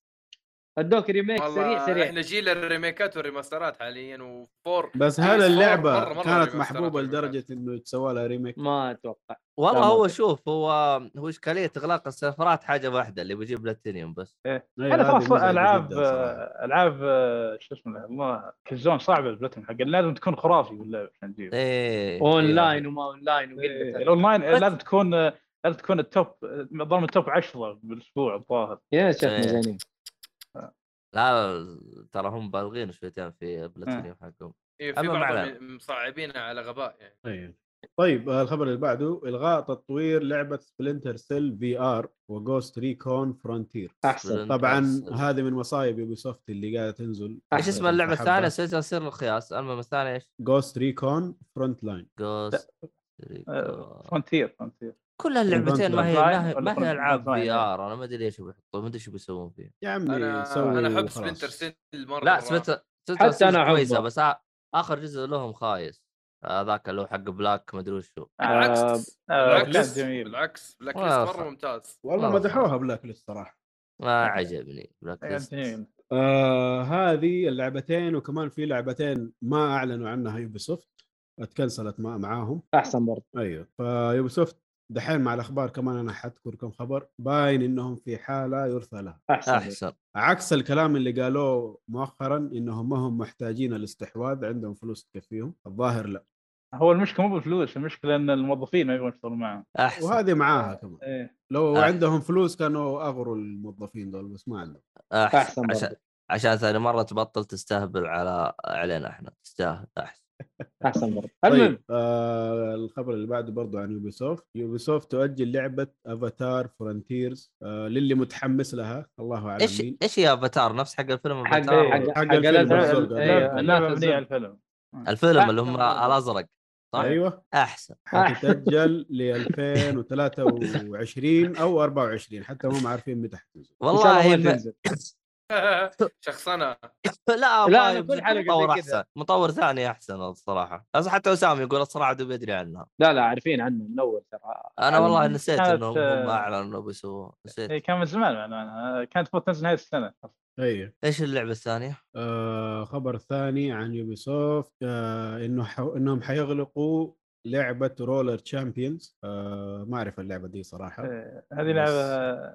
ادوك ريميك سريع
والله
سريع
احنا جيل الريميكات والريماسترات حاليا وفور
بس
PS4
هذا اللعبه
مرة- مرة
كانت
ريماسترات
محبوبه
والريماسترات.
لدرجه انه يتسوى لها ريميك
ما اتوقع
والله
لا، ما
هو
أدري.
شوف هو هو اشكاليه اغلاق السيرفرات حاجه واحده اللي بجيب بلاتينيوم بس
أيوة،
انا
هذه
خلاص
مزعجة
العاب
جداً صراحة.
آه، العاب آه، شو اسمه والله كزون صعبه البلاتين حق لازم تكون خرافي باللعب عشان
إيه،
تجيبه
ايه
اون
إيه.
لاين وما اون لاين
إيه،
وقله
الاونلاين آه، لازم تكون آه، لازم تكون التوب آه، ضمن التوب 10 بالاسبوع الظاهر
يا شيخ
إيه.
مجانين
لا لا، ترى هم بالغين شويتين في بلاتينيوم
آه.
حقهم
إيه، في
أما معلم.
بعض مصعبينها على غباء يعني
أيوة. طيب آه، الخبر اللي بعده الغاء تطوير لعبه سبلنتر سيل في ار وجوست ريكون فرونتير
احسن
طبعا
Splinter Cell.
هذه من مصايب يوبي سوفت اللي قاعده تنزل
ايش اسم اللعبه الثانيه سلسله سر القياس المهم الثانيه ايش؟
جوست ريكون فرونت لاين
جوست
آه، فونتير فونتير
كل اللعبتين ما هي ما هي, ما
Online ولا
هي العاب
Online؟
في ار انا ما ادري ايش بيحطوا ما ادري ايش بيسوون فيها
يا عمي
انا
سوي
انا احب
وخلاص.
سبلنتر سيل مره
لا
مرة.
سبت
حتى
سبت
أنا
كويسه
أحبه.
بس آ- اخر جزء لهم خايس هذاك اللي هو حق بلاك ما ادري وشو
بالعكس
آه، آه،
بالعكس
كان جميل
بالعكس بلاك ليست
والله
مره
صح.
ممتاز
والله
والله
مدحوها بلاك ليست صراحه
ما عجبني بلاك
كان
ليست
جميل
آه هذه اللعبتين وكمان في لعبتين ما اعلنوا عنها يوبي سوفت اتكنسلت مع- معاهم
احسن برضه
ايوه فيوبي سوفت دحين مع الاخبار كمان انا حذكر كم خبر باين انهم في حاله يرثى لها
احسن برضه.
احسن
عكس الكلام اللي قالوه مؤخرا انهم ما هم محتاجين الاستحواذ عندهم فلوس تكفيهم الظاهر لا
هو المشكله مو بالفلوس المشكله ان الموظفين ما يبغون يشتغلون معهم
احسن
وهذه معاها كمان
إيه.
ايه
لو
آه.
عندهم فلوس كانوا اغروا الموظفين دول بس ما عندهم
احسن
أحسن برضه.
عشان عشان ثاني مره تبطل تستهبل على علينا احنا تستاهل احسن
احسن برضه المهم
طيب آه الخبر اللي بعده برضو عن يوبيسوفت يوبيسوفت تؤجل لعبه افاتار فرونتيرز آه للي متحمس لها الله اعلم
ايش
مين
ايش يا افاتار نفس حق الفيلم
حق إيه،
أفاتار؟
حق
حق
حق
الفيلم
الأزرق.
الأزرق.
أيوه،
أيوة،
اللعبه
الناس
مبنيه على
الأزرق.
الفيلم
الفيلم اللي هم
أحسن أيوه. برضه.
الازرق صح؟
ايوه
احسن
حتتاجل ل 2023 او 24 حتى ما هم عارفين متى
ان
حتنزل
شاء
والله إيه،
الله ما
ما-
تنزل
شخصنه
لا
لا،
والله
أنا كل
يبدو
حلقة زي
مطور
كذا.
احسن مطور ثاني احسن الصراحه بس حتى اسامه يقول الصراحه دوب يدري عنها
لا لا عارفين عنه من اول ترى
انا والله نسيت
كانت-
انهم هم اعلنوا انه بيسووها
إيه،
نسيت
كان من زمان معناها كانت المفروض تنزل نهايه السنه
ايوه
ايش اللعبه الثانيه؟
آه خبر ثاني عن يوبيسوفت آه انه ح... انهم حيغلقوا لعبه رولر تشامبيونز آه ما اعرف اللعبه دي صراحه
إيه، هذه لعبه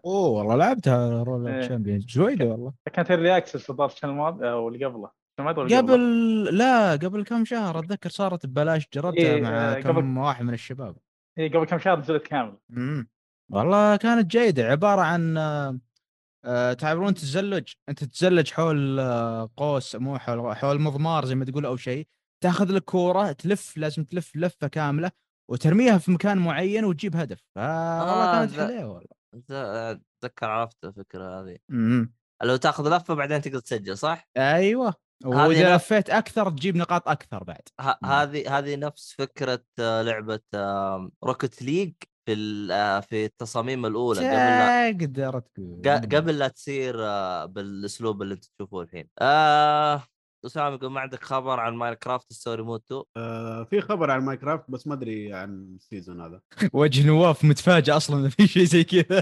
اوه والله لعبتها رول
إيه.
تشامبيونز زويده والله
كانت ايرلي اكسس الظاهر السنه الماضيه او اللي قبله السنة الماضية واللي
قبل لا قبل كم شهر اتذكر صارت ببلاش جربتها
إيه،
مع
آه، قبل-
كم واحد من الشباب
إيه، قبل كم شهر نزلت كامله
امم والله كانت جيده عباره عن آه، آه، تعبرون تتزلج انت تتزلج حول آه، قوس مو حول حول مضمار زي ما تقول او شيء تاخذ لك كوره تلف لازم تلف لفه كامله وترميها في مكان معين وتجيب هدف آه والله
آه،
كانت
ذا-
حلوه والله
أت- اتذكر عرفت الفكره هذه
امم
لو تاخذ لفه بعدين تقدر تسجل صح؟
ايوه
هذه
واذا
نف-
لفيت اكثر تجيب نقاط اكثر بعد
ه-
مم.
هذه هذه نفس فكره آه، لعبه روكت ليج في ال- آه، في التصاميم الاولى قبل لا
تقدر تقول
ق- قبل لا تصير آه، بالاسلوب اللي انتم تشوفوه الحين. آه اسامه يقول ما عندك خبر عن ماينكرافت ستوري مود 2
آه، في خبر عن ماينكرافت بس ما ادري عن السيزون هذا
وجه نواف متفاجئ اصلا إنه في شيء زي كذا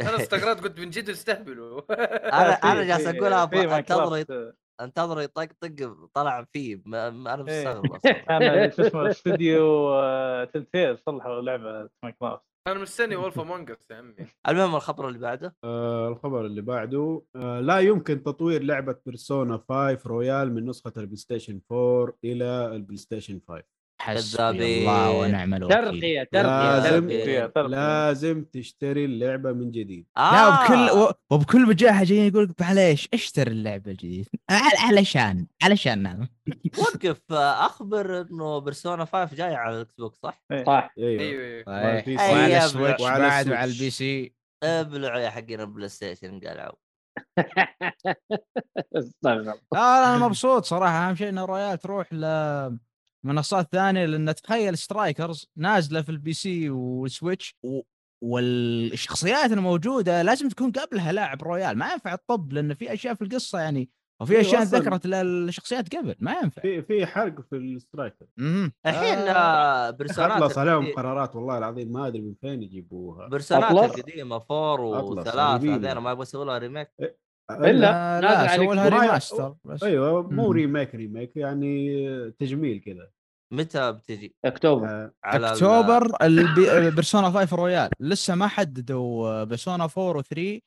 انا استغربت قلت من جد استهبلوا
انا
في-
انا جالس
في-
اقول
في
أبغى انتظر
مايكروسوفت،
يط- انتظر يطقطق طلع فيه ما ما انا
إيه.
مستغرب أصلاً.
كان شو اسمه الاستديو آه، تلتيل صلحوا لعبه مايكروسوفت
انا مستني وولف امونج اس يا عمي
المهم الخبر اللي بعده
آه، الخبر اللي بعده آه، لا يمكن تطوير لعبه بيرسونا 5 رويال من نسخه البلاي ستيشن 4 الى البلاي ستيشن 5
حسبي
كذابين.
الله ونعم الوكيل
ترقيه ترقيه
لازم
ترقية.
فيها ترقية.
لازم تشتري اللعبه من جديد
آه
لا وبكل و- وبكل وجاهه جايين يقول معليش اشتري اللعبه الجديد عل- علشان علشان نعم
وقف آه، اخبر انه بيرسونا 5 جاي على الاكس بوكس صح؟
إيه.
صح
ايوه
ايوه ايوه
طيب.
وعلى البي سي.
أيوة.
وعلى
أيام
السويتش
وعلى
بعد وعلى
السويتش.
البي سي
ابلعوا يا حقين البلاي ستيشن قلعوا
استغرب
لا لا، انا مبسوط صراحه اهم شيء ان الرويال تروح ل منصات ثانيه لان تخيل سترايكرز نازله في البي سي والسويتش و... والشخصيات الموجوده لازم تكون قبلها لاعب رويال ما ينفع تطب لان في اشياء في القصه يعني وفي
أيوة،
اشياء
أصلاً.
ذكرت للشخصيات قبل ما ينفع
في في حرق في السترايكر
مهم.
الحين آه، بيرسونات
خلص عليهم
إيه.
القديم-
قرارات والله العظيم ما ادري من فين يجيبوها
بيرسونات
أطلس.
القديمه فور
أطلس،
وثلاثه
رهيبين.
هذين ما يبغى يسوي لها ريميك
إلا
آه،
نازل
لا
عليك
سووا لها
ما-
ريماستر بس
ايوه مو
مم.
ريميك ريميك يعني تجميل كذا
متى بتجي؟
اكتوبر
آه،
على ال-
اكتوبر البي- بيرسونا 5 رويال لسه ما حددوا آه، بيرسونا 4 و 3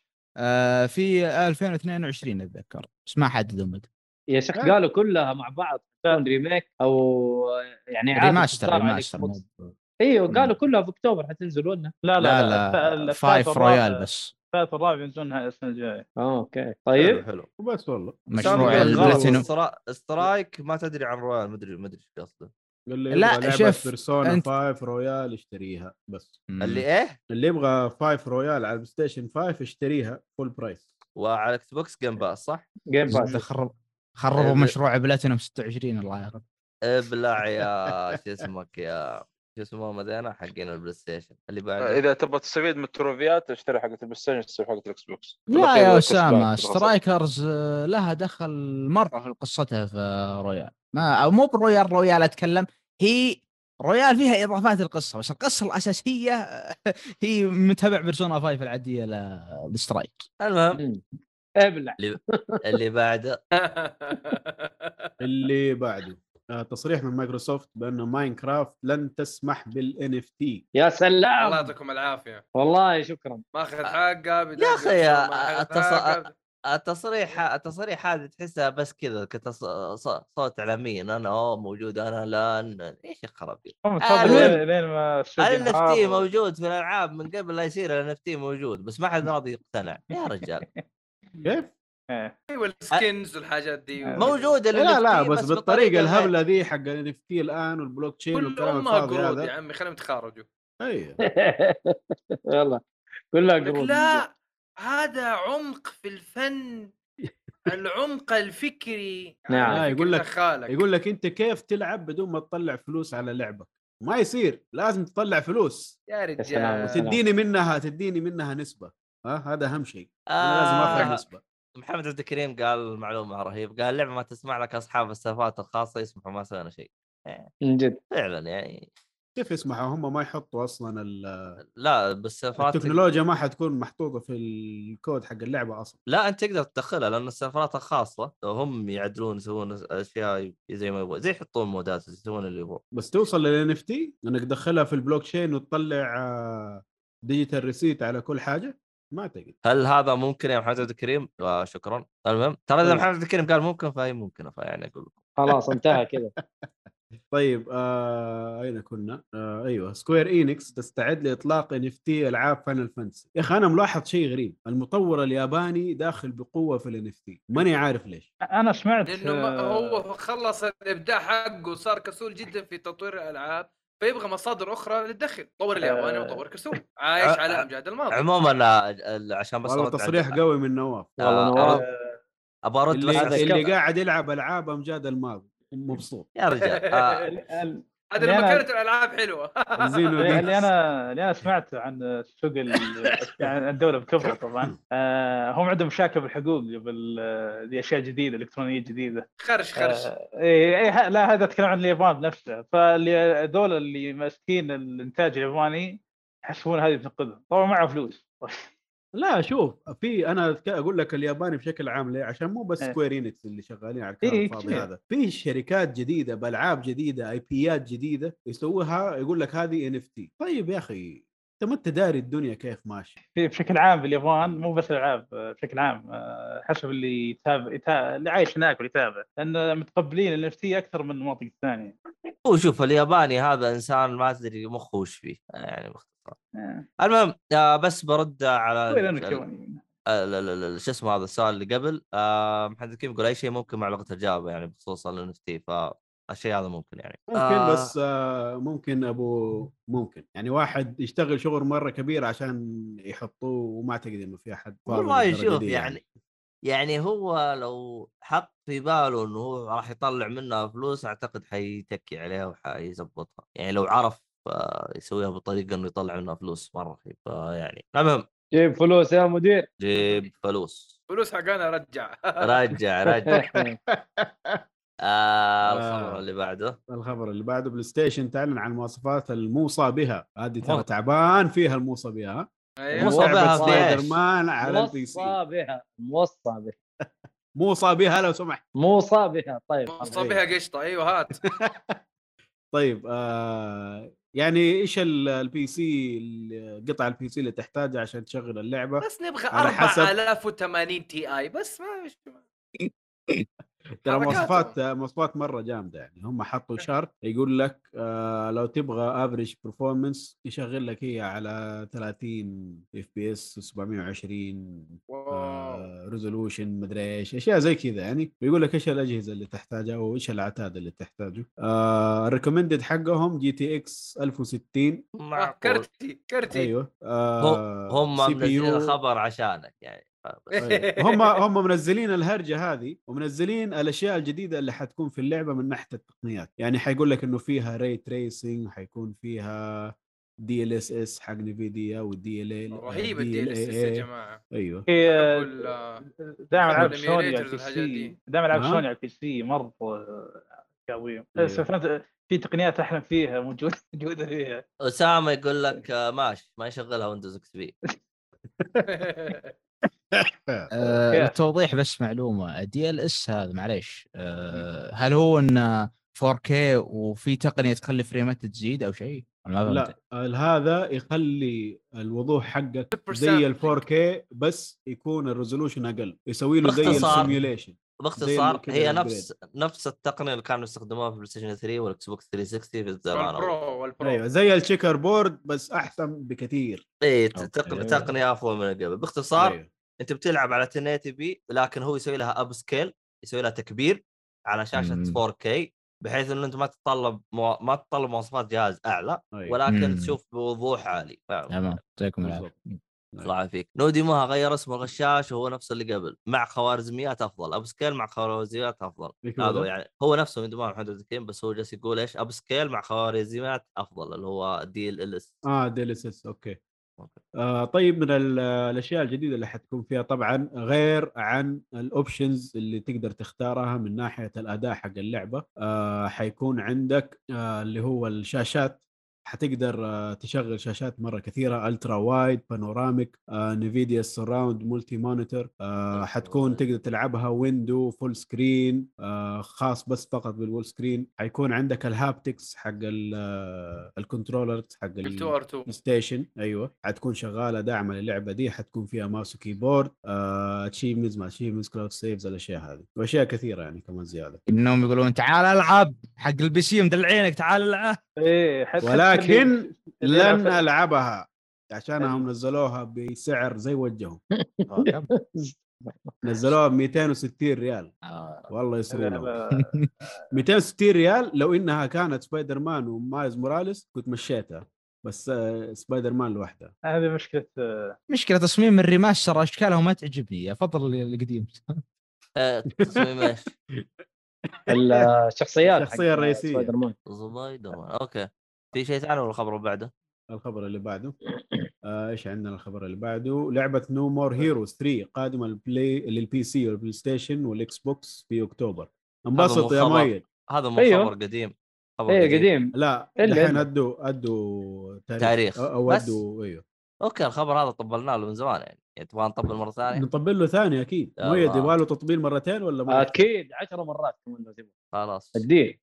في 2022 اتذكر بس ما حددوا متى
يا شيخ قالوا كلها مع بعض تكون ريميك او يعني إعادة
ريماستر
إصدار على
ريماستر
الإكس بوكس.
مو-
ايوه قالوا كلها في اكتوبر حتنزلوا لنا
لا لا
لا لا 5 رويال بس
الثالث والرابع ينزلون السنه الجايه
اه اوكي طيب
حلو حلو
وبس والله
مشروع
سامي قال غلط،
البلاتينوم
سترا- سترايك ما تدري عن رويال مدري مدري ايش قصده
اللي
لا،
يبغى لعبه
شوف،
بيرسونا
أنت-
5 رويال اشتريها بس
اللي ايه؟
اللي يبغى 5 رويال على البلاي ستيشن 5 اشتريها فول برايس
وعلى اكس بوكس جيم باس صح؟
إيه،
جيم باس
زبدة خرب خربوا
ال-
مشروع بلاتينوم 26 الله يعافيك
ابلع يا شو اسمك يا شو اسمه مدينة حقين البلاي ستيشن اللي بعده
إيه.
اذا تبغى تستفيد من التروفيات اشتري حقه البلاي ستيشن اشتري حقه الاكس بوكس
لا
لطيفة
يا
وكسبان
اسامه
في الغزل.
سترايكرز آه، لها دخل مره في قصتها في آه، رويال ما او مو برويال رويال اتكلم هي رويال فيها اضافات القصه بس القصه الاساسيه آه، هي متابع بيرسونا 5 العاديه ل- لسترايك
المهم
مم. ابلع
اللي بعده
اللي بعده آه، تصريح من مايكروسوفت بان ماينكرافت لن تسمح بالان اف تي
يا
الله
سلام
يعطيكم العافيه
والله شكرا
ماخذ حقه بدأ-
آه. يا آه. أخي،
ما أخذ
التص-
حقه.
التصريح التصريح هذا تحسها بس كذا كتص... ص- صوت اعلامي انا أوه موجود انا لان ايش الخرابيط
هم
آه، المهم.
انتظروا لين ما استوديو
الان اف تي
انهار.
موجود في الالعاب من قبل لا يصير الان اف تي موجود بس ما حد راضي يقتنع يا رجال
يعني كيف؟
إيه.
ايوه السكنز والحاجات دي
موجود ال
لا لا
NFT
بس بالطريقه
بطريقة
الهبله ذي حق الان اف تي الان والبلوك تشين
كل
والكلام
امها
الفاضي
قرود يعني. يا
هذا أيوة.
عمي خليهم يتخارجوا
اي
يلا كلها
لك
قرود
لا هذا عمق في الفن العمق الفكري
نعم.
على
آه، يقول
فكرة
لك-
خالك
يقول لك انت كيف تلعب بدون ما تطلع فلوس على لعبك ما يصير لازم تطلع فلوس
يا
سلام، يا سلام.
رجال
تديني منها تديني منها نسبه ها هذا اهم شيء انا لازم اخذ
آه
نسبه
محمد عبد الكريم قال معلومه رهيب قال اللعبه ما تسمع لك اصحاب السيرفرات الخاصه يسمحوا ما سوينا شيء
من جد
فعلا يعني
كيف يسمحوا هم ما يحطوا اصلا ال-
لا بالسيرفرات
التكنولوجيا ما حتكون محطوطه في الكود حق اللعبه اصلا
لا انت تقدر تدخلها لان السيرفرات الخاصه هم يعدلون يسوون اشياء زي ما يبغون زي يحطون مودات يسوون اللي يبغون
بس توصل للان اف تي انك تدخلها في البلوك تشين وتطلع آه، ديجيتال ريسيت على كل حاجه ما اعتقد
هل هذا ممكن يا محمد عبد الكريم؟ آه شكرا المهم ترى اذا
طيب.
محمد عبد الكريم قال ممكن فهي ممكنه فيعني اقول لكم
خلاص انتهى كذا
طيب آه اين كنا؟ آه ايوه سكوير انكس تستعد لاطلاق ان اف تي العاب فاينل فانتسي يا اخي انا ملاحظ شيء غريب المطور الياباني داخل بقوه في الان اف تي ماني عارف ليش
انا سمعت
لانه ما-
آه،
هو خلص الابداع حقه وصار كسول جدا في تطوير الالعاب فيبغى مصادر اخرى للدخل طور الياباني
آه.
وطور كسول عايش على امجاد الماضي
عموما آه، ال- عشان بس
والله
أرد على-
تصريح قوي من نواف
والله
آه،
نواف.
ابغى ارد بس
اللي,
على
اللي
الشيء-
قاعد يلعب العاب امجاد الماضي مبسوط
يا رجال آه،
ال-
هذا
يعني
لما
نعم.
أنا-
كانت الالعاب حلوه
زينو
اللي
جيكس.
اللي انا اللي انا سمعته عن سوق ال- يعني عن الدوله بكبره طبعا آه، هم عندهم مشاكل بالحقوق بال- باشياء جديده الكترونيه جديده
خرش خرش
آه، إيه إيه، ه- لا هذا اتكلم عن اليابان نفسه فهذول اللي ماسكين الانتاج الياباني يحسبون هذه بتنقذهم طبعا معه فلوس
لا شوف في انا ك- اقول لك الياباني بشكل عام ليه عشان مو بس
إيه.
سكوير انكس اللي شغالين على الكلام
إيه،
الفاضي
كثير.
هذا في شركات جديده بالعاب جديده اي بيات جديده يسووها يقول لك هذه ان اف تي طيب يا اخي انت ما انت داري الدنيا كيف ماشي
في- بشكل عام في اليابان مو بس الالعاب آه، بشكل عام آه، حسب اللي يتابع يتا- اللي عايش هناك واللي يتابع لان متقبلين النفسيه اكثر من المناطق الثانيه
هو شوف الياباني هذا انسان ما تدري مخه وش فيه يعني باختصار
آه،
المهم آه بس برد على
وين أنا
ال-
كوني؟
آه، لا- لا- لا- شو اسمه هذا السؤال اللي قبل آه محمد كيف يقول اي شيء ممكن مع لغه الجافا يعني بخصوص ال NFT فالشيء هذا ممكن يعني
ممكن
آه،
آه. بس آه، ممكن ابو ممكن يعني واحد يشتغل شغل مره كبير عشان يحطوه وما اعتقد انه في احد فاضي
والله
للدرجة
شوف
دي
يعني يعني هو لو حط في باله انه هو راح يطلع منها فلوس اعتقد حيتكي عليها وحيظبطها يعني لو عرف آه، يسويها بطريقه انه يطلع منها فلوس مره فيعني المهم
جيب فلوس يا مدير
جيب فلوس
فلوس حقنا رجع
رجع رجع آه الخبر اللي بعده
الخبر اللي بعده بلاي ستيشن تعلن عن المواصفات الموصى بها هذه ترى تعبان فيها الموصى بها
أيوة.
موصى بها
سبايدر
بإيش؟
مان على البي سي
موصى بها موصى بها
موصى بها لو سمحت
موصى بها طيب
موصى
إيه.
بها قشطه ايوه هات
طيب آه يعني ايش ال- البي سي ال- قطع البي سي اللي تحتاجها عشان تشغل اللعبه
بس نبغى
على حسب-
4080 تي اي بس ما
ترى
حركاتهم.
مواصفات آه، مواصفات مره جامده يعني هم حطوا شرط يقول لك آه لو تبغى افريج برفورمانس يشغل لك هي على 30 اف بي اس 720 آه.
واو
ريزولوشن مدري ايش اشياء زي كذا يعني ويقول لك ايش الاجهزه اللي تحتاجها او ايش العتاد اللي تحتاجه آه الريكومندد حقهم جي تي اكس 1060
آه،
معقول
كرتي كرتي
ايوه
هم
CPU
منزلين الخبر عشانك يعني
إيه.
فبس.
طيب.
أيوه. هم هم منزلين الهرجه هذه ومنزلين الاشياء الجديده اللي حتكون في اللعبه من ناحيه التقنيات يعني حيقول لك انه فيها ري تريسنج حيكون فيها دي ال اس اس حق نفيديا والدي ال ال إيه
رهيب الدي ال اس يا جماعه
ايوه
هي
أقول، آه،
دعم العاب
أقول
سوني
emulators
على البي
والحاجات دي.
سي دعم العاب
ها؟
سوني على البي سي مره عظيم
إيه.
سفرنت- في تقنيات احلم فيها موجوده موجوده فيها
اسامه يقول لك آه، ماشي ما يشغلها ويندوز اكس بي
آه
كيف؟
للتوضيح بس معلومه دي ال اس هذا معليش آه هل هو انه 4K وفي تقنيه تخلي فريمات تزيد او شيء؟ أنا ما فهمت.
لا هذا يخلي الوضوح حقك
100%
زي ال 4K بس يكون الريزولوشن اقل يسوي له زي
باختصار.
السيميوليشن
باختصار
كده
هي
الupgrade.
نفس نفس التقنيه اللي كانوا يستخدموها في بلاي ستيشن 3 والاكس بوكس 360 في الزمان
والبرو والبرو
ايوه زي التشيكر بورد بس احسن بكثير
اي
أوكي. طيب.
تقنيه افضل من قبل باختصار
أيوة.
انت بتلعب على 1080 بي لكن هو يسوي لها اب سكيل يسوي لها تكبير على شاشه
مم.
4K بحيث انه انت ما تتطلب مو... ما تتطلب مواصفات جهاز اعلى
أيوة.
ولكن
مم.
تشوف بوضوح عالي فاهم؟
تمام يعطيكم العافيه
بالضبط.
الله يعافيك نودي مها غير اسمه غشاش وهو نفسه اللي قبل مع خوارزميات افضل اب سكيل مع خوارزميات افضل
إيش هو
هذا هو
ده؟
يعني هو نفسه من دماغ محمد عبد الكريم بس هو جالس يقول ايش اب سكيل مع خوارزميات افضل اللي هو دي ال اس
اه دي ال اس اس اوكي
أوكي.
آه طيب من ال- الاشياء الجديده اللي حتكون فيها طبعا غير عن الاوبشنز اللي تقدر تختارها من ناحيه الاداء حق اللعبه آه حيكون عندك آه اللي هو الشاشات حتقدر آه، تشغل شاشات مره كثيره الترا وايد بانوراميك آه، نفيديا سراوند مولتي مونيتور آه،
ألترا
حتكون
وايد.
تقدر تلعبها ويندو فول سكرين آه، خاص بس فقط بالفول سكرين حيكون عندك الهابتكس حق ال- آه، الكنترولرز حق ال-
2 ار 2
بلاي ستيشن ايوه حتكون شغاله داعمه للعبه دي حتكون فيها ماوس وكيبورد اتشيفمنتس ما اتشيفمنتس كلاود سيفز الاشياء هذه واشياء كثيره يعني كمان زياده
انهم يقولون تعال العب حق البي سي مدلعينك تعال العب
ايه حتى
ولكن
اللي أنا
لن
فاهم.
العبها عشانهم نزلوها بسعر زي وجههم طيب. نزلوها ب 260 ريال والله يسرونه
اللعبة-
260 ريال لو انها كانت سبايدر مان ومايز موراليس كنت مشيتها بس آه، سبايدر مان لوحدها
هذه مشكله
مشكله تصميم الريماستر اشكالها ما تعجبني افضل ال- القديم
آه، تصميم ايش؟
الشخصيات حق
الشخصية الرئيسية.
سبايدر مان
سبايدر مان اوكي في شيء ثاني ولا الخبر اللي بعده؟
الخبر اللي بعده آه، ايش عندنا الخبر اللي بعده لعبه نو مور هيروز 3 قادمه للبلاي للبي سي والبلاي ستيشن والاكس بوكس في اكتوبر انبسط
مو
يا
خبر.
مؤيد
هذا مو
أيوه.
خبر قديم خبر
ايه قديم
لا
إلا-
الحين
إلا.
ادوا ادوا تاريخ,
تاريخ.
او أو
بس.
ادوا ايوه
اوكي الخبر هذا طبلناه له من زمان يعني, يعني تبغى نطبل مره ثانيه
نطبل له ثاني اكيد
يا
مؤيد
الله.
يبغى له تطبيل مرتين ولا ما يحتاج؟
اكيد 10 مرات كمان لو تبغى
خلاص
الديل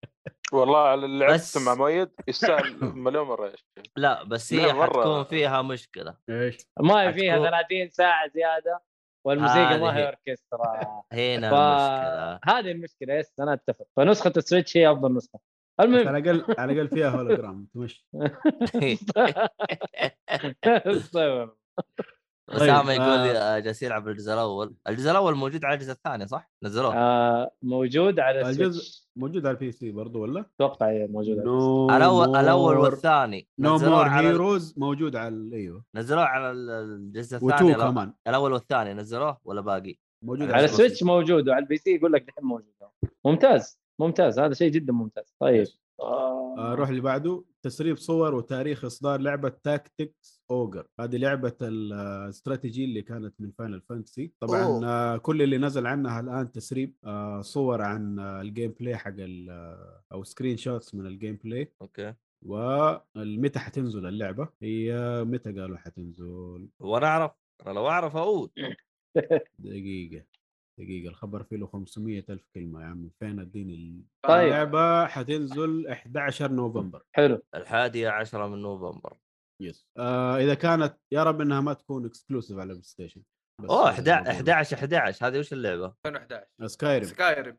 والله على اللي لعبت
بس-
مع مؤيد يستاهل مليون مره يا شيخ
لا بس
لا،
هي
مرة.
حتكون فيها مشكله
ايش
ما فيها
حتكون-
30 ساعه زياده والموسيقى ما
هذه
هي
هي.
اوركسترا
هنا
ف-
المشكله
هذه المشكله يس انا اتفق فنسخه السويتش هي افضل نسخه
بس
المهم
على الاقل على الاقل فيها هولوجرام تمشي
إيه.
طيب.
اسامه
طيب،
يقول لي آه، جالس يلعب الجزء الاول الجزء الاول موجود على الجزء الثاني صح نزلوه
آه، موجود على
الجزء-
السويتش
موجود على البي سي برضه ولا؟
اتوقع هي موجوده
نو
الاول الاول والثاني
نو مور
نزلوه على
هيروز موجود على ال- ايوه
نزلوه على ال- الجزء
و2
الثاني لا.
كمان
الاول والثاني نزلوه ولا باقي
موجود
على السويتش موجود وعلى البي سي يقول لك دحين موجود ممتاز ممتاز هذا شيء جدا ممتاز طيب آه،
آه، روح اللي بعده تسريب صور وتاريخ اصدار لعبه تاكتكس اوجر هذه لعبه ال- آه، الاستراتيجي اللي كانت من فاينل فانتسي طبعا
أوه.
آه، كل اللي نزل عنها الان تسريب آه، صور عن آه، الجيم بلاي حق ال- آه، او سكرين شوتس من الجيم بلاي
اوكي
والمتى حتنزل اللعبه هي متى قالوا حتنزل
وانا اعرف انا لو اعرف اقول
دقيقه دقيقه الخبر فيه له 500 الف كلمه يا عم فين اديني ال-
آه،
طيب.
اللعبه حتنزل 11 نوفمبر
حلو
الحادية عشرة من نوفمبر
يس آه اذا كانت يا رب انها ما تكون اكسكلوسيف على البلاي ستيشن بس
اوه
هذا الموضوع.
11 11 11 هذه وش اللعبة؟
2011
سكايريم
سكايرم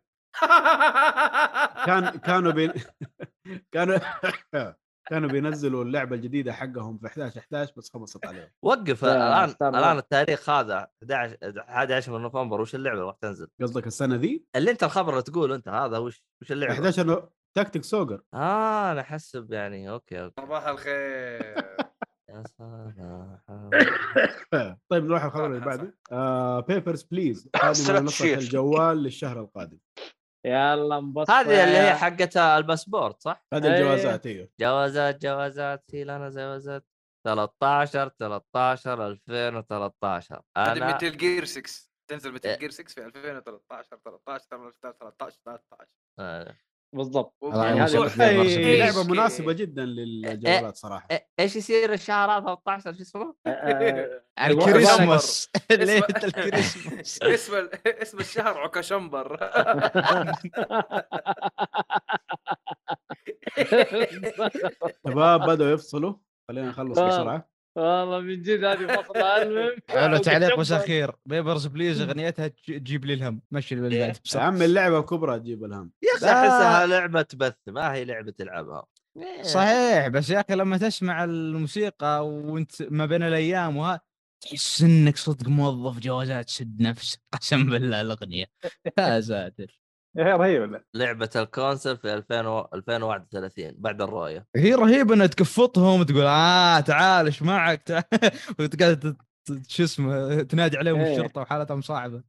كان كانوا بين كانوا كانوا بينزلوا اللعبه الجديده حقهم في 11 11 بس خبصت عليهم
وقف
لا،
الان
صار
الان التاريخ هذا 11 11 من نوفمبر وش اللعبة راح تنزل؟
قصدك السنه ذي
اللي انت الخبر اللي تقوله انت هذا وش وش اللعبة؟
11 نو... تاكتيك سوجر
اه انا احسب يعني اوكي اوكي
صباح الخير
يا صباح
طيب نروح الخبر اللي بعده بيبرز بليز هذه
Strategy.
منصه الجوال للشهر القادم
يلا انبسط
هذه اللي هي
يا-
حقت الباسبورت صح؟
هذه
أيوه.
الجوازات ايوه
جوازات جوازات شيل انا جوازات 13 13 2013
هذه
انا
متل جير 6 تنزل
إيه.
متل جير 6 في 2013 13 13 13 13
آه.
بالضبط
وبعدين
يعينك.
هذه
والله.
هذه
إيش
لعبه مناسبه
كيف.
جدا للجوالات صراحه
إيه- ايش يصير الشهر هذا 13 شو اسمه؟
آه، آه،
الكريسماس.
ليله
اسمع-
الكريسماس
اسم ال- اسم الشهر عكاشمبر
شباب بدأوا يفصلوا خلينا نخلص
آه.
بسرعه
والله من جد هذه فصلة المهم
حلو تعليق بس اخير بيبرز بليز اغنيتها تج- تجيب لي الهم مشي اللي بعد
يا
بسرعة.
عم اللعبه كبرى تجيب الهم
يا اخي احسها لعبه بث ما هي لعبه تلعبها إيه.
صحيح بس يا اخي لما تسمع الموسيقى وانت ما بين الايام وها تحس انك صدق موظف جوازات سد نفسك قسم بالله الاغنيه يا ساتر
يا أخي رهيب ولا
لعبه الكونسل في 2000 و- 2031 بعد الرؤيه
هي رهيبه انها تكفطهم تقول اه تعال ايش معك تعال وتقعد تت- تت- شو اسمه تنادي عليهم
إيه.
الشرطه وحالتها مصاعبه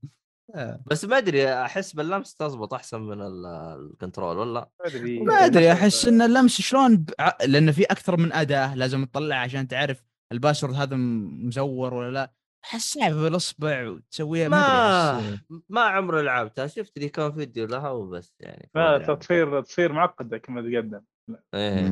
بس ما ادري احس باللمس تزبط احسن من ال- الكنترول ولا
ما ادري
ما ادري احس ان اللمس شلون ب... ع- لان في اكثر من اداه لازم تطلعها عشان تعرف الباسورد هذا م- مزور ولا لا احس صعب بالاصبع وتسويها ما
ما
ادري أحس-
ما عمري لعبتها شفت لي كان فيديو لها وبس يعني
ما
أدري عنها.
تصير تصير معقده كما تقدم
إيه.
ايه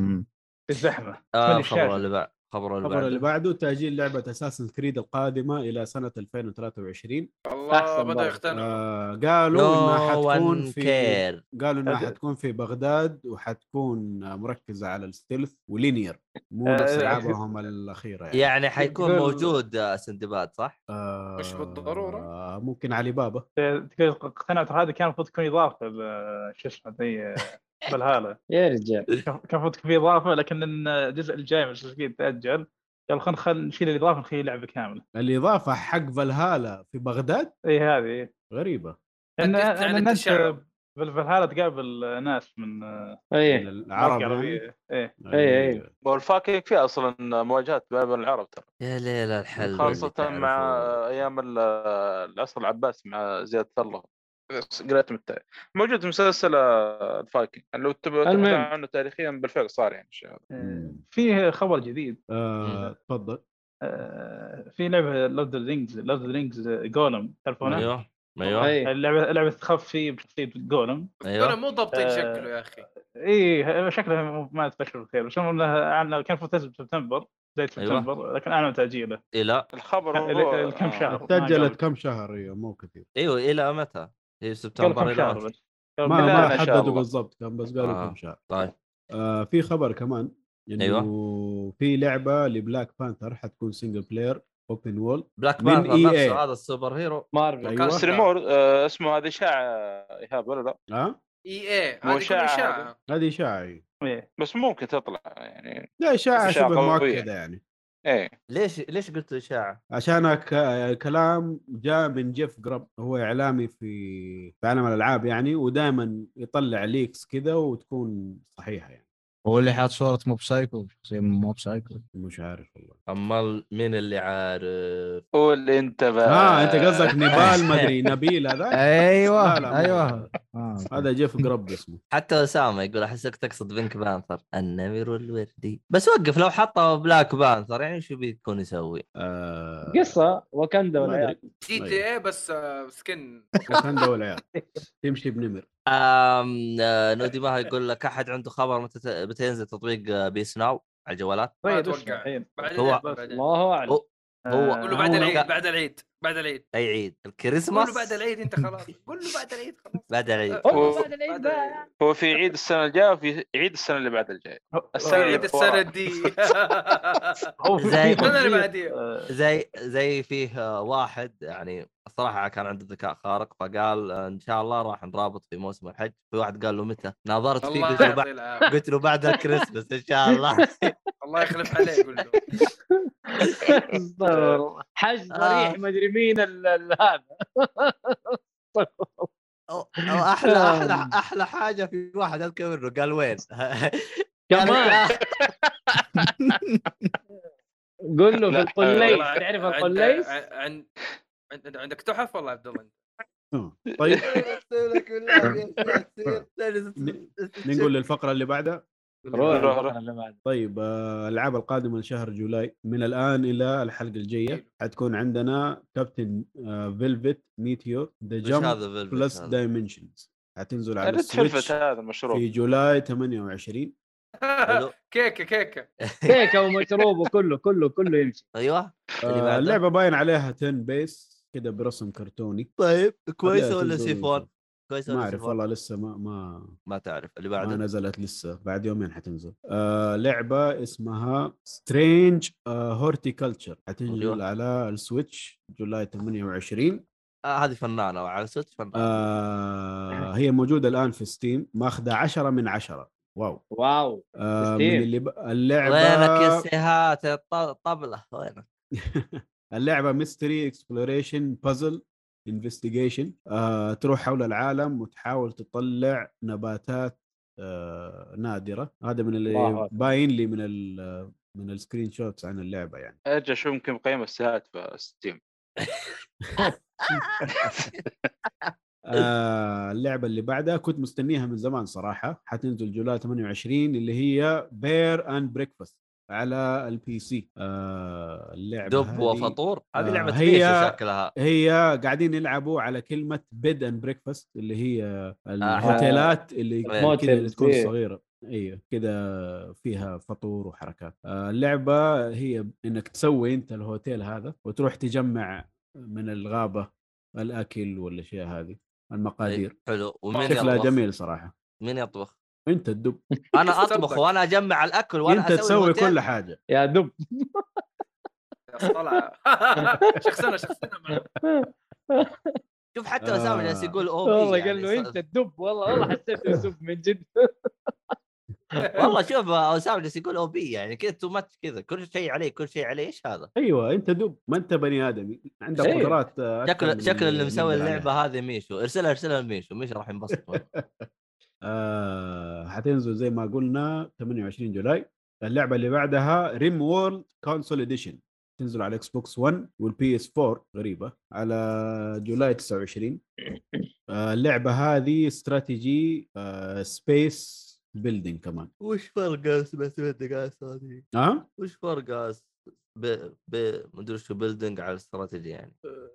في الزحمه
آه،
ملي
الخبر
الشاشة.
اللي بعد خبر اللي
الخبر اللي
بعد
بعده تاجيل لعبه اساسن كريد القادمه الى سنه 2023
والله
أحسن
بدا
برضه.
يقتنع
آه قالوا انها
نو
حتكون
ون
في
كير
قالوا انها
أد-
حتكون في بغداد وحتكون مركزه على الستيلث ولينير مو
آه،
نفس
آه،
العابهم الاخيره يعني
يعني حيكون
تقول-
موجود آه، سندباد صح؟
آه
مش بالضرورة.
آه، ممكن علي بابا
اقتنعت هذه كان المفروض تكون اضافه ل- شو اسمه ذي بالهاله
يا رجال
كان كان المفروض تكون في اضافه لكن الجزء الجاي من التسجيل تاجل قال خلينا خل نشيل الاضافه نخلي لعبه كامله
الاضافه حق فالهالا في بغداد
اي إيه، هذه
غريبه
لان
أكدت عن
لأن انت
التشعب.
بالفالهالا تقابل ناس من آه،
إيه.
ايه
العرب
منطقة
يعني.
عربية. ايه
إيه،
أيوة.
والفاكيك فيها اصلا مواجهات ما بين العرب ترى
يا ليل الحل اللي
خاصة مع
تعرفوا.
ايام ال- العصر العباسي مع زياد الله قريت من التاريخ موجود في مسلسل آه، الفايكنج لو تبغى تبحث
المهم.
عنه تاريخيا بالفعل صار يعني الشيء هذا
مم.
فيه خبر جديد
آه، تفضل
آه، في لعبه لورد اوف رينجز لورد اوف رينجز جولم تعرفونها؟
ايوه ايوه
ايه
اللعبه لعبه تخفي بشخصيه جولم
انا
ايوه
مو ضابطين
آه.
شكله يا اخي
اي إيه، شكلها مو- ما تبشر بخير بس المهم إنها أعلن- كان المفروض تنزل بسبتمبر بدايه
أيوه.
سبتمبر لكن اعلنوا تاجيله
الى
الخبر
ال-
هو آه،
ال- كم شهر ما
تأجلت
قبل-
كم شهر ايوه مو كثير
ايوه الى متى؟ هي
قبل
سبتمبر
كم
الى
شهر
متى؟
بس قبل-
ما
لا،
ما
لا، إن شاء
حددوا
الله.
بالضبط كم بس قالوا
آه.
كم شهر
طيب
آه في خبر كمان انه
أيوه.
في لعبه لبلاك بانثر حتكون سنجل بلاير اوبن وول
بلاك
من
بانثر
EA.
نفسه هذا السوبر هيرو
مارفل
كان
أيوة.
سريمور آه، اسمه هذا اشاعه ايهاب ولا لا؟
ها
اي اي
مو
هذه
إشاعة
كلها
هذه.
طيب.
اشاعه
هذه اشاعه
إيه.
بس ممكن تطلع يعني
لا اشاعه
إشاعة
شبه
قوية.
مؤكده يعني
ايه
ليش ليش قلت اشاعه؟
عشان ك- كلام جاء من جيف جرب هو اعلامي في في عالم الالعاب يعني ودائما يطلع ليكس كذا وتكون صحيحه يعني
هو اللي حاط صورة موب سايكو شخصية من موب سايكو
مش عارف والله
امال مين اللي عارف
قول انت بقى
اه انت قصدك نبال ما ادري نبيل هذا لا، لا،
ايوه
ما-
ايوه آه.
هذا جيف جرب اسمه
حتى اسامه يقول احسك تقصد بينك بانثر النمر الوردي بس وقف لو حطه بلاك بانثر يعني شو بيكون يسوي؟
آه،
قصه واكندا
ما
والعيال
ادري
جي تي اي بس آه، سكن
وكندا والعيال تمشي بنمر
أم آه، نودي ماها يقول لك احد عنده خبر متى ت- متى ينزل تطبيق آه، بيس ناو على الجوالات؟
ما
طيب
أتوقع.
اسمع الحين
بعدين
هو-
بعدين
الله اعلم
هو- هو-
قول له
آه،
بعد
هو-
العيد بعد العيد بعد العيد
اي عيد
قول
الكريسماس
له بعد العيد انت خلاص قول له بعد العيد خلاص
بعد العيد
هو-
أوه، بعد العيد
بعد
ده
العيد.
هو في عيد السنه الجايه وفي عيد السنه اللي بعد الجايه السنه اللي
عيد السنه
السنه
دي
هو في-
زي-
في
السنه اللي
خلفية،
بعديها
آه،
زي زي فيه آه، واحد يعني الصراحه كان عنده ذكاء خارق فقال آه، ان شاء الله راح نرابط في موسم الحج في واحد قال له متى ناظرت فيه
الله
قلت له
يعطيه
بعد
العافيه
قلت له بعد الكريسماس ان شاء الله
الله يخلف عليه قول له
استغفر الله. حج ضريح ما ادري مين ال- ال- هذا
أو- أو احلى احلى احلى حاجه في واحد اذكر منه قال وين؟ يعني
كمان
قال-
قول له في
لا،
القليس
والله
تعرف
عند-
القليس
عند- عند- عند- عندك تحف والله عبد الله انت
آه.
طيب
أقسم لك بالله يا ياسين.
ننقل للفقره اللي بعدها
روح
روح،
الفقرة اللي بعدها.
طيب آه، الالعاب القادمه لشهر جولاي من الان الى الحلقه
طيب.
الجايه حتكون عندنا آه، كابتن فيلفت ميتيور ذا
وش
جمب
هذا فيلفت
بلس
هذا؟
دايمنشنز حتنزل على
ريد فلفت
السويتش
هذا المشروع
في جولاي 28
حلو.
كيكه كيكه
كيكه ومشروب وكله كله كله يمشي
ايوه اللي
آه،
بعده.
اللعبه باين عليها 10 بيس كده برسم كرتوني
طيب
بدأت
كويسه ولا
تنزل
سيفون؟
من-
كويسه
ما
ولا
اعرف
سيفون؟
والله لسه ما ما
ما تعرف اللي
ما
بعده
نزلت لسه بعد يومين حتنزل آه لعبه اسمها سترينج هورتيكلتشر حتنزل
أيوة.
على السويتش جولاي 28
آه هذه فنانه وعلى صوت فنانه
آه هي موجوده الان في ستيم ماخذه 10 من 10 واو
واو
آه
ستيم.
من اللي ب... اللعبه
وينك يا سيهات يا الط- الطبله وينك؟
اللعبه ميستري اكسبلوريشن بازل انفستيجيشن آه، تروح حول العالم وتحاول تطلع نباتات آه نادره هذا من
الله
اللي
أكبر.
باين لي من ال من السكرين شوتس عن اللعبه يعني
ارجع شوف يمكن قيم الساعات في ستيم
آه اللعبه اللي بعدها كنت مستنيها من زمان صراحه حتنزل جولاي 28 اللي هي بير اند بريكفاست على البي سي آه اللعبه
دب
هذه-
وفطور هذه
آه،
لعبه
هي-
هي شكلها
هي قاعدين يلعبوا على كلمه بيد اند بريكفاست اللي هي الهوتيلات اللي
آه،
كذا اللي
موتلز،
تكون
إيه.
صغيره ايوه كذا فيها فطور وحركات آه، اللعبه هي انك تسوي انت الهوتيل هذا وتروح تجمع من الغابه الاكل والاشياء هذه المقادير
إيه، حلو طيب، ومين
شكلها
يطبخ؟
جميل صراحه
مين يطبخ؟
انت الدب
انا اطبخ وانا اجمع الاكل وانا
انت
اسوي
تسوي
الهوتيل؟
كل حاجه
يا دب
طلع شخصنا شخصنا معه
شوف حتى اسامه
آه.
جالس يقول يعني او
والله قال له انت الدب والله والله حسيت الدب من جد
والله شوف اسامه جالس يقول او بي يعني كذا تو ماتش كذا كل شيء عليه كل شيء عليه ايش هذا؟
ايوه انت دب ما انت بني ادمي عندك
أيوة.
قدرات آه، أكثر من
شكل شكل اللي مسوي
يقدر عليها.
اللعبه هذه ميشو ارسلها ارسلها لميشو ميشو راح ينبسط والله.
آه حتنزل زي ما قلنا 28 جولاي اللعبه اللي بعدها ريم وورلد كونسول اديشن تنزل على اكس بوكس 1 والبي اس 4 غريبه على جولاي 29 آه اللعبه هذه استراتيجي آه سبيس بيلدينج كمان
وش فرق اسمه دقائق هذه؟
اه,
وش فرق أس- ب ب مدري شو بيلدينج على الاستراتيجي يعني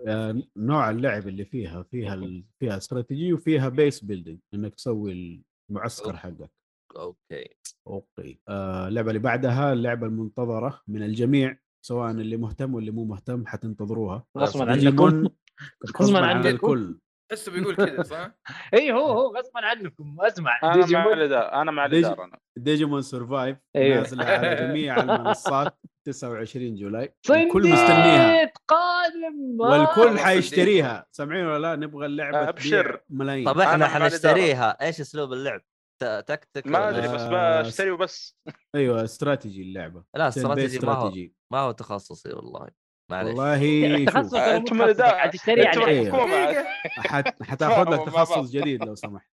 آه نوع اللعب اللي فيها فيها ال- فيها استراتيجي وفيها بيس بيلدينج انك تسوي المعسكر حقك
اوكي
اوكي آه، اللعبه اللي بعدها اللعبه المنتظره من الجميع سواء اللي مهتم واللي مو مهتم حتنتظروها
غصبا عنكم
ديجيمون غصبا عن
عنكم.
الكل
تحسه بيقول كذا صح؟
اي إيه، هو هو غصبا عنكم اسمع
انا مع
ديجيمون
الادار انا مع
ديجي-
الادار انا
ديجيمون سرفايف
إيه.
أيوه.
نازله على جميع المنصات 29 جولاي الكل مستنيها
صنديق قادم آه.
والكل
صديق.
حيشتريها سامعين ولا لا نبغى اللعبه تبيع
أبشر.
ملايين
طب احنا
أنا مع الإدارة.
حنشتريها ايش اسلوب اللعب؟ ت- تكتك
ما
ولا-
ادري بس
آه،
بشتري وبس
ايوه استراتيجي اللعبه
لا
turn-based
استراتيجي ما هو
استراتيجي
ما هو تخصصي والله معلش
والله
إيه،
تخصص
شوف
ولا مو
أنتم
تخصص؟
الإدارة.
حتشتري
انتم
إيه،
أيوه.
يعني
الحكومه
دقيقة.
حت- حتاخذ لك
تفاهموا مع بعض.
تخصص جديد لو سمحت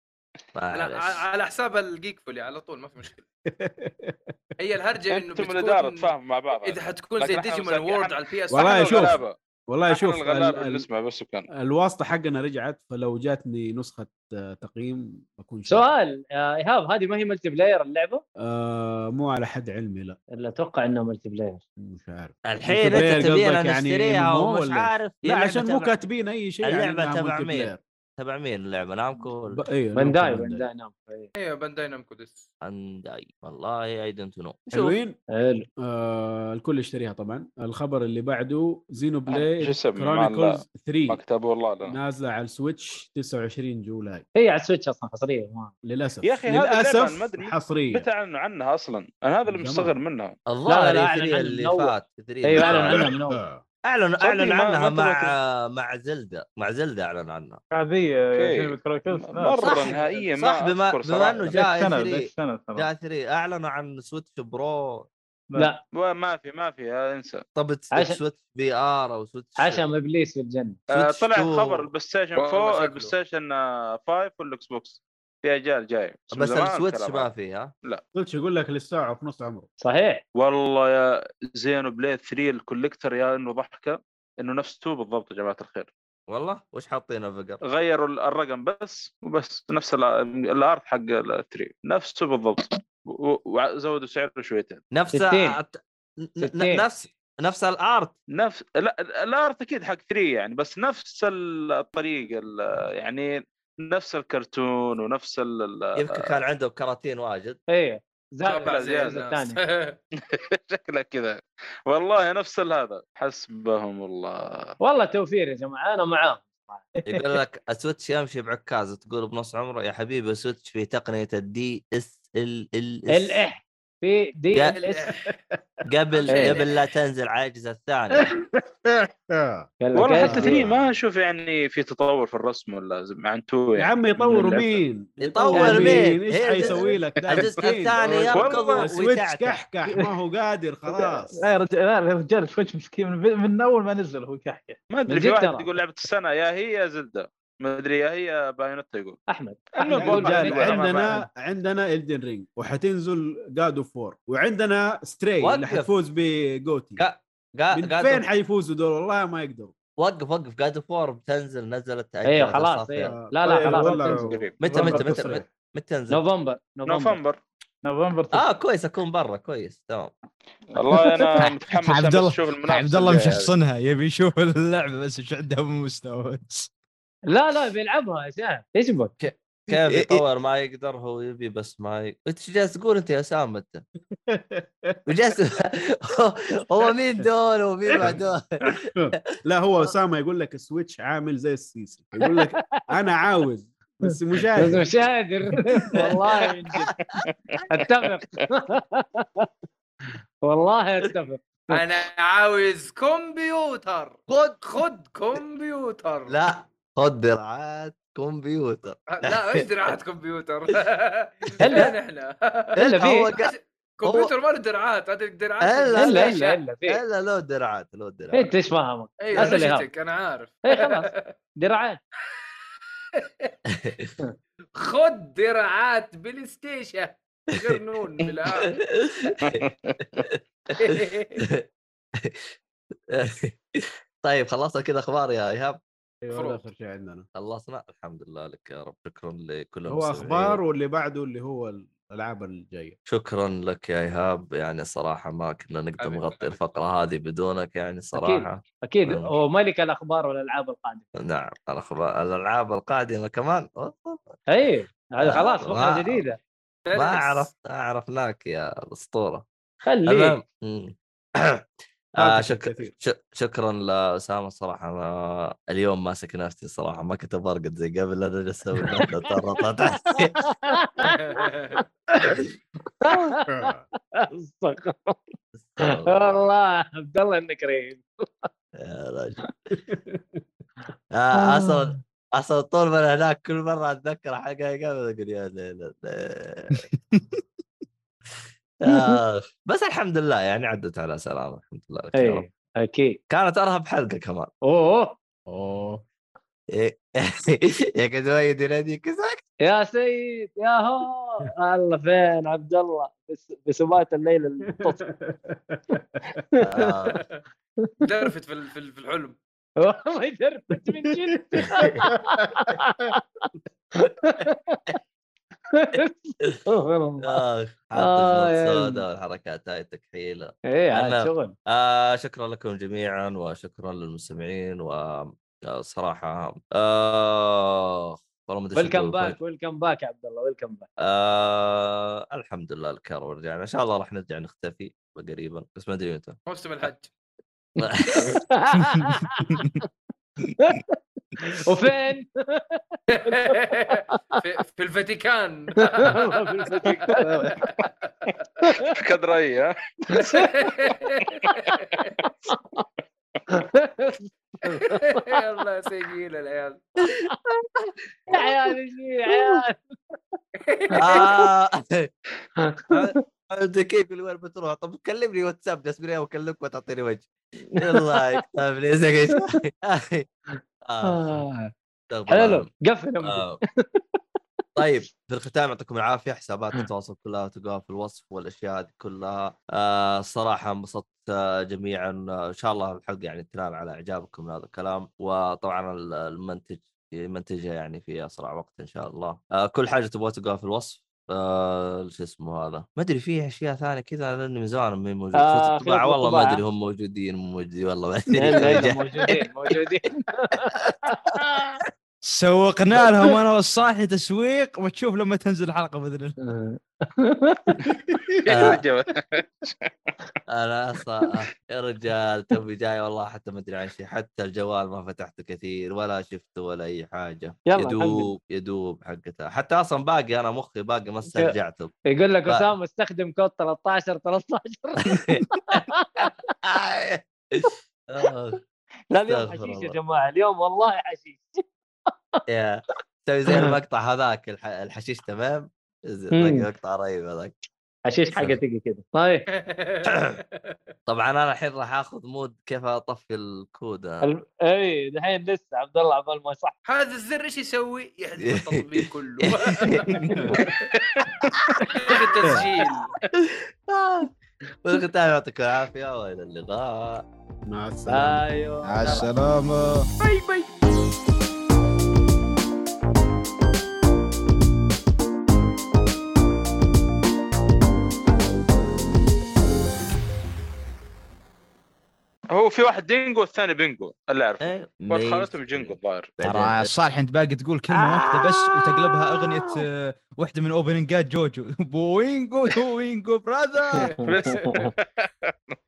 على,
معلش
على حساب الجيك فولي على طول ما في مشكله هي الهرجه انه
انتم الاداره
بتكون
تفاهم مع بعض
اذا حتكون زي
لكن إحنا
ديجيمون
مساكين.
وورد على البي اس
والله
إحنا
شوف،
الغلابة.
والله
إحنا
شوف ال-
الغلابه اللي
ال-
نسمع بس كان
الواسطه حقنا رجعت فلو جاتني نسخه آه، تقييم بكون شاكر.
سؤال يا ايهاب هذه ما هي ملتي بلاير اللعبه؟
آه مو على حد علمي لا
اللي اتوقع انها ملتي بلاير
مش عارف
الحين
multiplayer
انت تبينا
قصدك يعني
نشتريها
MMO
ومش
ولا؟
عارف
لا
هي لعبة
عشان مو
تبع-
كاتبين اي شيء عن
اللعبة
إنها
تبع
multiplayer.
مين؟ تبع مين اللعبه نامكو
ب...
ولا
ايوه
بانداي
نعم،
بانداي نعم إيه.
ايوه بانداي نامكو ديس
عندي والله اي دونت نو
حلوين
حلو
آه الكل يشتريها طبعا الخبر اللي بعده زينو بلاي
جسم مع ال-
كرونيكلز 3
مكتب والله لنا
نازله على السويتش 29 جولاي
هي على السويتش اصلا حصريه ما
للاسف
يا أخي هذا اللعبة أنا ما
للاسف
أدري
حصريه
متى اعلنوا عنها اصلا؟ انا هذا اللي
جمال.
مستغرب منها
الظاهر
لا،
E3
أعلن عنها من
اللي
أول.
فات
أيوة،
E3
ايوه اعلن
اللي فات.
عنها من اول
آه.
اعلن
صدق
اعلن
ما- ما
عنها مع
تذكرت.
مع زلدة مع زلدة اعلن عنها
هذه
أوكي.
جنوب كروكس
مره نهائيا
صح،
ما
بما-
اذكر
بما
صراحه
إنه جاء
جاء السنه
E3.
ذيك السنه ترى
جاء 3 اعلنوا عن سويتش برو
لا
ما في ما في هذا انسى
طب
عشان-
سويتش في ار او سويتش
عشان ابليس في الجنه
آه،
سويتش
طلع
تو.
خبر البلاي ستيشن
والله
4
شكله.
البلاي ستيشن 5 والاكس بوكس في اجيال جاي من
بس
زمان
السويتش
الكلام
ما
هذا.
فيها
قلت يقول لك للساعه في نص عمره
صحيح
والله يا زينو بليد 3 الكوليكتر يا انه ضحكه انه نفس 2 بالضبط يا جماعه الخير
والله وش حاطينه فقر
غيروا ال- الرقم بس وبس نفس ال- الارت حق ال 3 نفسه بالضبط و- وزودوا سعره شويتين
نفس
60.
أت- ن- ن-
60.
نفس نفس الارت
نفس لا الارت اكيد حق 3 يعني بس نفس ال- الطريقه ال- يعني نفس الكرتون ونفس ال- ال-
يمكن كان عندهم كراتين واجد
ايه زاد
طبعاً
طبعا زي
زيادة.
الثاني
الناس.
شكله كذا والله نفس ال- هذا حسبهم الله
والله توفير يا جماعه انا معاه
يقول لك السويتش يمشي بعكاز تقول بنص عمره يا حبيبي السويتش في تقنيه الدي اس ال ال اس
الاح في دي
يا-
ال اس
قبل
إيه.
قبل لا تنزل على الاجهزه الثانيه
آه.
والله حتى
كيف؟
3 ما اشوف يعني في تطور في الرسم ولا زي- عن 2
يا
يعني
عمي يطور
اللعبة.
مين؟
يطور مين؟
ايش
هي
يعني حيسوي لك ده
الجزء
مسكين؟
الثاني
والله
يركض
سويتش
ويتعتع
كحكح ما هو قادر خلاص يعني
لا يا رجال لا يا رجال سويتش مسكين من, من اول ما نزل هو كحكه
ما
من
ادري
جد
في واحد
ترى.
يقول لعبه السنه يا هي يا زلده ما ادري يا هي بايونتا يقول
احمد
المهم
احمد يقول
والله
جاي
رجال
أنا-
عندنا عندنا الدن رينج وحتنزل جاد اوف وور وعندنا ستري اللي
وقف.
حتفوز بجوتي
قا- قا-
من
قاعد-
فين حيفوزوا دول والله ما يقدروا
وقف وقف جاد اوف وور بتنزل نزلت تأجل
ايوه
هذا
خلاص
صار
ايوه
فيها.
لا لا
طيب،
خلاص
ولا-
تنزل.
قريب
متى
والله
متى متى
تصريح.
متى- متى تنزل؟
نوفمبر نوفمبر
نوفمبر
نوفمبر
اه كويس اكون برا كويس تمام
والله انا متحمس
عبد الله
بس اشوف المنافسه
عبد الله
الجاية هذه.
مشخصنها يبي يشوف اللعبه بس ايش عندها من مستوى
لا لا بيلعبها يا شيخ ايش بك؟
كيف يطور ما يقدر هو يبي بس ما ي... انت ايش جالس تقول انت يا سام انت؟ وجالس هو مين دول ومين ما دول؟
لا هو اسامه يقول لك السويتش عامل زي السيسي يقول لك انا عاوز بس مش
بس
عارف
مش قادر والله من جد اتفق والله اتفق
انا عاوز كمبيوتر خد خد كمبيوتر
لا خذ درعات كمبيوتر
لا ايش دراعات كمبيوتر؟ فين
هلا.
احنا؟
الا
إيه، هو
في
قا-
كمبيوتر ما له دراعات هذا الدراعات
هلا.
الا الا الا
إيه،
في
لا له درعات له درعات
انت ايش فاهمك؟
ايوه
أسأل إيهاب.
رشتك انا عارف
إيه،
اي خلاص درعات
خد دراعات بلاي ستيشن غير نون بالعافية.
طيب خلصنا كذا اخبار يا ايهاب
أيوة، هذا اخر شيء عندنا
خلصنا الحمد لله لك يا رب شكرا لكل
هو
المستمعين.
اخبار واللي بعده اللي هو الالعاب الجايه
شكرا لك يا ايهاب يعني صراحه ما كنا نقدر
حبيبي،
نغطي
حبيبي.
الفقره هذه بدونك يعني صراحه
اكيد
مم.
هو ملك الاخبار والالعاب القادمه
نعم الاخبار الالعاب القادمه كمان أوه.
اي إيه، هذا
آه،
خلاص
واو.
فقره جديده
ما عرفت عرفناك يا الاسطوره
خليه
المهم. إمم. آه
فاتك
شك...
الكثير.
ش... شكرا لاسامه صراحه أنا اليوم ماسك نفسي صراحه ما كنت برقد زي قبل انا جالس اسوي نفسي أترطط.
استغفر.
آه.
والله عبد الله انك رهيب
يا رجل آه اصلا اصلا طول ما انا هناك كل مره اتذكر حاجه قبل اقول يا ليل الليل. آخ. آه، بس الحمد لله يعني عدت على سلامه الحمد لله لك يا رب.
اي اكيد
كانت ارهب حلقه كمان
اوه
اوه
يا كزويد يناديك
يا سيد يا هو الله فين عبد الله بس- بسبات الليل الطف
آه،
درفت في ال- في ال- في الحلم
والله دربت من جد استغفر الله.
اخ حاط
آه،
الشروط
يا
السوداء والحركات هاي التكحيله
إيه،
ايه
أنا-
عاد شغل
آه شكرا لكم جميعا وشكرا للمستمعين وصراحة آه والله ما ادري إيش
ويلكم
أقول.
باك ويلكم باك عبد الله ويلكم باك
آه الحمد لله الكرم رجعنا ان شاء الله راح نرجع نختفي قريبا بس ما ادري متى
موسم الحج
وفين؟
في, في الفاتيكان
والله في الفاتيكان.
كدري ها
الله سجيل العيال
يا عيال ايش في يا عيال
آه انت كيف اللي وين بتروح طب كلمني واتساب جاسمين واكلمك وتعطيني وجه الله يكتب لي إزيك يا شيخ؟ آه،
آه.
استغفر الله
حلو قفل يا
آه. طيب في الختام يعطيكم العافيه حسابات التواصل كلها تلقاها في الوصف والاشياء هذه كلها آه الصراحه انبسطت آه، جميعا آه، ان شاء الله الحلقه يعني تنال على اعجابكم من هذا الكلام وطبعا ال- المنتج منتجها يعني في اسرع وقت ان شاء الله آه كل حاجه تبغى تلقاها في الوصف آه شو اسمه هذا ما ادري في اشياء ثانيه كذا لاني من زمان ما هي موجود
آه،
آه
خلاف
والله ما
الطباعة.
ادري هم موجودين مو موجودين والله ما ادري
الا الا
رجع.
موجودين موجودين
سوقنا لهم انا والصاحي تسويق وتشوف لما تنزل الحلقه باذن الله
يا
آه.
رجل.
انا اصلا يا رجال توي جاي والله حتى ما ادري عن شيء حتى الجوال ما فتحته كثير ولا شفته ولا اي حاجه
يلا، الحمد لله.
يدوب يدوب حقتها حتى اصلا باقي انا مخي باقي ما استرجعته
يقول لك
لا.
اسامه استخدم كود 13 13
آه،
لا اليوم
استغفر
حشيش يا
الله.
جماعه اليوم والله حشيش
يا سوي زي المقطع هذاك الح- الحشيش تمام زي-
مم.
مقطع رهيب هذاك
حشيش حاجه تجي كده طيب
طبعا انا الحين راح اخذ مود كيف اطفي الكود أنا.
ال- اي إيه، دحين لسه عبد الله عبال ما صح
هذا الزر ايش يسوي؟ يحذف التطبيق كله التسجيل
بالختام يعطيكم العافيه والى اللقاء
مع السلامه
ايوه
مع السلامه
باي باي
هو في واحد دينجو والثاني بينجو اللي اعرفه
ايه
ولد خالتهم جينجو الظاهر
ترى الصالح انت باقي تقول كلمه واحده بس وتقلبها اغنيه آه، واحده من اوبننجات جوجو بوينجو توينجو براذر
بس